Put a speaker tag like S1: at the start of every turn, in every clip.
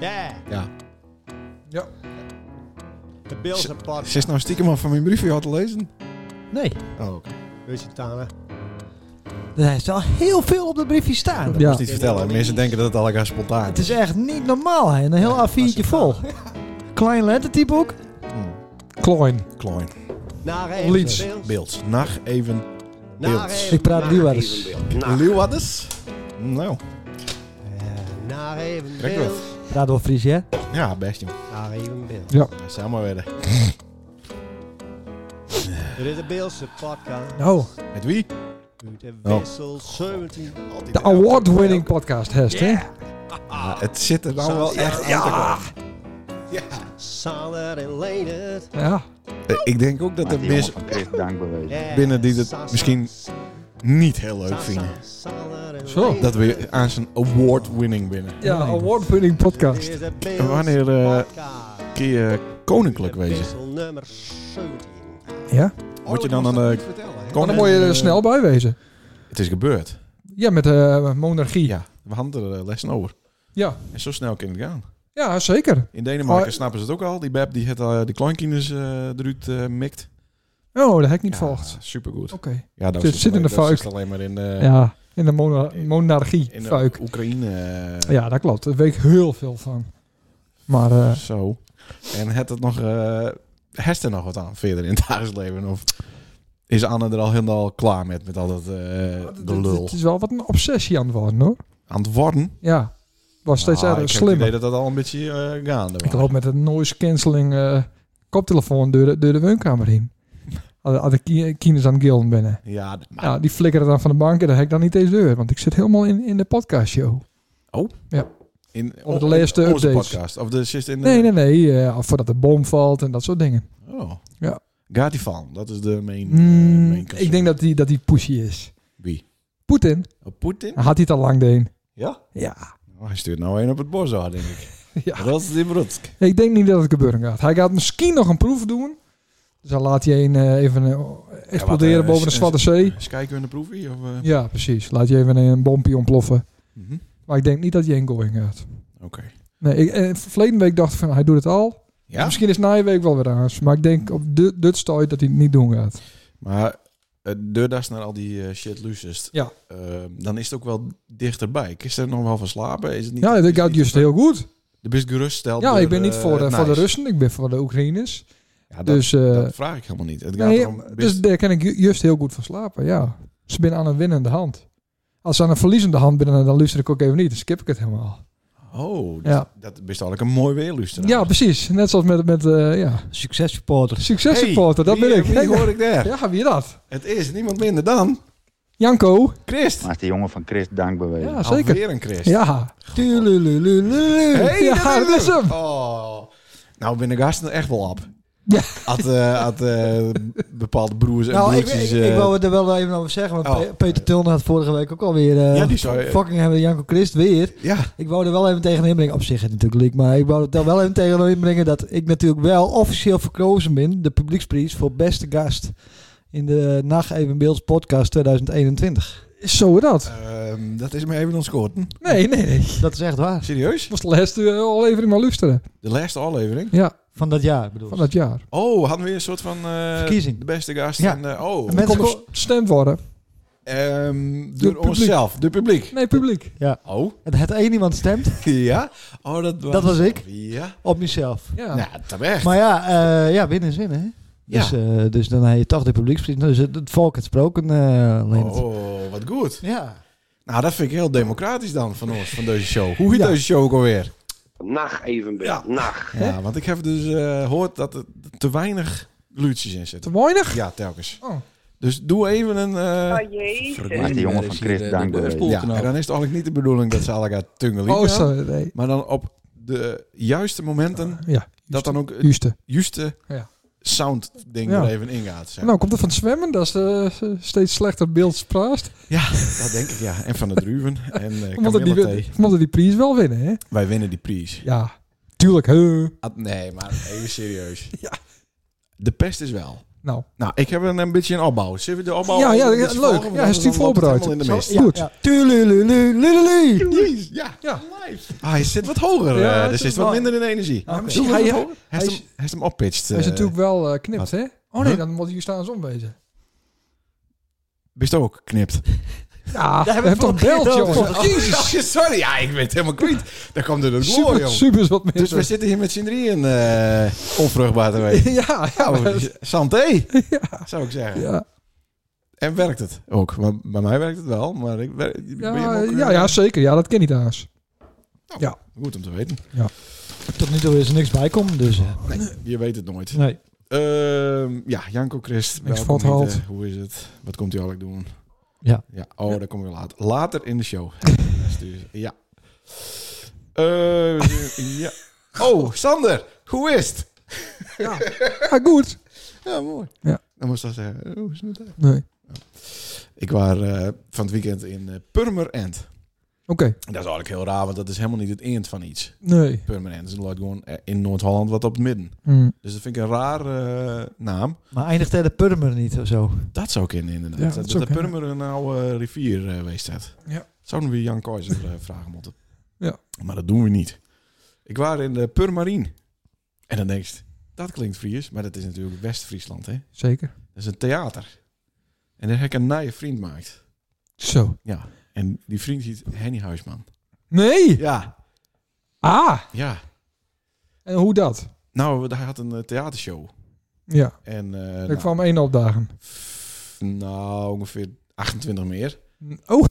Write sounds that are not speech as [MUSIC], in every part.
S1: Yeah,
S2: Ja.
S3: Ja.
S1: de Bills en Pot.
S2: Zes nou stiekem al van mijn briefje had te lezen.
S4: Nee,
S2: Oh, oké.
S1: Lusitana.
S4: er is wel heel veel op dat briefje staan.
S2: Dat
S4: Ja.
S2: moest niet vertellen. Mensen denken dat het al elkaar spontaan
S4: Het is echt niet normaal, hè. Een heel A4'tje vol.
S2: [LAUGHS]
S4: Klein lettertype ook.
S2: Hmm.
S3: Klein.
S2: Klein.
S1: Naar
S3: Leeds.
S1: Bills.
S2: Beeld. Nacht even.
S1: Naar
S2: Bills.
S1: even-
S4: Ik praat
S1: naar
S4: Leeuwarders.
S1: even Bills. Naar-
S2: Leeuwarders. Nou.
S1: Eh, Naar even
S2: Kijk
S1: Bills.
S4: Praat wel Fries, hè?
S2: Ja, best jong.
S1: Naar even Bills.
S2: Samen werden.
S1: Dit is de Beelse podcast.
S3: Nou,
S2: Met wie?
S1: Uit de
S2: Oh.
S1: Wissel 17.
S3: de award-winning podcast heeft, hè?
S2: Ja, het zit er nou wel echt aan te komen.
S1: Sander en Leendert.
S3: Ja.
S2: Eh, Ik denk ook dat
S5: Maar
S2: er
S5: die jongen
S2: mensen
S5: van Chris Dank bewezen.
S1: Eh,
S2: binnen die het
S1: Sasa,
S2: misschien niet heel leuk
S1: Sasa,
S2: vinden.
S1: Sander en
S3: Zo,
S1: Leendert.
S2: Dat we aan zijn award-winning binnen.
S3: Ja, award-winning podcast.
S1: Dit is de Beelse
S2: Wanneer, eh,
S1: podcast.
S2: Een keer eh, koninklijk wezen.
S1: Wissel nummer Oh, 17.
S3: Ja.
S2: Word je dan aan de
S3: Maar
S2: koning?
S3: dan moet je er
S2: Eh,
S3: snel bij wezen.
S2: Het is gebeurd.
S3: Ja, met eh monarchie.
S2: Ja, we hadden er eh, lessen over.
S3: Ja.
S2: En zo snel kan het gaan.
S3: Ja, zeker.
S2: In Denemarken
S3: Oh.
S2: snappen ze het ook al. Die Beb die het, eh, de kleinkinders eh, eruit eh, mikt.
S3: Oh, dat heb ik niet
S2: Ja,
S3: volgt.
S2: Supergoed.
S3: Oké.
S2: Ja, dat
S3: Zit- Dus zit in de fuik.
S2: alleen maar in de,
S3: Ja, in de mona-
S2: in- in
S3: monarchie.
S2: de
S3: Fuik.
S2: Oekraïne. eh,
S3: Ja, dat klopt. Daar weet ik heel veel van. Maar eh,
S2: Zo. En het het nog... eh herst er nog wat aan verder in het [LAUGHS] dagelijks Of is Anne er al helemaal klaar met, met al dat eh,
S3: het-
S2: de
S3: het-
S2: lul?
S3: het is wel wat een obsessie aan het worden, hoor.
S2: Aan het worden?
S3: Ja. Was steeds
S2: Ah, ik
S3: erg
S2: heb het idee
S3: slimmer.
S2: dat dat al een beetje eh gaande
S3: Ik
S2: was.
S3: loop met een noise cancelling eh, koptelefoon door de, door de woonkamer
S2: [LAUGHS]
S3: heen. Als als de ki- kinders aan het gilden binnen.
S2: Ja, dat mag.
S3: Ja, die flikkeren dan van de bank en dan heb ik dan niet eens deur. Want ik zit helemaal in, in de podcastshow.
S2: In,
S3: Op de laatste
S2: onze
S3: updates.
S2: podcast. Of de zit in de...
S3: Nee, nee, nee. eh, voordat de boom valt en dat soort dingen.
S2: Oh.
S3: Ja.
S2: Gaat die van? Dat is de main...
S3: Mm,
S2: eh, main concern.
S3: ik denk dat die, dat die pushy is.
S2: Wie?
S3: Poetin,
S2: Oh, Poetin?
S3: had hij het al lang deen.
S2: Ja?
S3: Ja.
S2: Oh, hij stuurt nou een op het bos aan, denk ik.
S3: [LAUGHS] ja.
S2: Rotsdibrutsk.
S3: Ik denk niet dat het gebeuren gaat. Hij gaat misschien nog een proef doen. Dus dan laat hij een eh, even eh, exploderen
S2: wat, eh,
S3: boven de
S2: s-
S3: Zwarte Zee.
S2: Eens kijken we in de proefie? Of, eh?
S3: Ja, precies. Laat je even een bompje ontploffen.
S2: Mhm.
S3: Maar ik denk niet dat je een going gaat.
S2: Oké.
S3: Nee, ik, eh, verleden week dacht ik van hij doet het al.
S2: Ja?
S3: Misschien is na je week wel weer aan. Maar ik denk op dit dit stooit dat hij het niet doen gaat.
S2: Maar eh doordat naar al die eh, shit luistert,
S3: Ja.
S2: eh, dan is het ook wel dichterbij. Is er nog wel van slapen? Is het niet,
S3: Ja,
S2: is
S3: dat
S2: het
S3: gaat
S2: niet-
S3: juist heel goed.
S2: De best geruststeld.
S3: Ja,
S2: door,
S3: ik ben niet
S2: eh,
S3: voor, de,
S2: het
S3: voor de
S2: nice.
S3: Russen. Ik ben voor de Oekraïners.
S2: Ja, dat,
S3: dus, eh,
S2: dat vraag ik helemaal niet. Het gaat
S3: nee,
S2: erom best-
S3: dus daar kan ik ju- juist heel goed van slapen, ja. Ze zijn aan een winnende hand. Als ze aan een verliezende hand binnen, dan luister ik ook even niet. Dan skip ik het helemaal.
S2: oh, dus
S3: Ja.
S2: dat is eigenlijk een mooi weer luisteren.
S3: Ja, precies. Net zoals met, met eh ja.
S4: Successupporter.
S3: Succes supporter, dat
S2: wie,
S3: ben ik.
S2: Wie hoor ik daar?
S3: [LAUGHS] Ja, wie dat?
S2: Het is niemand minder dan
S3: Janko.
S2: Christ.
S5: Maar is die jongen van Chris Dank bewezen.
S3: Ja, zeker.
S2: Alweer een Christ.
S3: Ja.
S2: Hey,
S3: Ja, dat is hem.
S2: Oh. Nou ben ik hartstikke echt wel op.
S3: Ja.
S2: Had, eh, had eh, bepaalde broers en
S4: Nou, ik,
S2: broertjes...
S4: ik,
S2: eh,
S4: ik wou het er wel even over zeggen, want
S2: Oh.
S4: Pe- Peter Tilner had vorige week ook alweer... eh,
S2: Ja, die zou-
S4: Fucking hebben Janko Christ weer.
S2: ja,
S4: Ik wou er wel even tegen hem brengen. Op zich is het natuurlijk leak, maar ik wou er dan wel even tegen hem brengen dat ik natuurlijk wel officieel verkozen ben, de publieksprijs voor beste gast in de Nacht Even Beelds podcast 2021.
S3: Zo dat.
S2: ehm, dat is me even ontschoten.
S3: Nee, nee, nee. Ik
S4: Dat is echt waar.
S2: Serieus?
S3: moest de laatste eh, aflevering maar luisteren.
S2: De laatste aflevering?
S3: Ja,
S4: Van dat jaar bedoel
S3: van
S4: ik.
S3: dat jaar.
S2: Oh, hadden we een soort van... eh,
S4: Verkiezing.
S2: De beste gast.
S4: Ja.
S2: En, eh, oh,
S4: Met-
S3: Kon
S4: Mensen
S3: er stemd worden.
S2: ehm,
S3: De
S2: door
S3: publiek.
S2: onszelf, de publiek.
S3: Nee, publiek.
S2: Oh, [LAUGHS]
S4: Het, het één iemand stemt
S2: ja. Oh, dat was,
S4: Dat was ik.
S2: Ja.
S4: op mezelf.
S3: Ja.
S2: Nou, terecht.
S4: Maar ja, eh, ja, winnen is winnen. Hè?
S2: Ja.
S4: Dus, eh, dus dan heb je toch de publieksprijs. Dus het, het volk het sproken, eh Leendert.
S2: oh, wat goed.
S4: Ja.
S2: Nou, dat vind ik heel democratisch dan van ons, van deze show. Hoe heet deze show ook alweer?
S6: Nacht even,
S2: Ja.
S6: ja. nacht.
S2: Ja, want ik heb dus eh, gehoord dat er te weinig luutjes in
S3: Te
S2: zitten.
S3: weinig?
S2: Ja, telkens.
S3: Oh.
S2: Dus doe even een... eh,
S7: Oh jee.
S5: Maar is die jongen van Chris Dank bewezen.
S2: ja, en dan is het eigenlijk niet de bedoeling dat ze elkaar tungelen.
S3: Oh, sorry. Nee.
S2: Maar dan op de juiste momenten,
S3: Ja.
S2: dat dan ook het
S3: Juiste.
S2: juiste
S3: Ja.
S2: sound ding
S3: Ja.
S2: er even in gaat. zeg.
S3: Nou, komt het van het zwemmen? Dat ze eh, steeds slechter beeld spraast.
S2: Ja, dat denk ik ja. En van de druven en eh
S3: We moeten die,
S2: Camilla thee.
S3: we moeten die prijs wel winnen, hè?
S2: Wij winnen die prijs.
S3: Ja. Tuurlijk. hè.
S2: Ah, nee, maar even serieus.
S3: [LAUGHS] Ja.
S2: De pest is wel.
S3: Nou,
S2: Nou, ik heb een, een beetje een opbouw. Zullen we de opbouw?
S3: Ja, ja,
S2: een
S3: ja,
S2: beetje
S3: leuk.
S2: volgen?
S3: Ja, hij is
S2: Dan
S3: die
S2: loopt het
S3: voorbereid.
S2: helemaal in de mist.
S3: Zo, Goed.
S4: Ja. Tululululululu.
S2: Jeez, ja.
S3: Ja.
S2: Ah, hij zit wat hoger.
S3: Ja,
S2: eh,
S3: het
S2: dus
S3: is
S2: is wat
S3: wel-
S2: minder in energie.
S3: Nou,
S4: Oké.
S3: zie je, hij, hij
S2: Hij
S3: is-
S2: heeft hem, hij heeft hem oppitcht.
S3: is
S2: eh,
S3: natuurlijk wel eh, knipt,
S2: wat?
S3: hè? Oh nee,
S2: Huh?
S3: dan moet je staan als omwezen.
S2: Bist ook
S3: [LAUGHS]
S2: knipt.
S3: Ja, we
S4: heb ik
S3: hebben toch
S4: vorige
S3: belt,
S4: keer ook
S3: jongen.
S2: Oh, Jezus, sorry. [LAUGHS] Ja, ik weet het helemaal kwijt. Daar komt er een gloor,
S3: Super,
S2: joh.
S3: super is wat meer.
S2: Dus we zitten hier met z'n drieën eh, onvruchtbaar te weten.
S3: ja, [LAUGHS] ja, maar-
S2: Nou, [LAUGHS] santé, zou ik zeggen.
S3: [LAUGHS] ja,
S2: En werkt het ook? Maar bij mij werkt het wel, maar ik wer- ben je hem
S3: ja,
S2: ook, eh,
S3: ja, ja, zeker. Ja, dat ken niet haast.
S2: Goed om te weten.
S4: Tot nu toe is er niks bij komen, dus... eh,
S2: Je weet het nooit.
S4: Nee.
S2: Ehm, ja, Janko Christ. welkom
S3: vathaald.
S2: hier. Hoe is het? Wat komt u eigenlijk doen?
S4: Ja.
S2: ja. Oh, daar kom ik later. Later in de show. [LAUGHS] Dus die- ja. Eh, ja. Oh, Sander. Hoe is het?
S3: Ja. ja, goed.
S2: Ja, mooi.
S3: Ja.
S2: Dan moest dat zeggen. eh, Hoe is het? met haar?
S3: Nee.
S2: Ik was eh, van het weekend in eh, Purmerend.
S3: Oké.
S2: Dat is eigenlijk heel raar, want dat is helemaal niet het eind van iets.
S3: Nee.
S2: Purmerend. Dat is een lot gewoon eh, in Noord-Holland wat op het midden.
S3: Hm.
S2: Dus dat vind ik een raar eh, naam.
S4: Maar eindigt hij de Purmer niet of zo?
S2: Dat zou kunnen, inderdaad.
S3: Ja,
S2: dat
S3: dat
S2: dat
S3: zou
S2: de
S3: kunnen.
S2: Purmer een oude rivier eh, geweest had.
S3: Ja.
S2: Zouden we Jan Kooijzer eh, vragen moeten.
S3: Ja.
S2: Maar dat doen we niet. Ik was in de Purmerien. En dan denk je, dat klinkt Fries, maar dat is natuurlijk West-Friesland, hè?
S3: Zeker.
S2: Dat is een theater. En daar heb ik een nieuwe vriend maakt.
S3: Zo.
S2: Ja. En die vriend heet Henny Huisman.
S3: Nee.
S2: Ja.
S3: Ah.
S2: Ja.
S3: En hoe dat?
S2: Nou, hij had een eh, theatershow.
S3: Ja.
S2: En, eh,
S3: Ik
S2: nou,
S3: kwam één opdagen.
S2: f- nou, ongeveer 28 meer.
S3: Oh.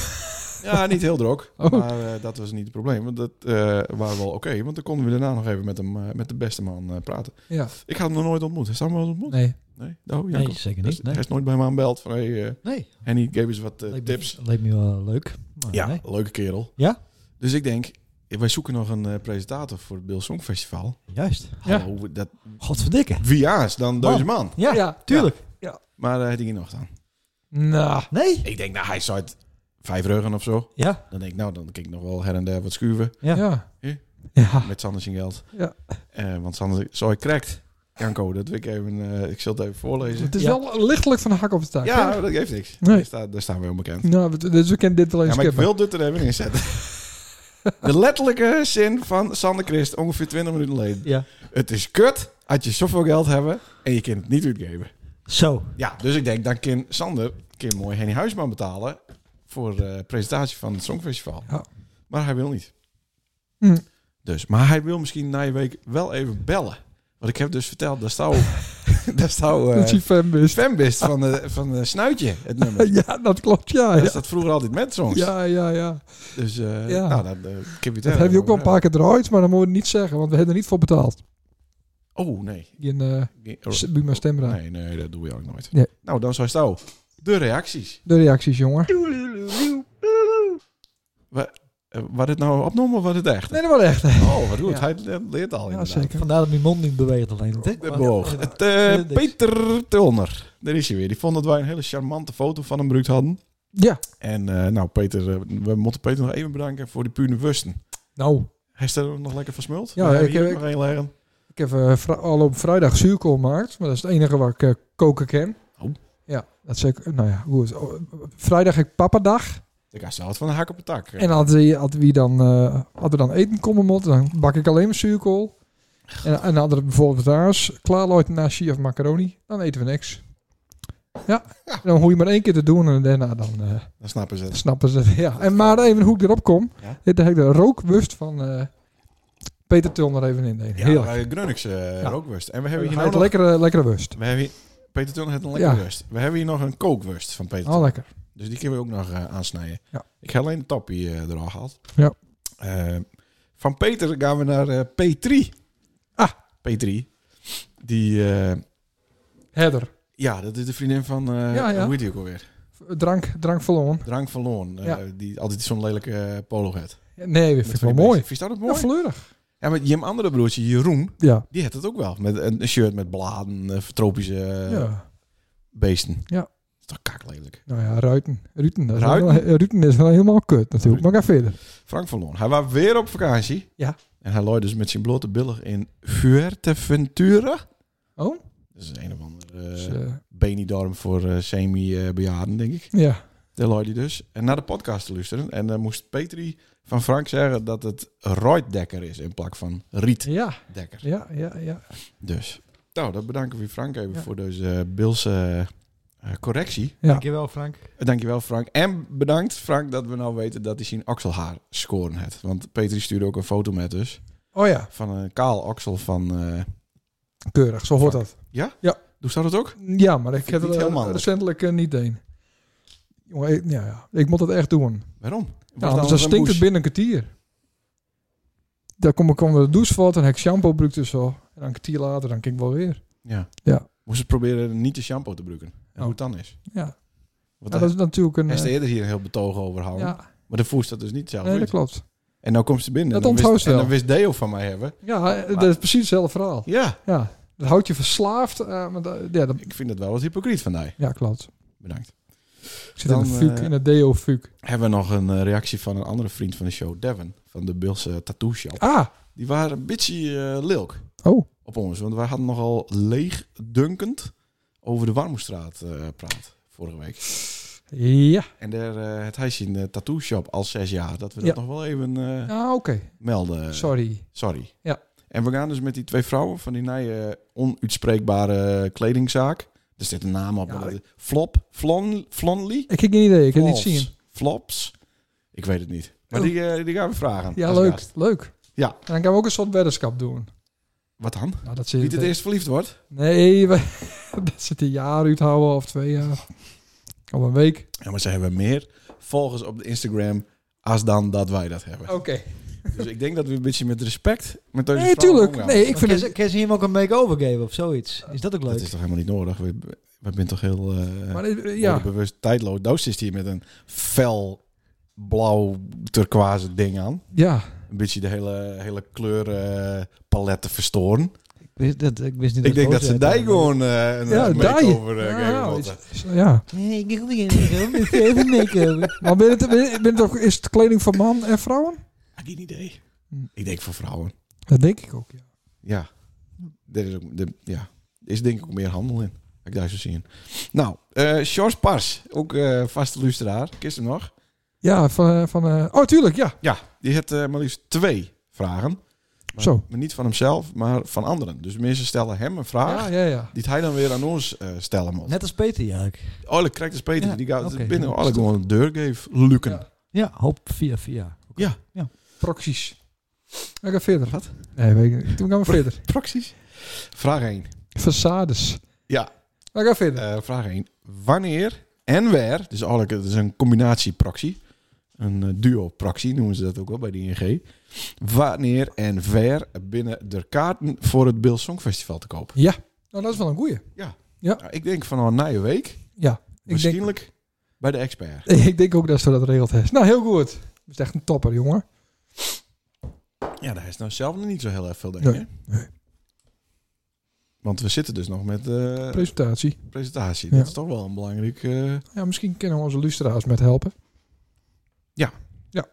S2: Ja, niet heel druk.
S3: Oh.
S2: Maar eh, dat was niet het probleem. Want dat eh waren wel oké. want dan konden we daarna nog even met, hem, eh, met de beste man eh, praten.
S3: Ja.
S2: Ik had hem nog nooit ontmoet. Is hij hem wel eens ontmoet?
S3: Nee.
S2: Nee. Oh, Jacob.
S4: Nee, zeker
S2: Dus
S4: niet. Nee.
S2: Hij is nooit bij me aanbeld van hey, eh
S4: nee.
S2: en die geef eens wat eh,
S4: Leek me-
S2: tips.
S4: Leek me wel leuk. maar
S2: Ja,
S4: nee.
S2: leuke kerel.
S4: Ja?
S2: Dus ik denk, eh, wij zoeken nog een eh, presentator voor het Bill Song Festival.
S4: Juist.
S3: Ja.
S2: Hallo, dat,
S4: Godverdikke.
S2: wie jaars dan
S4: Man.
S2: deze man?
S4: Ja, tuurlijk.
S2: Maar eh had hij hier nog aan.
S3: Nou.
S4: Nee.
S2: Ik denk, nou, hij zou het vijf ruggen of zo.
S4: Ja.
S2: Dan denk ik, nou, dan kijk ik nog wel her en der wat schuiven.
S4: Ja.
S3: Ja.
S2: Ja.
S3: Ja.
S2: Met Sander zijn geld.
S3: Ja.
S2: Eh, want Sander, zo hij krijgt. Janko, dat wil ik even. eh, ik zal het even voorlezen.
S3: Het is
S4: Ja.
S3: wel lichtelijk van de hak op de taak.
S2: Ja, dat geeft niks.
S3: Nee.
S2: Daar, staat, daar staan we heel bekend.
S3: Nou, we- dus we kennen dit wel
S2: Ja,
S3: eens
S2: maar ik
S3: skippen.
S2: wil dit er even in zetten. De letterlijke zin van Sander Christ, ongeveer 20 minuten geleden.
S4: Ja.
S2: Het is kut als je zoveel geld hebben en je kunt het niet uitgeven.
S4: Zo.
S2: Ja, dus ik denk, dan kan Sander kan mooi Henny Huisman betalen voor de presentatie van het Songfestival.
S3: Ja.
S2: Maar hij wil niet.
S3: Hm.
S2: Dus, maar hij wil misschien na je week wel even bellen. Want ik heb dus verteld, daar zou, [LAUGHS] daar zou eh,
S3: Dat hij fan
S2: de
S3: [LAUGHS] is.
S2: zwembist van de, van de snuitje, het nummer.
S3: [LAUGHS] Ja, dat klopt. Ja,
S2: Dat
S3: ja.
S2: staat vroeger altijd met songs.
S3: Ja, ja, ja.
S2: Dus eh,
S3: Ja.
S2: nou, dat, eh, ik heb je
S3: Dat heb je ook wel een paar keer eruit, maar dat moeten we niet zeggen, want we hebben er niet voor betaald.
S2: Oh, nee. oh.
S3: In eh Buma Stemra.
S2: Nee, nee, dat doen we ook nooit.
S3: Nee.
S2: Nou, dan zou Stouw. De reacties.
S3: De reacties, jongen.
S2: Eh, was het nou opnomen of was het echt?
S3: Nee, dat wel echt. hè.
S2: Oh, wat goed.
S3: Ja.
S2: Hij le- leert al
S3: Ja,
S2: inderdaad.
S3: zeker.
S4: Vandaar dat mijn mond niet beweegt alleen. hè?
S2: De boog. Het, eh,
S4: Ja, dit.
S2: Peter Tulner. Daar is hij weer. Die vond dat wij een hele charmante foto van hem gebruikt hadden.
S3: Ja.
S2: En eh, nou, Peter, eh, we moeten Peter nog even bedanken voor die pune wusten.
S3: Nou,
S2: Hij is er nog lekker versmuld.
S3: Ja,
S2: We hebben
S3: ik-
S2: hier
S3: ik-
S2: nog één liggen.
S3: ik heb eh, vri- al op vrijdag zuurkool gemaakt, maar dat is het enige waar ik eh, koken ken.
S2: Oh.
S3: Ja, dat zeker. Nou ja, goed. Oh, Vrijdag heb ik papadag.
S2: Ik ga zelf van de hak op de tak. eh,
S3: En als we dan, eh, had er dan eten komen moeten, dan bak ik alleen maar zuurkool. En, en hadden we bijvoorbeeld thuis klaarlooit nasi of macaroni, dan eten we niks. Ja, dan hoef je maar één keer te doen en daarna dan eh,
S2: Dan snappen ze het.
S3: snappen ze het. Ja. En maar even hoe ik erop kom,
S2: Ja.
S3: dit heb ik de rookwust van eh, Peter Tulner even in.
S2: Ja,
S3: Heel
S2: bij Grunnix eh,
S3: Ja.
S2: rookwurst. En we hebben hier
S3: Hij
S2: nou
S3: heeft
S2: nog...
S3: lekkere, lekkere wust.
S2: We hebben hier... Peter Tulner heeft een lekkere
S3: Ja.
S2: worst. We hebben hier nog een kookwurst van Peter
S3: Al
S2: Tulner.
S3: Oh, lekker.
S2: Dus die kunnen we ook nog eh, aansnijden.
S3: Ja.
S2: Ik heb alleen de tappie eh eraf gehad.
S3: Ja.
S2: Eh, van Peter gaan we naar eh, P3.
S3: Ah.
S2: P3. Die, eh,
S3: Header.
S2: ja, dat is de vriendin van, eh,
S3: Ja, ja.
S2: hoe heet die ook alweer?
S3: Drank, drank verloren.
S2: Drank van Loon. eh,
S3: Ja,
S2: Die altijd zo'n lelijke eh, polo heeft.
S3: Ja, Nee,
S2: Met
S3: vind ik
S2: van
S3: wel
S2: die
S3: mooi.
S2: beesten. Vind je dat ook
S3: Ja,
S2: mooi?
S3: fleurig.
S2: Ja, maar je andere broertje, Jeroen,
S3: Ja.
S2: die heeft het ook wel. Met een een shirt met bladen, eh, tropische eh,
S3: ja.
S2: beesten.
S3: Ja.
S2: Dat is toch kaklelijk.
S3: Nou ja, Ruiten. Ruiten, dat is
S2: Ruiten?
S3: wel- eh, [LAUGHS] Ruiten is wel helemaal kut natuurlijk. Maar ga verder.
S2: Frank van Loon. Hij was weer op vakantie.
S3: Ja.
S2: En hij looide dus met zijn blote billen in Fuerteventura.
S3: Oh?
S2: Dat is een of ander
S3: Dus,
S2: eh
S3: eh,
S2: benidorm voor eh, semi-bejaarden, denk ik.
S3: ja.
S2: De lui die dus. En naar de podcast te luisteren. En dan moest Petri van Frank zeggen dat het Royddekker is in plaats van Rietdekker.
S3: ja, ja, ja, ja.
S2: Dus. Nou, dat bedanken we Frank even
S3: Ja.
S2: voor deze eh, Bilse eh, correctie.
S3: Ja.
S4: Dankjewel Frank.
S2: Dankjewel Frank. En bedankt Frank dat we nou weten dat hij zijn okselhaar scoren heeft. Want Petri stuurde ook een foto met dus.
S3: Oh ja,
S2: Van een kaal oksel van... eh,
S3: keurig, zo hoort dat.
S2: doe ze dat ook?
S3: Ja, maar ik
S2: Vind ik
S3: heb
S2: niet
S3: er
S2: heel
S3: eh,
S2: mannelijk.
S3: recentelijk eh, niet een. Jongen, ik- ja, ja, ik moet het echt doen.
S2: Waarom? Was
S3: Ja,
S2: dat
S3: anders dan
S2: een
S3: stinkt het
S2: boes?
S3: binnen een kwartier. Dan kom ik onder de douche valt en heb ik shampoo gebruikt en zo. En dan een kwartier later, dan kijk ik wel weer.
S2: Ja.
S3: Ja. Oh.
S2: Moest ze proberen niet de shampoo te gebruiken. En hoe het dan is.
S3: Ja,
S2: Want
S3: Ja,
S2: daar
S3: dat is natuurlijk een...
S2: heeft ze
S3: eh,
S2: eerder hier een heel betoog over houden.
S3: ja,
S2: Maar de voest dat dus niet zelf
S3: nee, dat
S2: weet.
S3: klopt.
S2: En nou komt ze binnen.
S3: Dat
S2: en dan
S3: onthoudt
S2: wist,
S3: ze
S2: en
S3: wel.
S2: dan wist Deo van mij hebben.
S3: Ja, eh, dat is precies hetzelfde verhaal.
S2: Ja,
S3: Ja, dat houdt je verslaafd. eh, maar dat- ja, dat,
S2: ik vind dat wel wat hypocriet van mij.
S3: ja, klopt.
S2: Bedankt.
S3: Ik zit
S2: Dan,
S3: in de fuuk,
S2: eh,
S3: in het deo-fuuk.
S2: Hebben we nog een eh, reactie van een andere vriend van de show, Devin. Van de Bilse Tattoo Shop.
S3: Ah,
S2: Die waren een beetje eh, lilk
S3: oh,
S2: op ons. Want wij hadden nogal leegdunkend over de Warmoestraat eh, praat vorige week.
S3: ja.
S2: En daar, eh, het huisje in de tattoo shop al zes jaar. Dat we
S3: Ja.
S2: dat nog wel even eh,
S3: Ah, oké.
S2: melden.
S3: Sorry.
S2: Sorry.
S3: Ja.
S2: En we gaan dus met die twee vrouwen van die nije onuitspreekbare kledingzaak. Er zit een naam op.
S3: Ja,
S2: maar dat
S3: ik-
S2: is Flop, Flon, Flonly?
S3: Ik heb geen idee, ik heb het niet
S2: Flops.
S3: zien.
S2: Flops? Ik weet het niet. Maar
S3: Oh.
S2: die, eh, die gaan we vragen.
S3: Ja,
S2: als
S3: leuk,
S2: gast.
S3: leuk.
S2: Ja.
S3: En dan gaan we ook een soort weddenschap doen.
S2: Wat dan?
S3: Nou, dat
S2: Wie
S3: zit
S2: het eerst verliefd wordt?
S3: Nee, [LAUGHS] we, dat zit een jaar uithouden of twee jaar. Of een week.
S2: Ja, maar ze hebben meer volgers op de Instagram als dan dat wij dat hebben.
S3: Oké.
S2: Dus ik denk dat we een beetje met respect met deze
S3: Oh. Nee,
S2: vrouwen
S3: tuurlijk.
S2: omgaan.
S3: Nee, ik
S4: Maar
S3: vind
S4: kan ze-
S3: het...
S4: kan ze hem ook een make-over geven of zoiets? Is dat ook leuk?
S2: Dat is toch helemaal niet nodig? We, we zijn toch heel eh,
S3: Maar, eh, ja.
S2: bewust tijdloos. Doos is hier met een fel blauw turquoise ding aan.
S3: ja,
S2: Een beetje de hele, hele kleurenpalet te verstoren.
S4: Ik wist, dat, ik wist niet
S2: Ik denk dat ze
S4: boos
S2: daar
S4: werd.
S2: gewoon eh, een
S3: ja,
S2: makeover
S3: die.
S2: eh,
S3: Ja,
S2: geven
S3: nou,
S2: moeten.
S3: is- is- ja.
S4: Nee, ik wil geen make-over. Ik wil even
S3: [LAUGHS]
S4: make-over.
S3: Maar ben het, ben, ben het ook, is het kleding voor man en vrouwen?
S2: Heb geen idee.
S3: Hm.
S2: Ik denk voor vrouwen.
S3: Dat denk ik ook, ja.
S2: Ja. Er is, ook, er- ja. Er is denk ik ook meer handel in. Heb Ik daar zo zien. Nou, eh George Pars, ook eh vaste luisteraar. Kist hem nog.
S3: Ja, van... eh, van eh, oh, tuurlijk, ja.
S2: Ja, die heeft eh, maar liefst twee vragen. Maar,
S3: Zo.
S2: maar niet van hemzelf, maar van anderen. Dus mensen stellen hem een vraag.
S3: Ja, ja, ja.
S2: Die hij dan weer aan ons eh, stellen moet.
S4: Net als Peter, ja. ik-
S2: Oorlijk krijgt de Peter.
S4: Ja,
S2: die gaat
S4: oké.
S2: binnen.
S4: Ja,
S2: Oorlijk gewoon een deur geeft. Lukken.
S3: Ja.
S4: Ja, hoop via via.
S3: Proxies. We gaan verder.
S2: Wat?
S3: Nee, weet ik niet. Toen gaan we verder.
S2: Proxies. Vraag 1.
S3: Façades.
S2: Ja.
S3: We gaan verder.
S2: Eh, vraag 1. Wanneer en waar, dus eigenlijk het is een combinatieproxy, een eh, duo-proxy noemen ze dat ook wel bij de ING. Wanneer en waar binnen de kaarten voor het Bill Song Festival te koop?
S3: Nou, dat is wel een goeie.
S2: Nou, ik denk van een nieuwe week,
S3: Ja. Ik denk,
S2: waarschijnlijk bij de expert.
S3: [LAUGHS] ik denk ook dat ze dat regeld heeft. Nou, heel goed. Dat is echt een topper, jongen.
S2: Ja, daar is nou zelf nog niet zo heel erg veel, denk
S3: Nee,
S2: ik. hè? Want we zitten dus nog met eh,
S3: Presentatie.
S2: presentatie.
S3: Ja.
S2: Dat is toch wel een belangrijk... eh,
S3: Ja, misschien kunnen we onze luisteraars met helpen.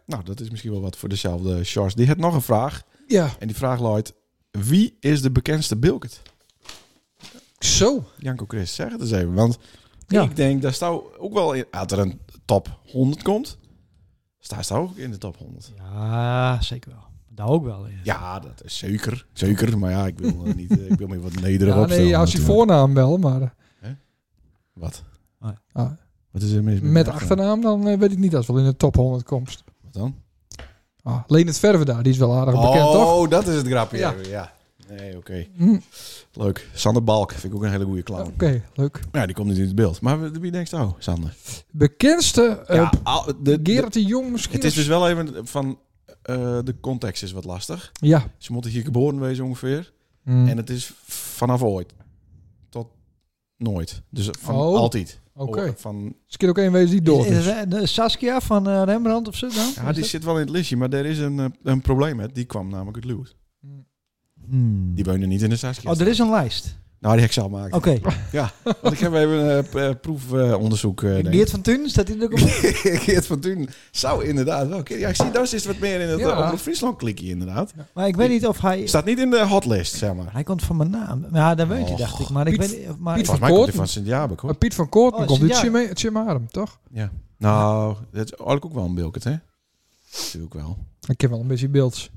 S2: nou, dat is misschien wel wat voor dezelfde Charles. Die had nog een vraag.
S3: Ja.
S2: En die vraag luidt... Wie is de bekendste Bilket?
S3: Zo.
S2: Janko Chris, zeg het eens even. Want
S3: Ja.
S2: ik denk, daar staat ook wel in... Als er een top 100 komt, staat ze ook in de top 100.
S4: Ja, zeker wel. Daar ook wel. Ja.
S2: Ja, dat is zeker. Zeker, maar ja, ik wil eh, niet... eh, ik wil me wat nederig
S3: Ja,
S2: opstellen.
S3: nee, als je
S2: natuurlijk.
S3: voornaam wel, maar eh,
S2: Wat?
S3: ah,
S2: Wat is er mis
S3: met achternaam dan eh, weet ik niet dat het wel in de top 100 komt.
S2: Wat dan?
S3: Ah, Leonard Verve daar, die is wel aardig bekend, toch?
S2: Oh, dat is het grapje.
S3: Ja.
S2: Ja. Nee, oké.
S3: Hm,
S2: Leuk. Sander Balk vind ik ook een hele goede clown.
S3: Oké, leuk.
S2: Ja, die komt niet in het beeld. Maar wie denkt nou, Sander?
S3: Bekendste eh
S2: al- de, de-
S3: Gerard de Jong misschien?
S2: het is dus wel even van... eh, de context is wat lastig.
S3: Ja.
S2: Ze moeten hier geboren wezen ongeveer.
S3: Hm,
S2: dus- En het is vanaf ooit. Tot nooit. Dus van
S3: Oh.
S2: altijd.
S3: Oké.
S2: O- Van,
S3: Dus er kan ook één wezen die dood
S4: Is- is
S3: is.
S4: het, eh, Saskia van eh, Rembrandt of zo dan?
S2: ja, die zit wel in het listje, maar er is een, eh, een probleem met. Die kwam namelijk het Lewis.
S3: Hm.
S4: Hmm.
S2: Die woonde niet in de Saskia.
S4: Oh, er is een lijst.
S2: Nou, die heb ik zelf maken.
S4: Oké.
S2: Want ik heb even een proefonderzoek. eh denk ik.
S4: Geert van Thun, staat hij er ook op?
S2: [LAUGHS] Geert van Thun zou inderdaad wel. kunnen. Ja, ik zie, daar is wat meer in het
S3: Ja.
S2: ja. Friesland klikje inderdaad.
S4: Maar ik weet niet of hij...
S2: Staat niet in de hotlist, zeg maar.
S4: Hij komt van mijn naam. Ja, dat weet hij,
S2: Och.
S4: dacht ik. Maar ik
S3: Piet-
S4: weet niet... of- Maar
S3: Piet
S4: ik-
S2: Volgens mij komt hij
S3: Koorten.
S2: van Sint-Jabek, hoor.
S3: Maar Piet van Koorten
S4: Oh,
S3: komt
S4: ja.
S3: uit Chimarem, toch?
S2: Ja. Nou, dat is eigenlijk ook wel een bilket, hè? Natuurlijk wel.
S3: Ik heb wel een beetje beeld.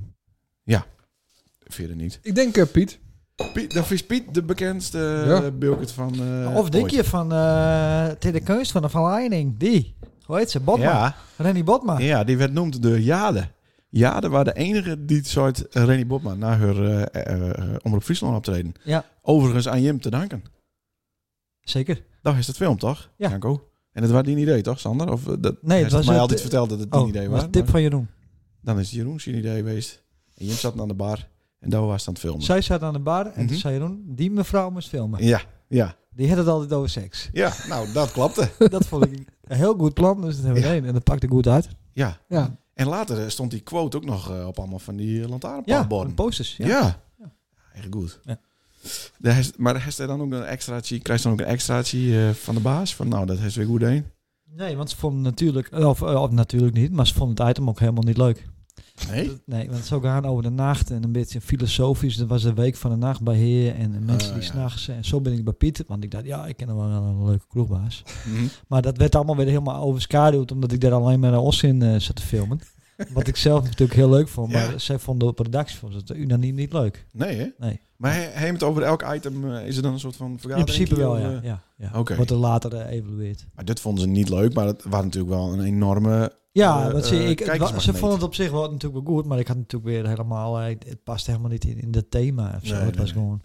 S2: Verder niet.
S3: Ik denk eh, Piet.
S2: Piet, dan is Piet de bekendste
S3: Ja.
S2: bilket van eh,
S4: Nou, of denk
S2: ooit.
S4: je van eh Ter de Keus van de Van Leining? Die. Hoe heet ze? Botma.
S2: Ja,
S4: Renny Botma.
S2: ja, die werd noemd door Jade. Jade was de enige die het soort René Botman na haar eh, eh, eh, Omroep Friesland optreden.
S4: Ja.
S2: Overigens aan Jim te danken.
S4: Zeker.
S2: Dat is het film, toch?
S4: Ja.
S2: Janko? En het was die idee, toch, Sander? Of, eh, dat,
S4: Nee, het
S2: hij
S4: was
S2: mij
S4: een-
S2: altijd verteld dat het
S4: Oh,
S2: die idee was.
S4: was tip van Jeroen.
S2: Dan is het Jeroen zijn idee geweest. En Jim zat aan de bar. En daar was het aan het filmen.
S4: Zij zat aan de bar en
S2: Mhm.
S4: toen zei Jeroen, die mevrouw moest filmen.
S2: Ja, ja.
S4: Die had het altijd over seks.
S2: Ja, nou, dat klapte.
S4: dat vond ik een heel goed plan, dus dat hebben we
S2: Ja.
S4: gedaan. En dat pakte goed uit.
S2: Ja.
S3: Ja.
S2: En later eh, stond die quote ook nog eh, op allemaal van die eh,
S4: Ja,
S2: lantaarnpaalborden.
S4: met posters. Ja.
S2: Ja. ja. Echt goed.
S4: Ja.
S2: Daar heeft- maar heeft hij dan ook een extraatje, krijgt hij dan ook een extraatje eh, van de baas? Van nou, dat is weer goed heen.
S4: Nee, want ze vonden natuurlijk, of, eh, of natuurlijk niet, maar ze vonden het item ook helemaal niet leuk.
S2: Nee?
S4: Nee, want zo gaan over de nacht en een beetje filosofisch. Dat was de week van de nacht bij Heer en de mensen
S2: Ah,
S4: die
S2: ja.
S4: s'nachts. En zo ben ik bij Piet, want ik dacht, ja, ik ken hem wel een leuke kroegbaas. Maar dat werd allemaal weer helemaal overschaduwd, omdat ik daar alleen maar naar Os in eh, zat te
S2: [LAUGHS]
S4: filmen. Wat ik zelf natuurlijk heel leuk vond, maar
S2: Ja.
S4: zij vonden op redactie vonden ze het unaniem niet leuk.
S2: Nee, hè?
S4: Nee.
S2: Maar hij hij heeft het over elk item, eh, is er dan een soort van
S4: In
S2: vergadering?
S4: principe wel, ja.
S2: eh,
S4: ja, ja.
S2: oké.
S4: Wordt er later eh, evalueerd.
S2: Maar dit vonden ze niet leuk, maar het was natuurlijk wel een enorme...
S4: Ja,
S2: Eh,
S4: want ze,
S2: eh,
S4: ik, het wa- ze
S2: kijkersmagneet.
S4: vonden het op zich wel natuurlijk wel goed, maar ik had natuurlijk weer helemaal, eh, het past helemaal niet in, in dat thema of zo.
S2: Nee,
S4: het
S2: nee,
S4: was
S2: nee.
S4: gewoon,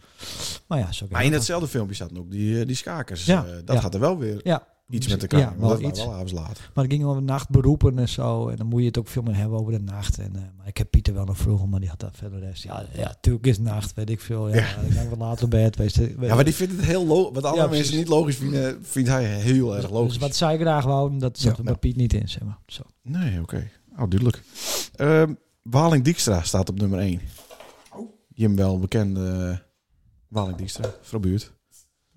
S4: maar ja, zo kan
S2: Maar in
S4: het
S2: datzelfde filmpje zaten ook die, eh, die skakers.
S4: Ja,
S2: Eh, dat
S4: ja.
S2: gaat er wel weer
S4: Ja.
S2: iets met elkaar.
S4: Ja,
S2: want
S4: wel
S2: dat was
S4: iets.
S2: wel avonds laat.
S4: Maar het ging over nachtberoepen en zo. En dan moet je het ook veel meer hebben over de nacht. En, eh, maar ik heb Pieter wel nog vroeger, maar die had daar verder rest. Ja, ja, tuurlijk is nacht, weet ik veel. Ja, Ik denk wat later bij het wees. weet-
S2: Ja, maar die vindt het heel logisch. Wat andere
S4: Ja,
S2: mensen
S4: precies.
S2: niet logisch vinden, vindt hij heel erg logisch.
S4: Dus wat zij graag wou, dat zat
S3: Ja.
S4: er bij Piet niet in, zeg maar. Zo.
S2: Nee, oké. Oh, duidelijk. Ehm, Waling Dijkstra staat op nummer 1. Jim wel bekende eh, Waling Dijkstra, vrouw buurt.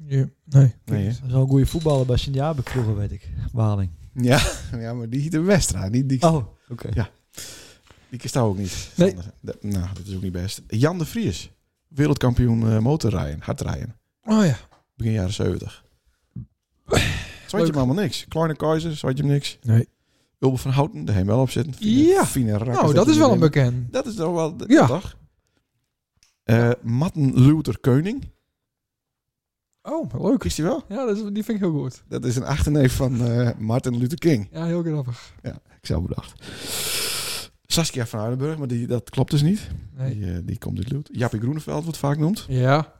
S3: Ja. Nee.
S2: Nee, hè?
S4: Zo'n goede voetballer bij Sint-Jabek vroeger, weet ik. Waling.
S2: ja, [LAUGHS] ja, maar die heet de Westra, niet Dijkstra.
S4: Oh, oké.
S2: Die kist ook niet.
S3: Nee.
S2: Sander. Dat- nou, dat is ook niet best. Jan de Vries, wereldkampioen eh, motorrijden, hardrijden.
S3: Oh ja.
S2: Begin jaren 70. Zo had je
S3: Leuk.
S2: hem allemaal niks. Kleine Keizer, zo had je hem niks.
S3: Nee.
S2: Ulbe van Houten, daar heen wel op zitten.
S3: Ja.
S2: Fine rakkers
S3: Nou, dat is
S2: hij
S3: wel
S2: erin-
S3: een bekend.
S2: Dat is toch wel de
S3: Ja.
S2: dag. Eh, Matten Luther Keuning.
S3: Oh, leuk.
S2: Is die wel?
S3: Ja, dat is, die vind ik heel goed.
S2: Dat is een achterneef van eh, Martin Luther King.
S3: Ja, heel grappig.
S2: Ik zelf bedacht. Saskia van Uilenburg, maar die, dat klopt dus niet.
S3: Nee.
S2: Die, eh, die komt uit Lut. Jappie Groeneveld wordt vaak genoemd.
S3: Ja.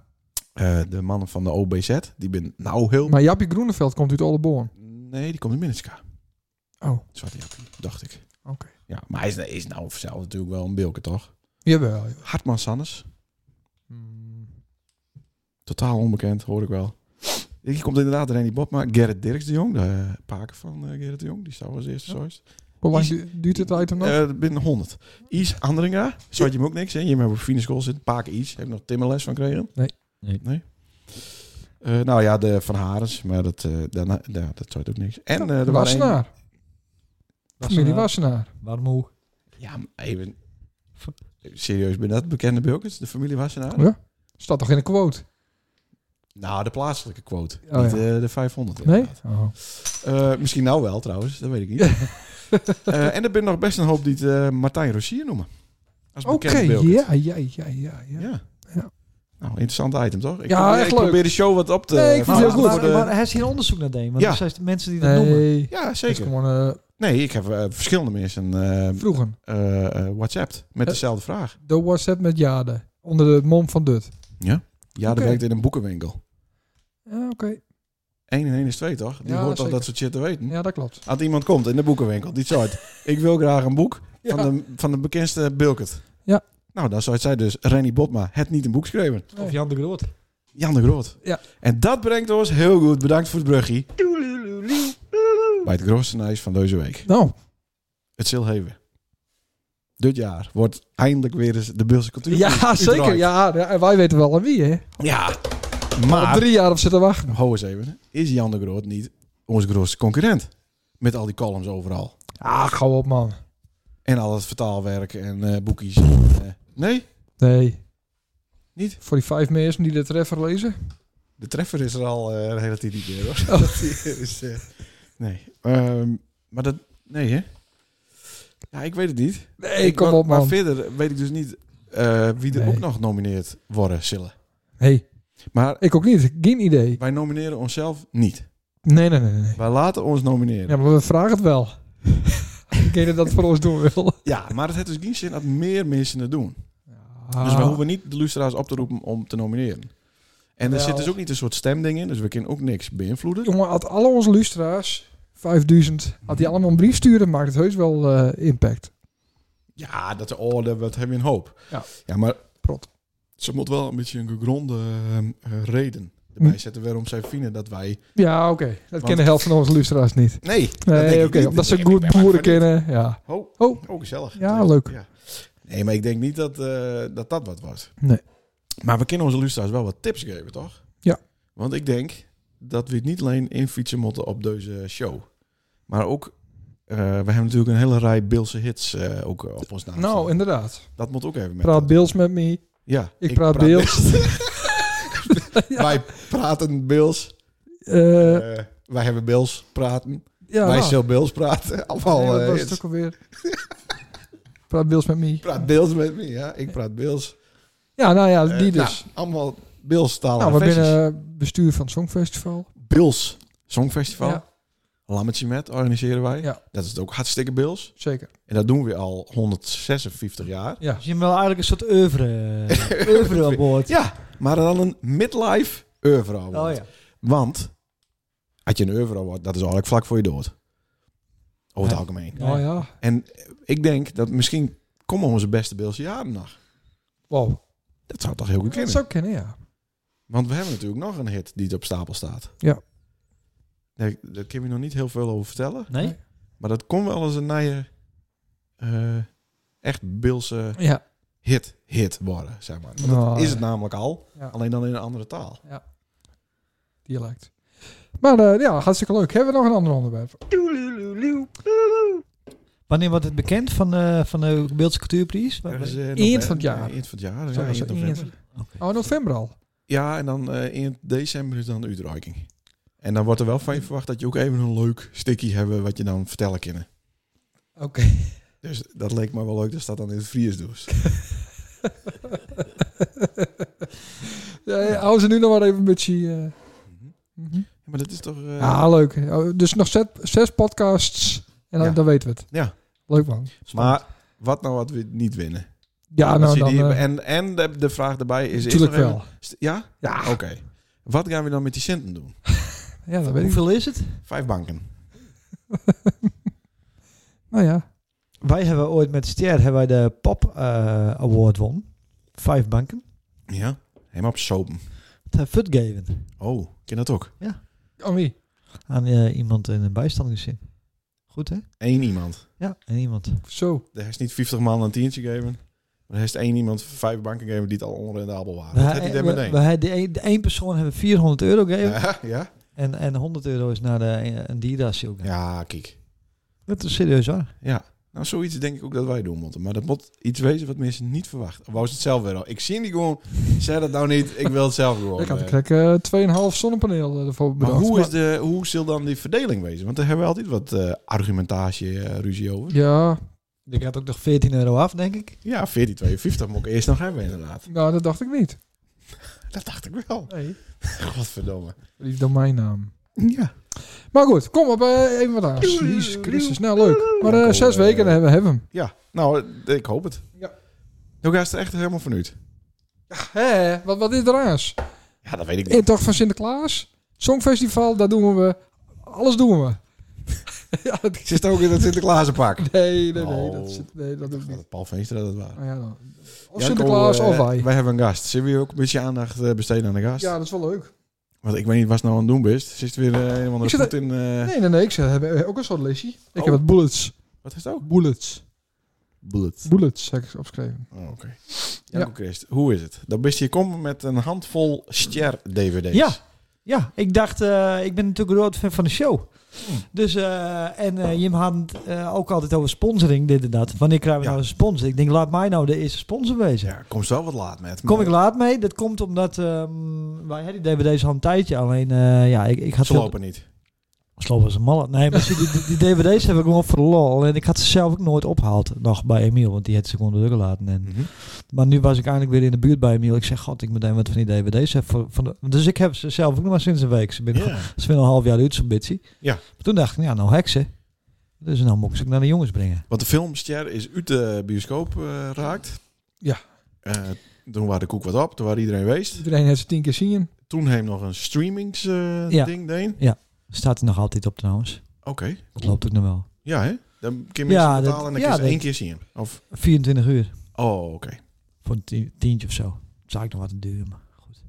S2: Eh, de mannen van de OBZ, die ben nou heel...
S3: Maar Jappie Groeneveld komt uit Oldenborn.
S2: Nee, die komt uit Minneska.
S3: Oh.
S2: Zwarte Jappie, dacht ik.
S3: Oké.
S2: Ja, maar hij is, is nou zelf natuurlijk wel een bilke, toch?
S3: Jawel.
S2: Hartman Sannes,
S3: Hmm.
S2: totaal onbekend, hoor ik wel. Hier komt inderdaad René Botma, Gerrit Dirks de Jong, de eh, paken van eh, Gerrit de Jong. Die staat als eerste
S4: Ja.
S2: zoiets.
S3: Hoe lang
S2: Is-
S3: du- duurt dit item nog?
S2: Eh, binnen 100. Is Andringa, zo had je hem ook niks. Hè? Je hebt hem op Fine School zitten. Paak Is. Heb je nog Timmerles van gekregen?
S3: Nee.
S4: Nee.
S2: Eh, nou ja, de Van Harens. Maar dat, eh daarna, ja, dat zou ook niks. En eh er waren een-
S3: Wassenaar.
S4: eh,
S3: Familie Wassenaar.
S4: Waarom hoe?
S2: Ja, maar even... Serieus, ben dat bekende Bilkens? De familie Wassenaar?
S3: Ja. Staat toch in de quote?
S2: Nou, de plaatselijke quote.
S3: Oh,
S2: niet
S3: ja.
S2: eh, de 500
S3: Nee?
S2: inderdaad.
S3: Oh.
S2: Eh, misschien nou wel trouwens, dat weet
S3: [LAUGHS]
S2: ik niet. Eh, en er ben nog best een hoop die het eh, Martijn Rossier noemen. Als
S3: Oké,
S2: bekende Bilkens.
S3: ja, ja, ja, ja, ja.
S2: Ja.
S3: Ja.
S2: Nou, interessant item toch? Ik,
S3: Ja,
S2: probeer,
S3: echt
S2: ik
S3: leuk.
S2: probeer de show wat op te...
S3: Nee, ik vind het
S2: maar-
S3: heel goed.
S2: maar-
S4: maar,
S2: voor de-
S4: maar hij is hier onderzoek naar deed, want dus
S2: Ja.
S4: er zijn mensen die dat noemen.
S3: Nee.
S2: Ja,
S3: Dat is
S2: zeker.
S3: gewoon eh,
S2: Nee, ik heb eh, verschillende mensen eh
S3: vroeger.
S2: eh, eh, whatsapped met
S3: Eh.
S2: dezelfde vraag.
S3: De WhatsApp met Jade. Onder de mom van Dut.
S2: Ja, dat
S3: Oké.
S2: werkt in een boekenwinkel.
S3: Ja, oké.
S2: 1 en 1 is 2, toch? Die
S3: Ja,
S2: hoort toch
S3: zeker.
S2: dat soort shit te weten?
S3: Ja, dat klopt.
S2: Als iemand komt in de boekenwinkel, die
S3: [LAUGHS]
S2: soort. ik wil graag een boek
S3: Ja.
S2: van, de, van de bekendste Bilkert.
S3: Ja.
S2: Nou, dan zou het zij dus Rennie Botma het niet een boek schreven.
S4: Of Jan de Groot. Dus
S2: Jan de Groot.
S3: Ja.
S2: En dat brengt ons heel goed. Bedankt voor het bruggie. Bij het grootste nieuws van deze week.
S3: Nou,
S2: het Zilheven. Dit jaar wordt eindelijk weer eens de Beelse cultuur.
S3: ja, zeker. Ja, ja, en wij weten wel aan wie, hè?
S2: ja.
S3: Al
S2: Maar,
S3: drie jaar op zitten wachten.
S2: hou eens even, is Jan de Groot niet onze grootste concurrent? Met al die columns overal.
S3: Ah, gauw op, man.
S2: En al dat vertaalwerk en eh, boekjes. en, eh, nee,
S3: Nee.
S2: Niet?
S3: Voor die vijf mensen die de treffer lezen.
S2: de treffer is er al eh, een hele tijd niet meer, hoor.
S3: Oh.
S2: Dat is, eh, nee. Ehm, maar dat... Nee, hè? Ja, ik weet het niet.
S3: Nee, kom
S2: maar,
S3: op,
S2: Maar
S3: man.
S2: verder weet ik dus niet eh, wie er
S3: Nee.
S2: ook nog nomineerd worden zullen.
S3: Nee,
S2: Maar
S3: ik ook niet. Geen idee.
S2: wij nomineren onszelf niet.
S3: Nee, nee, nee. nee.
S2: Wij laten ons nomineren.
S3: Ja, maar we vragen het [LAUGHS] wel. Degene dat voor ons doen wil.
S2: Ja, maar het heeft dus geen zin dat meer mensen het doen. Dus we
S3: Ah.
S2: hoeven niet de luisteraars op te roepen om te nomineren. En er
S3: Wel.
S2: zit dus ook niet een soort stemding in, dus we kunnen ook niks beïnvloeden.
S3: Jongen, had alle onze lustra's, 5000, had die allemaal een brief sturen, maakt het heus wel eh, impact.
S2: Ja, dat de orde, wat hebben we een hoop.
S3: Ja.
S2: maar
S3: Prot.
S2: ze moet wel een beetje een gegronde ehm, eh, reden
S3: Hm?
S2: erbij zetten waarom zij vinden dat wij...
S3: Ja, oké. Dat kennen de
S2: Want-
S3: helft van onze lustra's niet.
S2: Nee, dat denk
S3: Nee,
S2: ik
S3: oké.
S2: niet.
S3: omdat ze
S2: Ik-
S3: goed
S2: ik- ik-
S3: boeren
S2: ik- ik-
S3: kennen. Ja.
S2: Oh,
S3: Oh.
S2: gezellig.
S3: Ja, leuk.
S2: Nee, maar ik denk niet dat, eh, dat dat wat was.
S3: Nee.
S2: Maar we kunnen onze luisteraars wel wat tips geven, toch?
S3: Ja.
S2: Want ik denk dat we het niet alleen infietsen moeten op deze show. Maar ook, eh, we hebben natuurlijk een hele rij Beelse hits eh, ook op ons naam
S3: Nou,
S2: staan.
S3: inderdaad.
S2: Dat moet ook even met.
S3: Praat Beels met me.
S2: Ja,
S3: Ik praat Beels. [LAUGHS]
S2: Beels. Wij praten Beels.
S3: Eh,
S2: Eh, wij hebben Beels praten.
S3: ja,
S2: wij
S3: nou.
S2: zullen Beels praten. [LAUGHS] Allemaal
S3: Nee,
S2: eh,
S3: dat was
S2: hits.
S3: het ook alweer. [LAUGHS] Praat Beels met me.
S2: Ik praat Beels met me, ja. Ik praat Beels.
S3: Ja, nou ja,
S2: Eh,
S3: die
S2: nou,
S3: dus.
S2: allemaal Beelstalige
S3: Nou, we
S2: versies.
S3: binnen bestuur van het Songfestival.
S2: Bils Songfestival.
S3: Ja.
S2: Lammetje met organiseren wij.
S3: Ja.
S2: Dat is het ook hartstikke Bils.
S3: Zeker.
S2: En dat doen we al 156 jaar.
S3: Ja.
S4: Dus je hebt wel eigenlijk een soort
S2: [LAUGHS]
S4: oeuvre, eh, oeuvre aan boord.
S2: Ja, [LAUGHS] maar dan een midlife oeuvre award.
S4: Oh ja.
S2: Want had je een oeuvre award, dat is eigenlijk vlak voor je dood. Over het
S4: Ja.
S2: algemeen.
S3: Nou ja.
S2: En ik denk dat misschien komen onze beste Bilse jaren nog.
S3: Wow.
S2: Dat zou toch heel goed
S3: Dat
S2: kunnen.
S3: zou kennen, ja.
S2: Want we hebben natuurlijk nog een hit die op stapel staat.
S3: Ja.
S2: Daar, daar kun je nog niet heel veel over vertellen.
S4: Nee?
S2: Maar dat kon wel eens een nieuwe, eh, echt Bilse
S3: Ja.
S2: hit, hit worden, zeg maar. Want
S3: Nou,
S2: dat is het
S3: ja.
S2: namelijk al,
S3: Ja.
S2: alleen dan in een andere taal.
S3: dialect. Maar eh, ja, hartstikke leuk. Hebben we nog een ander onderwerp?
S4: Wanneer wordt het bekend van, eh, van de Beeldse Cultuurprijs? Waar-
S2: Ergens, eh,
S3: Eind
S2: nog-
S3: van het jaar.
S2: eh, Eind van het jaar, ja,
S3: Zo,
S2: eind
S3: zo,
S2: november.
S3: eind. Oh, in november al.
S2: Ja, en dan eh, eind december is dan de uitreiking. En dan wordt er wel van je verwacht dat je ook even een leuk stickie hebben wat je dan vertellen kan.
S3: Oké.
S2: Dus dat leek me wel leuk, dat staat dan in het vriersdoos.
S3: Ja, ja, Hou ze nu nog maar even een beetje... eh, mhm.
S2: Ja, maar dat is toch... eh,
S3: Ja, leuk. Oh, Dus nog zes, zes podcasts en dan,
S2: Ja.
S3: dan weten we het.
S2: Ja.
S3: Leuk man.
S2: maar wat nou wat we niet winnen?
S3: Ja,
S2: Als
S3: nou
S2: je
S3: dan...
S2: die-
S3: eh,
S2: en en de, de vraag daarbij is... is er
S3: natuurlijk
S2: nog even-
S3: wel.
S2: St- Ja?
S3: Ja.
S2: Oké. Wat gaan we dan met die centen doen?
S3: Ja, dat weet ik.
S4: Hoeveel is het?
S2: Vijf banken.
S3: Nou ja.
S4: Wij hebben ooit met Ster hebben wij de Pop eh, Award won. Vijf banken.
S2: Ja? Helemaal op sopen.
S4: Het heeft Fut gegeven
S2: Oh, ken dat ook?
S3: Oh, wie?
S4: aan eh, iemand in een bijstandingszin. Goed hè?
S2: Eén iemand.
S4: Ja. En iemand.
S2: Ah,
S3: Zo.
S2: Er is niet 50 man een tientje gegeven. Maar er is één iemand vijf banken gegeven die het al onrendabel waren. Dat had hij daar
S4: eh, we,
S2: meteen.
S4: we hebben de, de één persoon hebben 400 euro gegeven.
S2: Ja, [LAUGHS] ja?
S4: En, en 100 euro is naar de, eh, een dierdatio. Ja.
S2: Ja, kijk.
S4: Dat is serieus waar.
S2: Ja. Nou, zoiets denk ik ook dat wij doen moeten. Maar dat moet iets wezen wat mensen niet verwachten. Of wou ze het zelf weer al? Ik zie die gewoon. Zeg dat nou niet. Ik wil het zelf gewoon.
S3: Ik had
S2: eh.
S3: een krek eh 2,5 zonnepaneel eh, ervoor
S2: maar
S3: bedacht.
S2: hoe, is de, hoe zal dan die verdeling wezen? Want daar hebben we altijd wat eh, argumentatie, eh, ruzie over.
S3: Ja,
S4: Er gaat ook nog 14 euro af, denk ik.
S2: Ja, 14,52 moet ik eerst nog hebben inderdaad.
S3: nou dat dacht ik niet.
S2: Dat dacht ik wel. [LAUGHS]
S3: Nee.
S2: Godverdomme.
S3: Die domeinnaam.
S2: Ja.
S3: Maar goed, kom op, eh, even wat aan. Jezus Christus, nou leuk. Maar eh,
S2: Dank u,
S3: zes
S2: eh,
S3: weken en dan hebben we hebben hem.
S2: Ja, nou, eh, ik hoop het.
S3: Ja.
S2: Nou, ga je er echt helemaal van uit.
S3: Hé, wat, wat is er aans?
S2: Ja, dat weet ik
S3: [LAUGHS] In toch van Sinterklaas? Songfestival, daar doen we. Alles doen we. [LAUGHS] ja, dat
S2: Ze zit ook in het Sinterklaasenpak.
S3: Nee, nee, nee.
S2: Oh.
S3: Dat, zit, nee, dat doe ik
S2: Dat
S3: niet.
S2: het Paul Veenstra dat waren.
S3: Nou ja, dan. Of
S2: Janko,
S3: Sinterklaas
S2: eh,
S3: of wij.
S2: Wij hebben een gast. Zullen we ook een beetje aandacht eh, besteden aan de gast?
S3: Ja, dat is wel
S2: Eh.
S3: leuk.
S2: Want ik weet niet wat ze nou aan het doen best. Zit weer eh, een of andere
S3: Ik zit
S2: voet in... eh,
S3: Nee, nee, nee. Ik zeg, we hebben ook een soort lesje. Ik
S2: Oh.
S3: heb wat bullets.
S2: Wat is het ook?
S3: Bullets.
S2: Bullet.
S3: Bullets, heb ik opgeschreven.
S2: Oh, Oké.
S3: Ja.
S2: Jacob Christ, hoe is het? Dan ben je komen met een handvol Ster-DVD's.
S4: Ja, ja, ik dacht, eh, ik ben natuurlijk een groot fan van de show. Dus, eh, en eh, Jim had het eh, ook altijd over sponsoring, dit en dat. Wanneer krijgen we
S2: Ja.
S4: nou een sponsor? Ik denk, laat mij nou de eerste sponsor wezen.
S2: Ja, kom zo wat laat met.
S4: Kom
S2: maar
S4: ik laat mee? Dat komt omdat ehm, wij hadden die DVD's al een tijdje. Alleen, eh, ja, ik, ik had...
S2: Ze lopen niet.
S4: Slopen als een malle. Nee, maar zie, die, die, die DVD's heb ik gewoon voor de lol. En ik had ze zelf ook nooit opgehaald. Nog bij Emiel, want die had ze gewoon doorgelaten. En,
S2: Mhm.
S4: maar nu was ik eindelijk weer in de buurt bij Emiel. Ik zeg, god, ik moet even wat van die DVD's hebben. Voor, van de, dus ik heb ze zelf ook nog maar sinds een week. Ze binnen,
S2: Ja.
S4: ze binnen een half jaar uit zo'n bitsie.
S2: Ja.
S4: Maar toen dacht ik, ja, nou heksen. Dus nou moet ik ze ook naar de jongens brengen.
S2: Want de filmster is uit de bioscoop eh, raakt.
S3: Ja.
S2: Eh, toen waren de koek wat op, toen waren iedereen geweest.
S3: Iedereen heeft ze tien keer zien.
S2: Toen heeft nog een streamings eh,
S4: Ja.
S2: ding deen.
S4: Staat er nog altijd op trouwens.
S2: Oké.
S4: Dat loopt ook nog wel.
S2: Ja, hè? Dan kun je
S4: Ja,
S2: mensen
S4: dat-
S2: betalen en dan
S4: ja,
S2: kun je ze
S4: dat-
S2: één keer zien. Of,
S4: 24 uur.
S2: oh, oké.
S4: Voor een ti- tientje of zo. Dat is eigenlijk nog wat te duur, maar goed.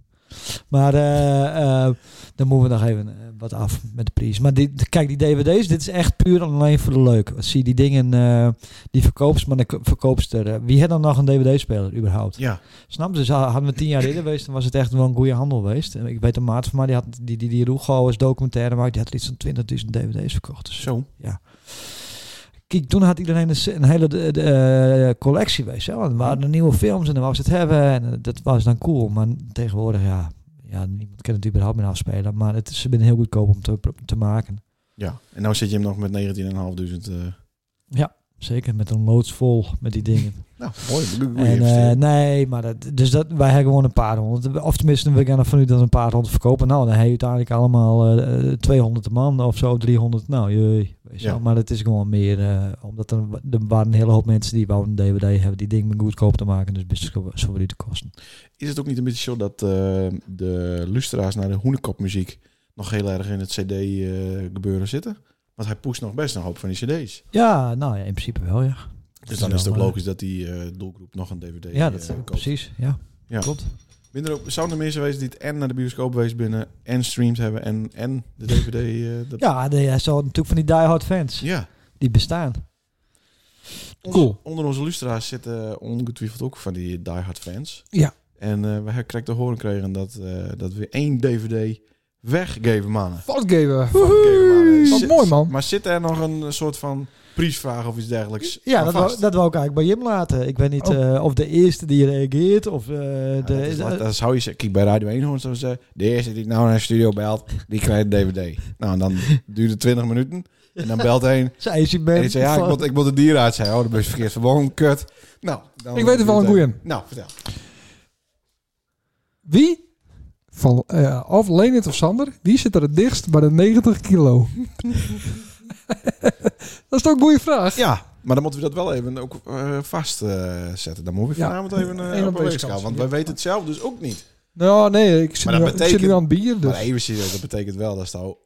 S4: Maar eh, eh, dan moeten we nog even eh, wat af met de prijs. Maar die, de- kijk, die dvd's, dit is echt puur en alleen voor de leuk. Want Zie je die dingen, eh, die verkoopst, maar de ko- verkoopster. eh, wie had dan nog een dvd-speler überhaupt?
S2: Ja.
S4: Snap je? Dus ha- hadden we tien jaar eerder geweest, dan was het echt wel een goede handel geweest. En Ik weet een maat van mij, die had die, die, die Rugo als documentaire maakt, die had er iets van 20.000 dvd's verkocht. Dus
S2: Zo.
S4: Kijk, toen had iedereen een, s- een hele de, de, eh, collectie, weet je wel. Er waren er nieuwe films en dan wou ze het hebben. En eh, dat was dan cool. Maar tegenwoordig, ja, ja niemand kan het überhaupt meer afspelen. Maar het is, ze zijn heel goedkoop om te, te maken.
S2: Ja. En nou zit je hem nog met 19.500. eh
S4: Zeker met een loods vol met die dingen.
S2: nou, mooi. Goeie
S4: en, eh,
S2: investering.
S4: nee, maar dat, dus dat, wij hebben gewoon een paar honderd. Of tenminste, we gaan ervan uit dat we een paar honderd verkopen. Nou, dan heb je uiteindelijk allemaal eh, eh, 200 man of zo, 300. Nou, jee, weet je
S2: Ja.
S4: wel. Maar het is gewoon meer, eh, omdat er, er waren een hele hoop mensen die wouden een DVD hebben, die dingen goedkoop te maken. Dus best wel- zo weer de kosten.
S2: Is het ook niet een beetje zo dat eh, de luisteraars naar de hoenekopmuziek nog heel erg in het CD-gebeuren zitten? Want hij poest nog best een hoop van die CD's.
S4: Ja, nou ja, in principe wel, ja.
S2: Dus dan
S4: Ja,
S2: is het ook
S4: maar-
S2: logisch dat die eh, doelgroep nog een DVD
S4: Ja, dat
S2: eh,
S4: is
S2: koopt.
S4: precies. Ja,
S2: Ja.
S4: klopt.
S2: Minder ook, zouden er mensen geweest die het en naar de bioscoop geweest binnen en streams hebben en, en de DVD? eh, dat...
S4: Ja, de, ja, zo natuurlijk van die diehard fans,
S2: Ja.
S4: die bestaan.
S2: Ons-
S3: Cool.
S2: Onder onze luisteraars zitten ongetwijfeld ook van die diehard fans.
S3: Ja.
S2: En eh wij kregen te horen kregen dat, eh, dat we één DVD weggeven, mannen.
S3: Fatgever.
S2: Oké,
S3: Wat
S2: zit-
S3: mooi, man.
S2: Maar zit er nog een soort van prijsvraag of iets dergelijks?
S4: Ja,
S2: aan
S4: dat wou,
S2: vast? Oh.
S4: dat wou ik eigenlijk bij Jim laten. Ik weet niet eh, of de eerste die reageert of eh,
S2: Ja,
S4: de...
S2: dat, is, dat- dat zou je zeggen. Kijk, bij Radio 1 hoort ze zeggen, de eerste die nou naar de studio belt, die krijgt een dvd. Nou, en
S3: [LAUGHS]
S2: dan duurt het 20 minuten. En dan belt een.
S4: Zij is
S2: En die zegt, ja, ik moet, ik moet de dierenarts zijn. Oh, dat ben je verkeerd verbonden, kut. Nou, dan
S3: Ik weet er wel een goeie.
S2: Nou, vertel.
S3: Wie? Van, eh of Leonard of Sander, die zit er het dichtst bij de 90 kilo. [LAUGHS] dat is toch een goede vraag?
S2: Ja, maar dan moeten we dat wel even ook eh, vastzetten. dan moeten we
S3: Ja.
S2: vanavond even eh,
S3: Eén op
S2: op een
S3: weegschap.
S2: weegschaal. Want
S3: Ja.
S2: wij weten het zelf dus ook niet.
S3: Nou, nee, ik zit,
S2: Maar
S3: nu,
S2: dat
S3: aan- ik zit nu
S2: betekent-
S3: aan het bier. Dus.
S2: Maar even serieus, dat betekent wel dat je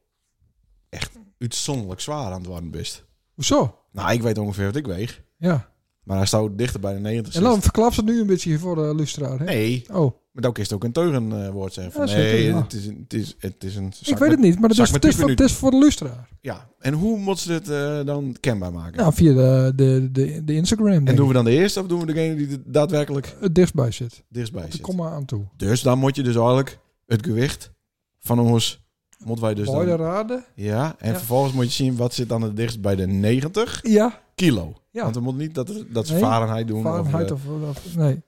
S2: echt uitzonderlijk zwaar aan het worden bent.
S3: Zo,
S2: Nou, ik weet ongeveer wat ik weeg.
S3: ja.
S2: Maar hij staat dichter bij de 90.
S3: En dan verklapt het nu een beetje voor de lustraar. Hè?
S2: Nee,
S3: Oh,
S2: maar dan kun je het ook een teugenwoord woord zeggen. Van,
S3: Ja, zeker,
S2: nee,
S3: ja.
S2: het is, een- het, is, het is een... zak
S3: ik weet
S2: met-
S3: het niet, maar het
S2: zak
S3: is,
S2: met
S3: het, is voor,
S2: piepmenuut.
S3: het is voor de lustraar.
S2: Ja, en hoe moeten ze dit eh, dan kenbaar maken?
S3: Nou, via de, de, de, de Instagram.
S2: en
S3: denk
S2: doen
S3: ik.
S2: we dan de eerste of doen we degene die er daadwerkelijk
S3: het dichtstbij zit.
S2: dichtstbij
S3: De
S2: zit?
S3: komma aan toe.
S2: Dus dan moet je dus eigenlijk het gewicht van ons... Moeten wij dus
S3: Mooi de
S2: dan,
S3: raden.
S2: ja, en
S3: Ja.
S2: vervolgens moet je zien wat zit dan het dichtst bij de 90
S3: Ja,
S2: kilo.
S3: Ja.
S2: Want we moeten niet dat, dat ze
S3: Nee.
S2: Fahrenheit doen.
S3: Fahrenheit
S2: of,
S3: of, of... Nee,
S2: eh,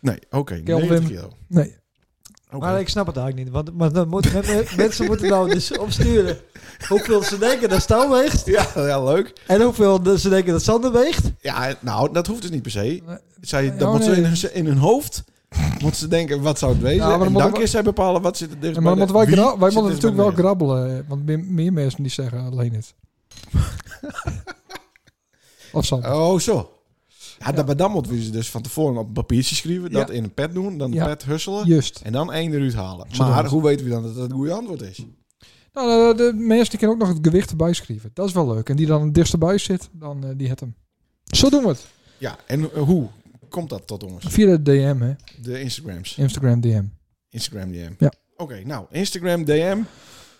S2: nee, oké,
S3: Kelvin.
S2: 90 kilo.
S3: nee.
S2: Oké.
S4: Maar ik snap het eigenlijk niet, want maar dan moet, men- men- mensen moeten nou dus opsturen hoeveel ze denken dat Stan weegt
S2: Ja, Oh, ja, leuk.
S4: en hoeveel ze denken dat Sander weegt.
S2: Ja, nou, dat hoeft dus niet per se.
S3: Nee.
S2: Zij, dat
S3: Oh,
S2: moet ze
S3: nee.
S2: in hun, in hun hoofd [LAUGHS] moeten ze denken, wat zou het wezen?
S3: Ja, maar dan
S2: en
S3: moeten
S2: dan
S3: we-
S2: kun zij bepalen wat zit er dichtst
S3: En maar
S2: Dus bij
S3: moeten
S2: de-
S3: wij,
S2: wie
S3: gra- wij
S2: zit
S3: moeten
S2: dichtst bij
S3: natuurlijk wel
S2: de
S3: grabbelen. eh, Want meer, meer mensen die zeggen
S2: [LAUGHS]
S3: alleen het. of zo.
S2: neer. Oh, zo. Ja, Dan, maar dan moeten we ze dus van tevoren op een papiertje schrijven, dat
S3: Ja.
S2: in een pet doen, dan
S3: Ja.
S2: de pet husselen
S3: Juist.
S2: en dan één eruit halen.
S3: Zodat-
S2: Maar hoe weten we dan dat dat het goede antwoord is?
S3: Nou, de, de mensen die kunnen ook nog het gewicht erbij schrijven. Dat is wel leuk. En die dan het dichtst erbij zit, dan eh, die het hem. Zo doen we het.
S2: Ja, en eh, hoe komt dat tot ons?
S3: Via de DM, hè.
S2: De Instagrams.
S3: Instagram DM.
S2: Instagram DM.
S3: Ja.
S2: Oké, nou, Instagram DM.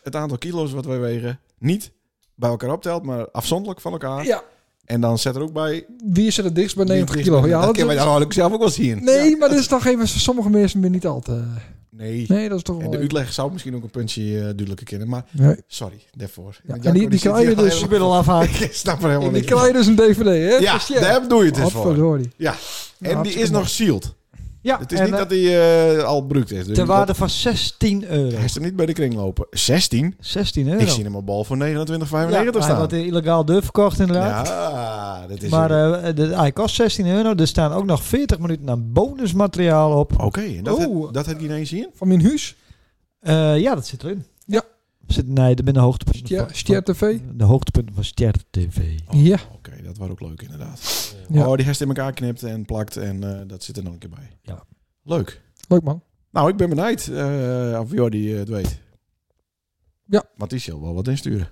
S2: Het aantal kilo's wat wij wegen niet bij elkaar optelt, maar afzonderlijk van elkaar.
S3: Ja.
S2: En dan zet er ook bij...
S3: Wie is er het dichtst bij
S2: die
S3: 90
S2: dicht-
S3: kilo? Ja,
S2: dat
S3: dat
S2: kan wij
S3: is-
S2: dan eigenlijk zelf ook wel zien.
S3: nee, maar dit is toch even... Sommige mensen ben niet altijd... eh,
S2: Nee.
S3: Nee, dat is toch
S2: En
S3: wel...
S2: de uitleg zou misschien ook een puntje eh, duidelijker kennen, maar
S3: Nee.
S2: sorry daarvoor.
S3: Ja,
S2: Want
S3: en die-
S2: Jacco,
S3: die
S2: zit
S3: krijg je
S2: hier
S3: dus-
S2: al
S4: Ik
S2: helemaal- [LAUGHS]
S4: ben al afhaakt.
S2: Ik snap er helemaal
S3: En dan
S2: niks
S3: krijg je dus een DVD, hè?
S2: van. Ja,
S3: Christian?
S2: daar doe je het dus voor.
S3: Godverdorie.
S2: Ja, En die
S3: Hartstikke
S2: is
S3: mooi.
S2: nog sealed.
S4: Ja,
S2: Het is
S4: en,
S2: niet
S4: eh,
S2: dat hij al brukt is. Dus
S4: Ter
S2: dat-
S4: waarde van 16 euro.
S2: Hij is hem niet bij de kring lopen. 16?
S4: 16 euro.
S2: Ik zie hem al bal voor 29,95
S4: ja, Hij
S2: staan.
S4: had illegaal deur verkocht inderdaad.
S2: Ja, dat is...
S4: maar
S2: een-
S4: eh, de, hij kost 16 euro. Er staan ook nog 40 minuten aan bonusmateriaal op.
S2: Oké, en dat,
S3: Oeh.
S2: had- dat had ik ineens zien.
S3: Van mijn huis.
S4: Eh, ja, dat zit erin.
S3: Ja.
S4: Zit, nee, er binnen hoogtepunten.
S3: Stier,
S4: van-
S3: Stier TV.
S4: van- De hoogtepunten van Ster TV.
S2: Oh,
S3: Ja.
S2: Oké, dat was ook leuk inderdaad.
S3: Ja.
S2: Oh, die herst in elkaar knipt en plakt en eh, dat zit er nog een keer bij.
S4: Ja.
S2: Leuk.
S3: Leuk man.
S2: Nou, ik ben benijd eh, of Jordi eh, het weet.
S3: Ja.
S2: Want die zal wel wat insturen.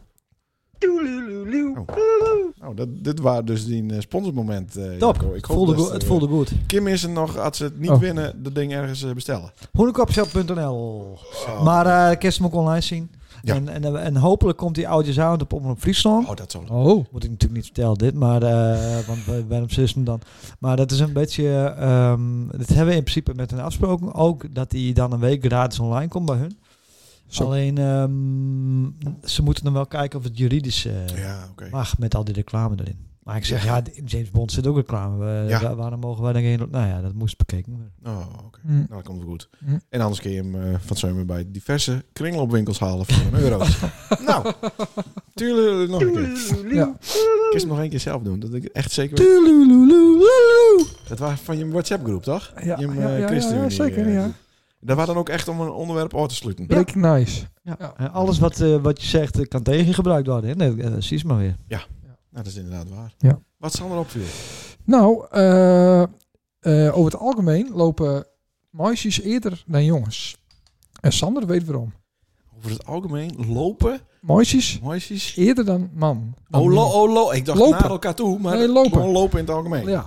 S2: Oh. Nou, dat, dit waren dus die eh, sponsormoment. eh,
S4: Top.
S2: Jacco. Ik hoop
S4: voelde
S2: dat
S4: goed-
S2: ze- eh,
S4: het voelde goed.
S2: Kim is er nog, als ze het niet
S3: Oh.
S2: winnen, dat ding ergens eh, bestellen.
S4: Hoenekopshop.nl Maar eh kerst hem ook online zien.
S2: Oh. Ja.
S4: En, en, en hopelijk komt die audiosavond op Omroep Friesland.
S2: Oh, dat zal
S3: Oh.
S4: Moet ik natuurlijk niet vertellen dit, maar eh want we- waarom is hem dan? Maar dat is een beetje, ehm dat hebben we in principe met hen afgesproken. Ook dat die dan een week gratis online komt bij hun.
S3: Zo.
S4: Alleen ehm, ze moeten dan wel kijken of het juridisch eh,
S2: Ja, oké.
S4: mag met al die reclame erin. Maar ik zeg,
S2: Ja.
S4: ja, in James Bond zit ook reclame. We-
S2: Ja.
S4: wa- waarom mogen wij dan geen... Nou ja, dat moest bekeken worden.
S2: Oh, oké.
S3: Hm.
S2: Nou, dat komt wel goed.
S3: Hm.
S2: En anders kun je hem eh, van Zeumer bij diverse kringloopwinkels halen voor een
S3: [LAUGHS]
S2: euro. nou, tuurlijk nog een keer.
S3: Ja.
S2: Ik is hem nog één keer zelf doen. Dat ik echt zeker weet.
S4: Tululululu.
S2: Dat was van je WhatsApp groep, toch?
S3: Ja,
S2: je
S3: ja, ja, ja, zeker, ja.
S2: Daar waren dan ook echt om een onderwerp uit te sluiten. eh, Nou, Ja.
S3: Breaking nice. Ja.
S4: Ja. En Alles wat, eh, wat je zegt eh, kan tegengebruikt worden. hè? Nee, eh, precies maar weer.
S2: Nou, dat is inderdaad waar.
S3: Ja.
S2: Wat zal er opviel?
S3: Nou, eh, eh, over het algemeen lopen meisjes eerder dan jongens. En Sander weet waarom.
S2: Over het algemeen lopen
S3: Meisjes
S2: meisjes.
S3: eerder dan man. Dan
S2: Oh, lo, oh, lo. Ik dacht
S3: Lopen.
S2: naar elkaar toe, maar
S3: Nee, lopen.
S2: gewoon lopen in het algemeen.
S3: Ja.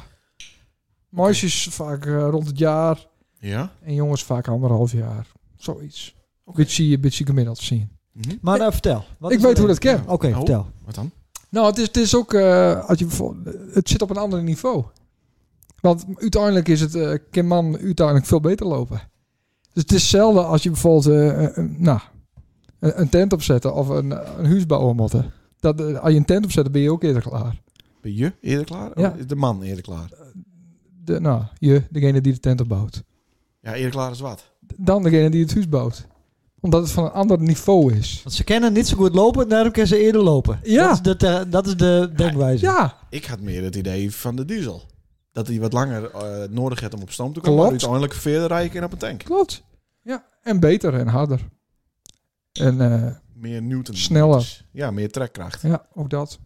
S3: Meisjes vaak eh, rond het jaar
S2: Ja?
S3: en jongens vaak anderhalf jaar. Zoiets. Beetje, beetje gemiddeld zien.
S2: Mhm.
S4: Maar nou, vertel. Wat
S3: Ik
S4: is
S3: weet
S4: er-
S3: hoe dat kan.
S4: Oké,
S2: Oh.
S4: vertel.
S2: Wat dan?
S3: Nou, het is, het is ook, eh, als je bijvoorbeeld- het zit op een ander niveau. Want uiteindelijk is het, eh kan man uiteindelijk veel beter lopen. Dus het is hetzelfde als je bijvoorbeeld eh, eh, een- nou, een, een tent opzetten of een, een huis bouwen moeten. Dat, eh, als je een tent opzet, dan ben je ook eerder klaar.
S2: Ben je eerder klaar?
S3: Ja.
S2: Of is de man eerder klaar?
S3: De, nou, je, degene die de tent opbouwt.
S2: Ja, eerder klaar is wat?
S3: Dan degene die het huis bouwt. Omdat het van een ander niveau is.
S4: Want ze kennen niet zo goed lopen, daarom kunnen ze eerder lopen.
S3: Ja.
S4: Dat is de, te- dat is de denkwijze.
S3: Ja,
S2: Ik had meer het idee van de diesel. Dat hij wat langer eh, nodig had om op stoom te komen.
S3: Klopt.
S2: Maar uiteindelijk verder rijden en op een tank.
S3: klopt. Ja, en beter en harder. En eh,
S2: Meer Newton.
S3: Sneller.
S2: Ja, meer trekkracht.
S3: ja, ook dat.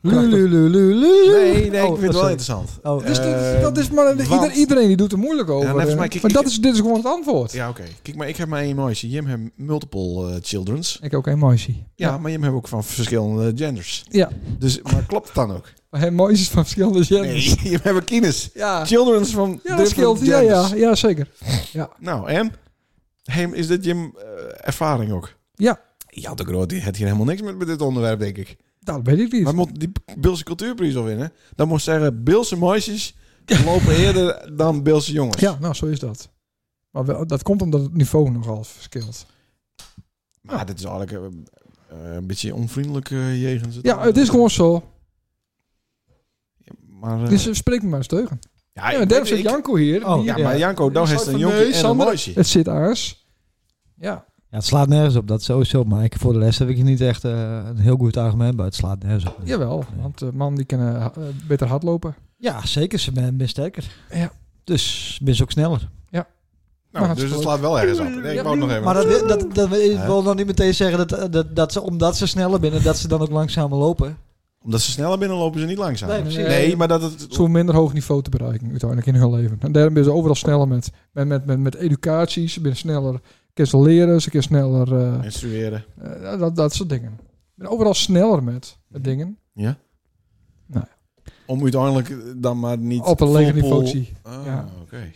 S4: Lululululu.
S2: Nee, nee, ik vind
S4: Oh,
S2: het wel
S4: sorry.
S2: interessant.
S4: Oh.
S3: Dus
S2: Eh,
S3: dat, dat is maar
S2: want-
S3: ieder- iedereen die doet er moeilijk over.
S2: nou, volgens mij,
S3: eh.
S2: kijk,
S3: maar
S2: ik-
S3: dat is, dit is gewoon het antwoord.
S2: Ja, oké. Kijk, maar ik heb maar één meisje. Jim heeft multiple eh, childrens.
S3: Ik ook een moisje.
S2: Ja, maar Jim heeft ook van verschillende genders.
S3: Ja.
S2: Dus, maar klopt het dan ook?
S3: Maar hij mooi is van verschillende genders.
S2: Nee, Jim heeft kines.
S3: Ja.
S2: Childrens van
S3: ja, dat scheelt. Ja,
S2: genders.
S3: ja, ja, zeker.
S2: Nou, en? Hey, is dit Jim eh, ervaring ook?
S3: Ja.
S2: Ja, de Groot die had hier helemaal niks met, met dit onderwerp, denk ik.
S3: Dat weet ik niet.
S2: Maar moet die Bilse cultuurprijs al winnen? Dan moet zeggen, Bilse meisjes lopen eerder dan Bilse jongens.
S3: Ja, nou, zo is dat. Maar wel, dat komt omdat het niveau nogal verschilt.
S2: Maar dit is eigenlijk eh, eh, een beetje onvriendelijk eh, jegens het...
S3: Ja, het is gewoon zo.
S2: Maar, eh,
S3: Dus eh, spreek me maar eens teugen.
S2: ja,
S3: Ja,
S2: ik-
S3: daarom zit
S2: ik-
S3: Janko hier.
S4: Oh,
S3: Die- eh,
S2: Ja, maar Janko, dan
S3: Die
S2: heeft
S3: soort
S2: een
S3: van,
S2: jongen
S3: nee,
S2: en een
S3: Sander.
S2: meisje.
S3: Het zit aars. Ja.
S4: Ja, het slaat nergens op, dat sowieso. Maar ik, voor de rest heb ik niet echt eh, een heel goed argument bij. Het slaat nergens op.
S3: Jawel, want de man die kan eh, ha- eh, beter hardlopen.
S4: Ja, zeker. Ze ben, ben sterker.
S3: Ja.
S4: Dus ben ze ook sneller.
S2: Nou,
S3: Maar
S2: dus
S3: het
S2: het
S3: is
S2: slaat wel ergens op. Nee, ik
S3: Ja.
S2: wou het nog even...
S4: Maar dat, dat, dat, ik
S2: Hè?
S4: wil nog niet meteen zeggen dat, eh, dat, dat ze, omdat ze sneller binnen, dat ze dan ook langzamer lopen.
S2: Omdat ze sneller binnen lopen, ze niet langzaam.
S4: Nee,
S3: precies.
S2: nee, maar dat het...
S3: Zo'n Eh, minder hoog niveau te bereiken uiteindelijk in hun leven. En daarom ben ze overal sneller met, met, met, met, met educatie. Ze zijn sneller, kunnen ze leren, ze kunnen sneller, eh,
S2: Instrueren.
S3: eh, dat, dat soort dingen. Ik ben overal sneller met eh, dingen.
S2: Ja.
S3: Nou
S2: Om uiteindelijk dan maar niet...
S3: Op een
S2: full
S3: leger
S2: pool-
S3: niveau. zie.
S2: Ah,
S3: Ja.
S2: oké.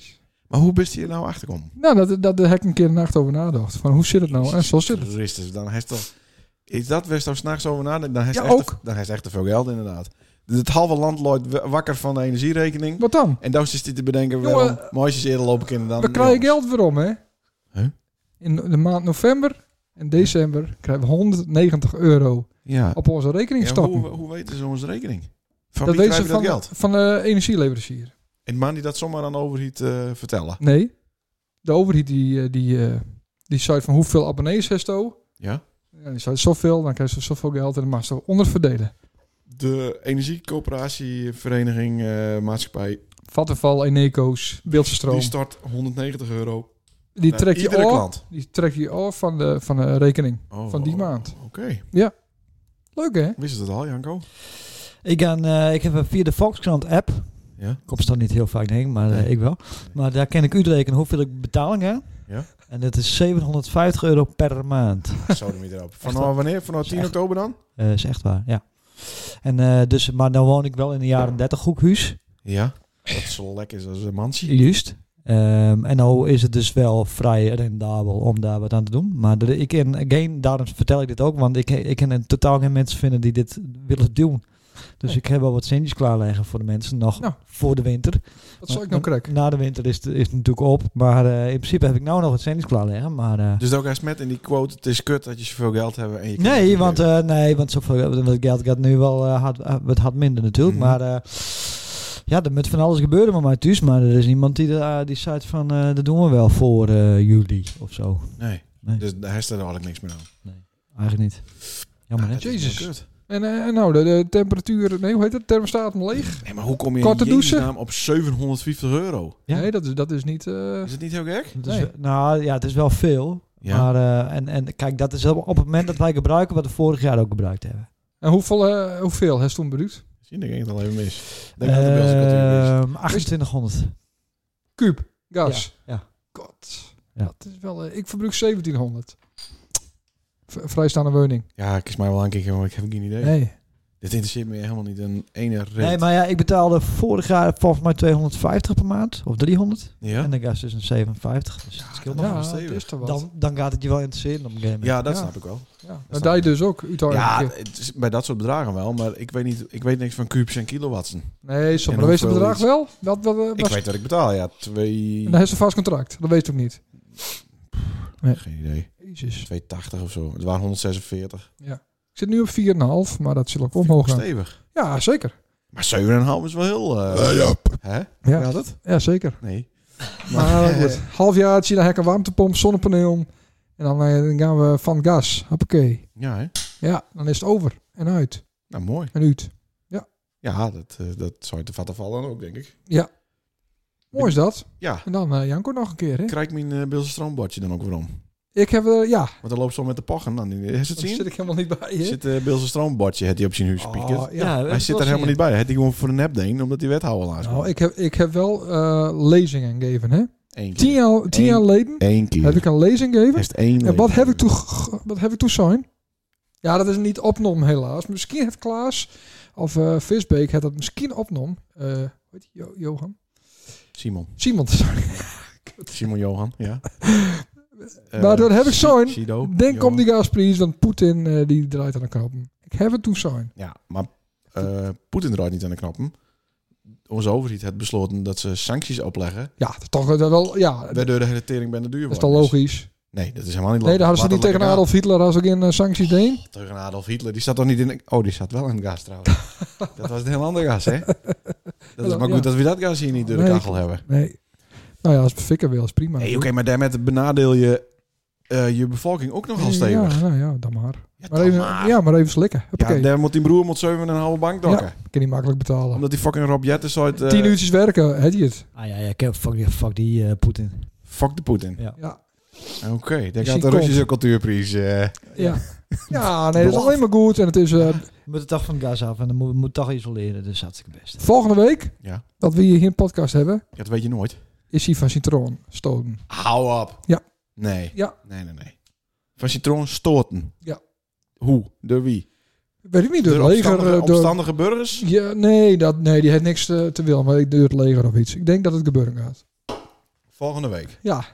S2: Maar hoe bist je hier nou achterkomen?
S3: Nou, dat, dat daar heb ik een keer een nacht over nagedacht. Van hoe zit het nou? En zo zit het.
S2: Christus, dan heeft toch... Is dat best toch s'nachts over nadenken? Dan heeft
S3: Ja,
S2: echt te-
S3: ook.
S2: dan heeft echt te veel geld inderdaad. Het halve land loopt wa- wakker van de energierekening.
S3: Wat dan?
S2: En dan zit hij te bedenken,
S3: Jongen,
S2: waarom mooisjes eerder lopen kinderen dan...
S3: We krijgen geld weer om, hè?
S2: Huh?
S3: In de maand november en december krijgen we 190 euro
S2: Ja.
S3: op onze rekening
S2: Ja,
S3: stappen.
S2: hoe, hoe weten ze onze rekening? Van
S3: dat
S2: wie
S3: weten
S2: krijgen
S3: ze
S2: we
S3: van,
S2: dat geld?
S3: van de energieleverancier.
S2: En man die dat zomaar aan de overheid eh, vertellen.
S3: Nee. De overheid die, eh, die, eh, die zei van hoeveel abonnees heeft je?
S2: Ja.
S3: Ja, die zei zoveel, dan krijg je zoveel geld en dan mag je het onderverdelen.
S2: De energiecoöperatievereniging eh, maatschappij,
S3: Vattenval, Eneco's, Beeldstroom.
S2: die
S3: Die,
S2: start 190 euro naar
S3: trek je
S2: iedere
S3: af.
S2: klant.
S3: Die trek je af van de, van de rekening.
S2: Oh,
S3: Van die
S2: oh,
S3: maand.
S2: Oké,
S3: Leuk, hè?
S2: wist je dat al, Janko?
S4: Ik, aan, eh, ik heb een- via de Volkskrant app.
S2: Ja.
S4: Ik kom er dan niet heel vaak heen, maar eh,
S2: Nee.
S4: ik wel. Maar daar kan ik u rekenen hoeveel ik betaling heb.
S2: Ja.
S4: En dat is 750 euro per maand.
S2: Zo doen we erop. Vanaf wanneer? Vanaf 10
S4: Echt?
S2: oktober dan?
S4: Eh is echt waar, ja. En, eh, dus, maar dan woon ik wel in een jaren 30 hoekhuis.
S2: Ja. Dat zo lekker is als een mansie.
S4: Juist. Ehm, en nou is het dus wel vrij rendabel om daar wat aan te doen. Maar er- ik ken geen, daarom vertel ik dit ook, want ik, ik ken in totaal geen mensen vinden die dit willen doen. Dus ik heb wel wat centjes klaarleggen voor de mensen nog
S3: Nou.
S4: voor de winter.
S3: Wat zal ik nou krijgen?
S4: Na de winter is het, is het natuurlijk op. Maar eh, in principe heb ik nou nog wat centjes klaarleggen. Maar, eh,
S2: Dus ook eens met in die quote, het is kut dat je zoveel geld hebt. En je kunt het
S4: nee,
S2: niet
S4: want,
S2: leven.
S4: eh nee, want zoveel want het geld gaat nu wel eh, hard, eh, wat hard minder natuurlijk.
S2: Mhm.
S4: Maar eh, ja, er moet van alles gebeuren met mij thuis. Maar er is niemand die, daar- die zei van, eh, dat doen we wel voor eh, juli of zo.
S2: nee.
S4: Nee.
S2: dus daar is er eigenlijk niks meer aan.
S4: Eigenlijk niet. Jammer,
S2: Ah,
S4: hè?
S2: dat is wel
S3: Jezus.
S2: kut.
S3: En, eh, en nou, de, de temperatuur... Nee, hoe heet het? Thermostaat om leeg?
S2: Nee, maar hoe kom je
S3: Korte
S2: in Jezus
S3: douchen?
S2: naam op 750 euro?
S4: Ja.
S3: Nee, dat is, dat is niet... eh,
S2: Is het niet heel gek?
S4: Het is
S3: Nee.
S4: wel- nou ja, het is wel veel.
S2: Ja.
S4: Maar, eh, en, en kijk, dat is op op het moment dat wij gebruiken wat we vorig jaar ook gebruikt hebben.
S3: En hoeveel, eh, hoeveel heeft toen bedoeld?
S2: Misschien denk ik het al even mis.
S4: Eh,
S2: Ik Denk dat de Belgische cultuur is.
S4: Ehm 2800.
S3: Kuub, gas.
S4: Ja, ja.
S3: God.
S4: Ja.
S3: Dat is wel, eh, ik verbruik 1700. V- vrijstaande woning.
S2: Ja, ik kies mij wel aan kijken, maar ik heb geen idee.
S3: Nee.
S2: Dit interesseert me helemaal niet een ene reet.
S4: Nee, maar ja, ik betaalde vorig jaar volgens mij 250 per maand. Of 300.
S2: Ja?
S4: En de gas is een 57. Dus het scheelt
S2: dat
S4: nog
S3: Ja,
S2: wel
S3: dat
S2: stevig.
S3: is toch wat.
S4: dan, dan gaat het je wel interesseren op een gegeven moment.
S2: ja, dat
S3: Ja.
S2: snap ik wel.
S3: ja.
S2: snap
S3: Dat deed je
S2: ik.
S3: dus ook. Uit haar
S2: Ja,
S3: eigen keer.
S2: het is bij dat soort bedragen wel, maar ik weet, niet, ik weet niks van kubus en kilowatsen.
S3: Nee,
S2: En
S3: soms. Maar dat weet het
S2: hoeveel
S3: bedrag
S2: is-
S3: wel. Dat, dat, eh,
S2: Ik
S3: was-
S2: weet dat ik betaal, ja. Twee...
S3: En dan heeft ze een vast contract. Dat weet je ook niet.
S2: Geen idee.
S3: Jezus.
S2: 280 of zo. Het waren 146.
S3: Ik zit nu op 4,5, maar dat zal ook
S2: Vind ik
S3: omhoog gaan.
S2: Stevig.
S3: Ja, zeker.
S2: Maar 7,5 is wel heel... eh, Hè?
S3: Ja.
S2: Gaat het?
S3: Ja, zeker.
S2: Nee.
S3: Maar
S2: eh,
S3: goed. Halfjaartje, dan heb ik een warmtepomp, zonnepaneel. En dan, eh, dan gaan we van gas. Hoppakee.
S2: Ja, hè?
S3: Ja, dan is het over. En uit.
S2: Nou, mooi.
S3: En uit.
S2: Ja, dat, eh, dat zou je te vatten vallen ook, denk ik.
S3: Mooi is dat.
S2: Ja.
S3: En dan eh, Janko nog een keer, hè?
S2: Krijg ik mijn eh Beelse stroombordje dan ook weer om?
S3: Ik heb er, ja,
S2: Want dan loopt zo met de pochen. Dan, is het
S3: daar
S2: zien?
S3: Oh, zit ik helemaal niet bij. hè?
S2: Zit eh Beelse stroombordje, had hij op zijn huis gepiekerd.
S3: Oh, ja.
S2: Hij zit er helemaal niet bij. Hij had die gewoon voor een nep deen, omdat die wethouder laatst kwam.
S3: Nou, ik heb, ik heb wel eh, lezingen gegeven, hè?
S2: Eén
S3: Tien
S2: keer.
S3: jaar, tien
S2: Eén.
S3: jaar geleden
S2: Eén keer.
S3: heb ik een lezing gegeven.
S2: heeft één
S3: En wat
S2: leven.
S3: heb ik toen, ge- wat heb ik toen zijn? Ja, dat is niet opnom helaas. Misschien heeft Klaas of eh, Visbeek het dat misschien opnom. Eh, hoe heet die? Jo- Johan?
S2: Simon.
S3: Simon, sorry.
S2: Simon Johan,
S3: [LAUGHS]
S2: ja. Eh,
S3: Maar dat Nou, heb ik zo'n-
S2: Sido,
S3: [LAUGHS] Denk
S2: Johan.
S3: om die gasprijs, want Poetin eh, die draait aan de knopen. Ik heb het toen zijn.
S2: Ja, maar eh, Poetin draait niet aan de knoppen. Onze overheid heeft besloten dat ze sancties opleggen.
S3: Ja, dat is toch wel- wel, ja, dat
S2: Waardoor de hele tering bijna duur wordt. Dus-
S3: is toch logisch.
S2: Nee, dat is helemaal niet logisch.
S3: Nee, daar hadden ze
S2: Laat
S3: niet
S2: dat
S3: tegen
S2: lekker
S3: Adolf Hitler als ik in eh, sancties deed.
S2: gaan. Tegen Adolf Hitler. Die zat toch niet in... de- Oh, die zat wel in het gas trouwens.
S3: [LAUGHS]
S2: dat was een heel ander gas, hè? Dat is maar goed
S3: Ja.
S2: dat we dat gas hier niet door de
S3: Nee,
S2: kachel hebben.
S3: Nee. Nou ja, als het fikker wil, is prima.
S2: Nee, oké, maar daarmee benadeel je eh, je bevolking ook nogal stevig.
S3: Ja, nou ja, dan maar.
S2: Ja,
S3: maar even, Ja, maar even slikken.
S2: Ja,
S3: Hoppakee. Ik
S2: daar moet die broer met 7,5 bank dokken.
S3: kan die makkelijk betalen.
S2: Omdat die fucking Rob Jetten zo uit... eh,
S3: Tien uurtjes werken, heb je het.
S4: Ah ja, ja ik heb, fuck die, fuck die eh, Poetin.
S2: Fuck de Poetin.
S3: Ja.
S2: Oké, daar
S3: Is
S2: gaat de
S3: die
S2: Russische cultuurprijs. eh.
S3: Ja,
S2: [LAUGHS]
S3: ja nee, dat is alleen maar goed. En het is eh,
S4: We moeten toch van het gas af en dan moet, moet toch isoleren. Dus hartstikke best.
S3: volgende week,
S2: Ja.
S3: dat we hier een podcast hebben,
S2: Ja, dat weet je nooit.
S3: is hij van Citroën stoten.
S2: Hou op.
S3: Ja.
S2: Nee.
S3: Ja.
S2: Nee, nee, nee. Van citroen stoten.
S3: Ja.
S2: Hoe? Door wie?
S3: Weet ik niet, door
S2: Door
S3: het leger.
S2: opstandige,
S3: eh, Door,
S2: opstandige burgers?
S3: ja, nee, dat, nee, die heeft niks eh, te wil, maar ik door het leger of iets. Ik denk dat het gebeuren gaat.
S2: Volgende week.
S3: Ja.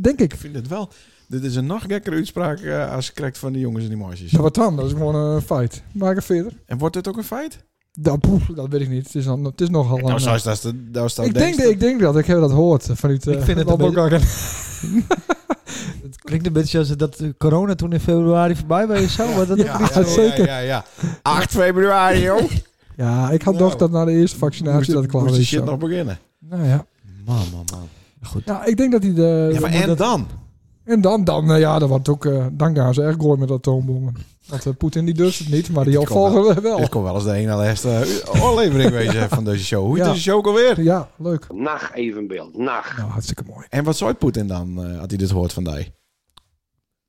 S3: Denk ik.
S2: Ik vind het wel... Dit is een nog gekker uitspraak eh, als je krijgt van de jongens en die meisjes.
S3: Nou, wat dan? Dat is gewoon een feit. Maak het verder.
S2: En wordt dit ook een feit?
S3: Dat, poef, dat weet ik niet. Het is, dan, het is nogal eh.
S2: nou,
S3: een-
S2: zoals dat, dat, dat, dat
S3: ik, denk, dat, ik denk dat. Ik heb dat gehoord vanuit... eh,
S4: Ik vind het een
S3: Landbouwkakker.
S4: [LAUGHS]
S3: [LAUGHS]
S4: Het klinkt een beetje als dat eh, corona toen in februari voorbij was. Zo, maar dat
S2: Ja,
S4: ook niet
S2: ja,
S4: zo.
S2: ja,
S3: zeker.
S2: Ja, ja, 8 februari, joh.
S3: Ja, ik had
S2: Nou.
S3: dacht dat na de eerste vaccinatie
S2: Moest-
S3: dat het klaar
S2: moest die
S3: was.
S2: shit
S3: zo.
S2: nog beginnen.
S3: Nou ja.
S2: Man, man, man.
S3: ja, ik denk dat hij de...
S2: Ja, maar
S3: dat-
S2: en dan?
S3: en dan, dan eh, ja, dat wordt ook... eh dan gaan ze echt gooien met atoombommen. Want eh, Poetin die durft het niet, maar die
S2: Dit komt wel.
S3: opvolger wel. wel.
S2: Dit kon wel eens de ene laatste
S3: [LAUGHS]
S2: aflevering wezen van deze show. Hoe is
S3: Ja.
S2: deze show ook alweer?
S3: Ja, leuk.
S6: Nacht evenbeeld, nacht.
S3: Nou, hartstikke mooi.
S2: En wat zou Poetin dan, eh had hij dit hoort van die?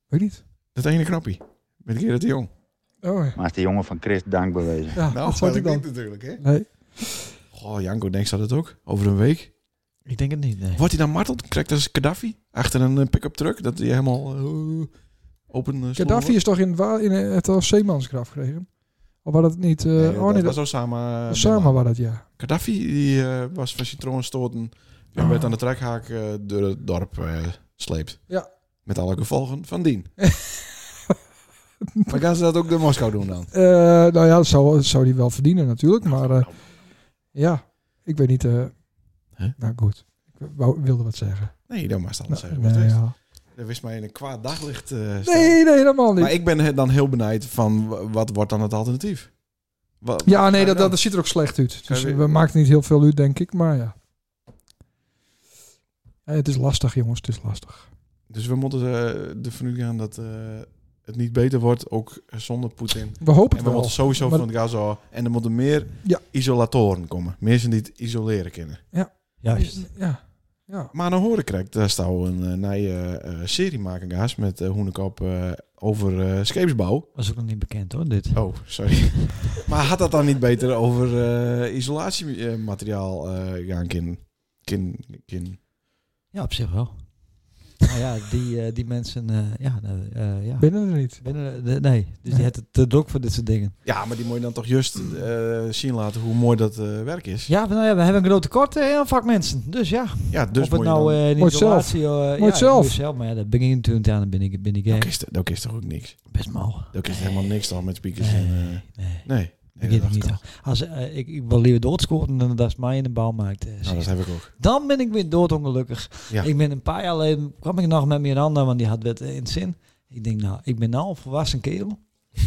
S3: Weet niet.
S2: Dat ene knopje. Met Gerrit de Jong.
S3: Oh, ja.
S5: Maar is de jongen van Chris dank bewezen.
S2: Nou,
S3: ja, dat zou ik dan.
S2: natuurlijk, hè?
S3: Nee.
S2: Goh, Janko denkt ze dat ook. Over een week.
S4: Ik denk het niet, nee.
S2: Wordt hij dan marteld? Krijgt hij als Gaddafi? Achter een eh, pick-up truck? Dat hij helemaal eh, open... eh, slot
S3: Gaddafi
S2: wordt?
S3: is toch in, wa- in eh, het als zeemansgraf gekregen? Of was dat niet... eh
S2: Nee,
S3: oh nee,
S2: dat was
S3: dat,
S2: eh, Osama.
S3: Osama
S2: Bin Laden.
S3: was dat, ja.
S2: Gaddafi die, eh, was van citroën stoten en
S3: Ah.
S2: werd aan de trekhaak eh, door het dorp eh sleept.
S3: Ja.
S2: Met alle gevolgen van
S3: [LAUGHS]
S2: dien. maar gaan ze dat ook door Moskou doen dan?
S3: Eh, nou ja, dat zou, dat zou die wel verdienen natuurlijk. Maar eh, ja, ik weet niet. eh,
S2: Hè?
S3: Nou goed, ik wou- wilde wat zeggen.
S2: Nee, dat mag ze anders
S3: Nou,
S2: zeggen.
S3: nee,
S2: Wat is het?
S3: ja.
S2: Dat wist mij in een kwaad daglicht. eh, staan.
S3: nee, nee, helemaal niet.
S2: Maar ik ben he- dan heel benijd van wa- wat wordt dan het alternatief? Wa- wat
S3: ja,
S2: ga
S3: nee,
S2: je
S3: dat,
S2: dan?
S3: dat ziet er ook slecht uit. Dus
S2: Kan je-
S3: we maken niet heel veel uit, denk ik. Maar ja. Eh, het is lastig, jongens. Het is lastig.
S2: Dus we moeten eh, ervan uitgaan dat eh, het niet beter wordt, ook zonder Poetin.
S3: We hopen
S2: En
S3: het
S2: we
S3: wel.
S2: moeten sowieso
S3: Maar-
S2: van het Gaza. af. En er moeten meer
S3: Ja.
S2: isolatoren komen. Mensen die het isoleren kunnen.
S4: Juist.
S3: Ja. ja.
S2: Maar dan hoor ik krijg, daar staan we een eh, nieuwe eh, serie maken, Gaas, met eh Hoenekop eh, over eh scheepsbouw.
S4: Was ook nog niet bekend hoor, dit.
S2: Oh, [LAUGHS] sorry. maar had dat dan niet beter over eh, isolatiemateriaal eh, gaan kin, kin, kin?
S4: Ja, op zich wel. nou ja, die, eh, die mensen, eh, ja, nou, eh, ja.
S3: Binnen er niet.
S4: Binnen, de- nee, dus die
S3: Nee.
S4: had het te druk voor dit soort dingen.
S2: Ja, maar die moet je dan toch juist eh, zien laten hoe mooi dat eh, werk is. Ja,
S4: Ja, nou ja, we hebben een groot tekort eh, aan vakmensen. Dus ja,
S2: dus
S4: of het
S2: moet je
S4: nou
S2: dan...
S4: eh in
S3: Moet je zelf.
S4: isolatie... eh, ja,
S3: je zelf.
S4: moet je zelf. Maar ja, dat begin je natuurlijk aan, dan ben ik, ben ik
S2: dat
S4: eh,
S2: is, dat is toch ook niks?
S4: best mal.
S2: Dat is
S4: Nee.
S2: helemaal niks dan met speakers. en,
S4: Nee,
S2: eh,
S4: nee, nee.
S2: nee.
S4: Ik
S2: dat
S4: weet het
S2: dacht
S4: niet.
S2: al.
S4: hoor. Als, eh, ik, ik wil liever doodscoren dan dat ze mij in de bal maakt. eh,
S2: Nou, dat heb ik ook.
S4: Dan ben ik weer doodongelukkig.
S2: Ja.
S4: Ik ben een paar jaar geleden, kwam ik nog met Miranda, want die had wet in zin. Ik denk, nou, ik ben nou een volwassen kerel.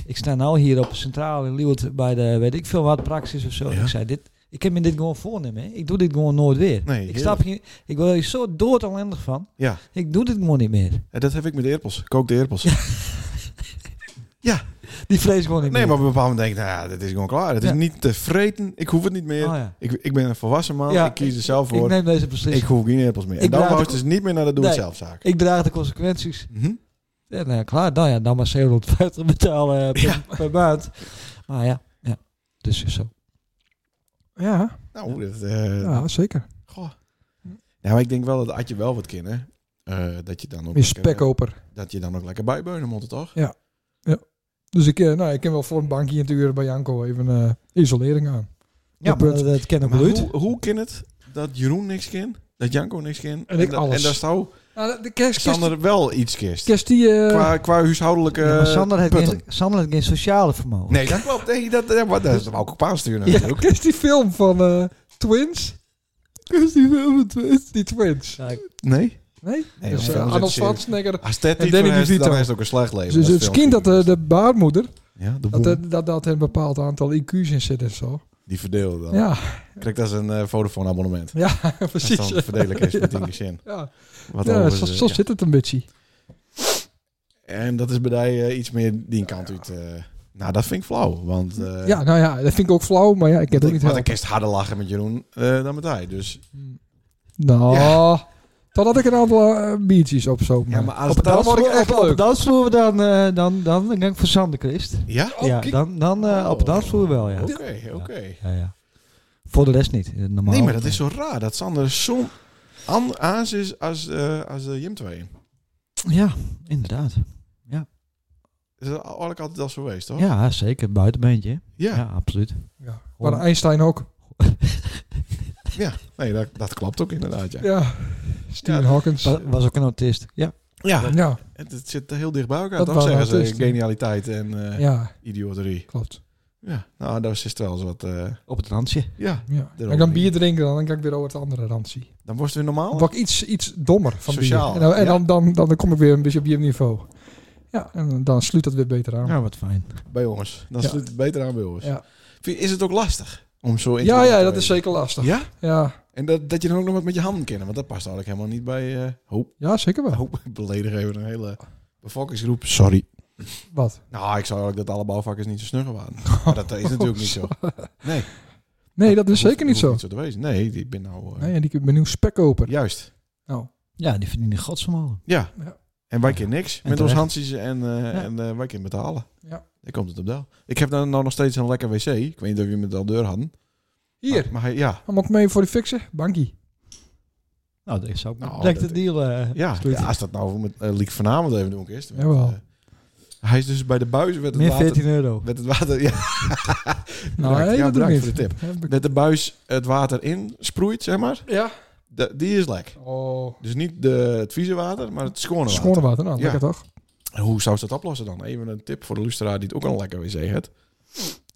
S4: ik sta nou hier op centraal in Leeuwarden bij de, weet ik veel wat, praxis of zo.
S2: Ja.
S4: Ik zei, dit, ik heb me dit gewoon voornemen. hè. Ik doe dit gewoon nooit weer.
S2: Nee,
S4: ik,
S2: heerlijk.
S4: stap hier, ik word hier zo doodonlendig van.
S2: Ja.
S4: Ik doe dit gewoon niet meer.
S2: En Eh, dat heb ik met de eerpels. Kook de eerpels.
S4: Die vrees gewoon niet
S2: Nee, maar op
S4: meer.
S2: een bepaald moment denk ik, nou ja, dit is gewoon klaar. Het is
S4: Ja.
S2: niet te vreten. Ik hoef het niet meer.
S4: Oh ja.
S2: ik, ik ben een volwassen man.
S4: Ja,
S2: ik kies er zelf
S4: Ik
S2: voor. Ik,
S4: neem deze beslissing.
S2: hoef geen eerpels meer. en
S4: Ik
S2: dan
S4: draag
S2: wou het
S4: de-
S2: dus niet meer naar de
S4: Nee.
S2: doe-het-zelf-zaak.
S4: Ik draag de consequenties.
S2: Mhm.
S4: Ja, nou ja, klaar. Nou ja, dan maar 750 betalen eh, per, per maand. Maar ja, ja. Dus is zo.
S3: Ja,
S2: Nou, dat... eh,
S3: ja zeker.
S2: goh. Ja, maar ik denk wel dat had je wel wat kennen. eh, dat je dan ook lekker,
S3: Meer
S2: eh,
S3: spekkoper.
S2: dat je dan ook lekker bijbeunen moet, toch?
S3: Dus ik, eh, nou, ik kan wel voor een bankje in te uren bij Janko even eh, isolering aan.
S4: Ja,
S3: punt.
S4: maar dat, dat ken ik
S2: Maar
S4: wel uit.
S2: hoe, hoe kan het dat Jeroen niks kan, dat Janko niks kan
S3: En ik
S2: dat-
S3: alles.
S2: en daar zou
S3: Nou, de kerst,
S2: Sander wel iets kist.
S3: kerst die... eh, [LAUGHS]
S2: Qua, qua huishoudelijke
S4: Ja, maar Sander heeft,
S2: putten.
S4: geen, Sander heeft geen sociale vermogen.
S2: Nee, dat klopt. Nee, dat, dat, dat, dat wou ik op aansturen
S3: Ja,
S2: natuurlijk.
S3: ken je die film van eh, Twins? Ken je die film van Twins? Die Twins.
S4: Ja, ik-
S2: Nee?
S3: Nee?
S2: Nee,
S3: dus,
S2: dat is
S3: eh,
S2: een
S3: Arnold
S2: serie.
S3: Schwarzenegger.
S2: Als dat
S3: En
S2: niet
S3: Danny
S2: voor heeft, dan
S3: DeVito.
S2: is het ook een slecht leven.
S3: Dus
S2: Dat
S3: het
S2: is
S3: kind dat de,
S2: filmpje.
S3: de baarmoeder,
S2: Ja, de
S3: dat,
S2: boem,
S3: er- dat, dat er een bepaald aantal IQ's in zit en zo.
S2: die verdeelde dan.
S3: Ja,
S2: Krijgt dat is een eh, Vodafone abonnement.
S3: ja, [LAUGHS]
S2: Als
S3: precies.
S2: dan verdelen is met 10 gezin.
S3: Ja,
S2: Wat
S3: ja
S2: over
S3: zo,
S2: ze-
S3: zo
S2: ja.
S3: zit het een beetje.
S2: En dat is bij die eh, iets meer die kant uit. eh, nou, dat vind ik flauw. Want eh,
S3: Ja, nou ja, dat vind ik ook flauw, maar ja, ik heb het ook niet
S2: want ik
S3: helpen.
S2: kist harder lachen met Jeroen eh, dan met hij. Dus
S3: Nou, totdat ik een aantal eh, biertjes op zo.
S2: ja, maar als
S4: Op het
S2: dat
S3: word ik
S4: dansvloer,
S3: echt
S4: op, op
S3: leuk.
S4: het dansvloer dan, eh, dan, dan, dan gang voor Sander Christ.
S2: ja,
S3: Oh,
S4: ja,
S3: kijk.
S4: dan, dan eh, op het dansvloer wel, ja.
S2: oké, oké.
S4: ja, ja. Voor de rest niet, eh, normaal.
S2: Nee, maar dat is zo raar dat Sander zo'n an- aas is als, eh als eh, Jim 2.
S4: Ja, inderdaad.
S2: Is dat eigenlijk altijd al zo geweest, toch?
S4: Ja, zeker. Buitenbeentje. hè.
S2: Ja,
S4: Ja,
S2: [LAUGHS]
S4: absoluut.
S3: Ja, maar Einstein ook.
S2: ja. Nee, dat, dat klopt ook inderdaad, ja.
S3: Ja, Stephen
S2: Ja,
S3: Hawkins.
S4: Wa- Was ook een autist. Ja.
S2: Ja,
S3: Ja,
S2: het, het zit heel dicht bij elkaar.
S3: Dat
S2: Dat toch
S3: waren
S2: zeggen ze
S3: artiesten.
S2: genialiteit en eh,
S3: ja,
S2: idioterie.
S3: klopt.
S2: Ja, nou, daar is wel eens wat... eh,
S4: Op het randje.
S2: ja,
S3: Ja.
S2: Daarom
S3: Als ik dan
S2: niet.
S3: bier drinken, dan kan ik weer over het andere rand zien.
S2: dan wordt het weer normaal.
S3: Dan word ik iets, iets dommer van
S2: Oh. Sociaal,
S3: bier. En, dan, en
S2: ja.
S3: dan, dan, dan, kom ik weer een beetje op je niveau. Ja, en dan sluit dat weer beter aan.
S4: Nou, wat fijn.
S2: bij ons. Dan
S3: Ja.
S2: sluit het beter aan bij ons.
S3: Ja.
S2: Vind- Is het ook lastig om zo in te
S3: Ja,
S2: gaan
S3: ja,
S2: te
S3: dat
S2: weten?
S3: is zeker lastig. Ja,
S2: eh, Ja?
S3: ja,
S2: En dat, dat je dan ook nog wat met je handen kennen, want dat past eigenlijk helemaal niet bij eh hoop. [LAUGHS]
S3: zeker wel.
S2: hoop. Ik Beledig even een hele bevolkingsgroep. Sorry.
S3: Wat?
S2: Nou, ik zou eigenlijk dat alle bouwvakkers niet zo snugger waren.
S3: [LAUGHS]
S2: Maar dat is natuurlijk niet zo. Nee,
S3: Oh, Nee, dat is
S2: hoeft-
S3: zeker niet
S2: hoeft
S3: zo.
S2: te wezen. Nee, ik ben nou... eh,
S3: Nee, en die ben nieuw spekkoper.
S2: Juist.
S3: Nou,
S4: Ja, die verdienen godsvermogen.
S2: Ja.
S3: Ja.
S2: En wij kennen niks. met ons
S4: terecht.
S2: handjes en, eh, en eh, wij kunnen betalen.
S3: Ja.
S2: Daar komt het op deel. Ik heb dan nou nog steeds een lekker wc. Ik weet niet of je met al deur hadden.
S3: hier,
S2: Maar, maar hij- ja.
S3: allemaal mee voor de fixen. Bankie.
S4: Nou, dat is ook
S2: Nou,
S4: direct
S2: dat-
S4: de deal. eh,
S2: Ja,
S4: sluiten.
S2: ja, als dat nou met eh, Liek vanavond even doen is. want,
S3: Jawel.
S2: eh, hij is dus bij de buis werd het
S4: Meer
S2: water...
S4: 14 euro.
S2: Werd het water... Ja, [LAUGHS]
S3: Nou,
S2: ja,
S3: nee, dat doe ik
S2: bedankt
S3: niet.
S2: voor de tip.
S3: Heb ik-
S2: Met de buis het water in sproeit, zeg maar.
S3: Ja.
S2: de- die is lek.
S3: Oh,
S2: Dus niet de, het vieze water, maar het schone water.
S3: schone water. Nou,
S2: Ja.
S3: lekker toch?
S2: En hoe zou ze dat oplossen dan? Even een tip voor de luisteraar die het ook al lekker wc heeft.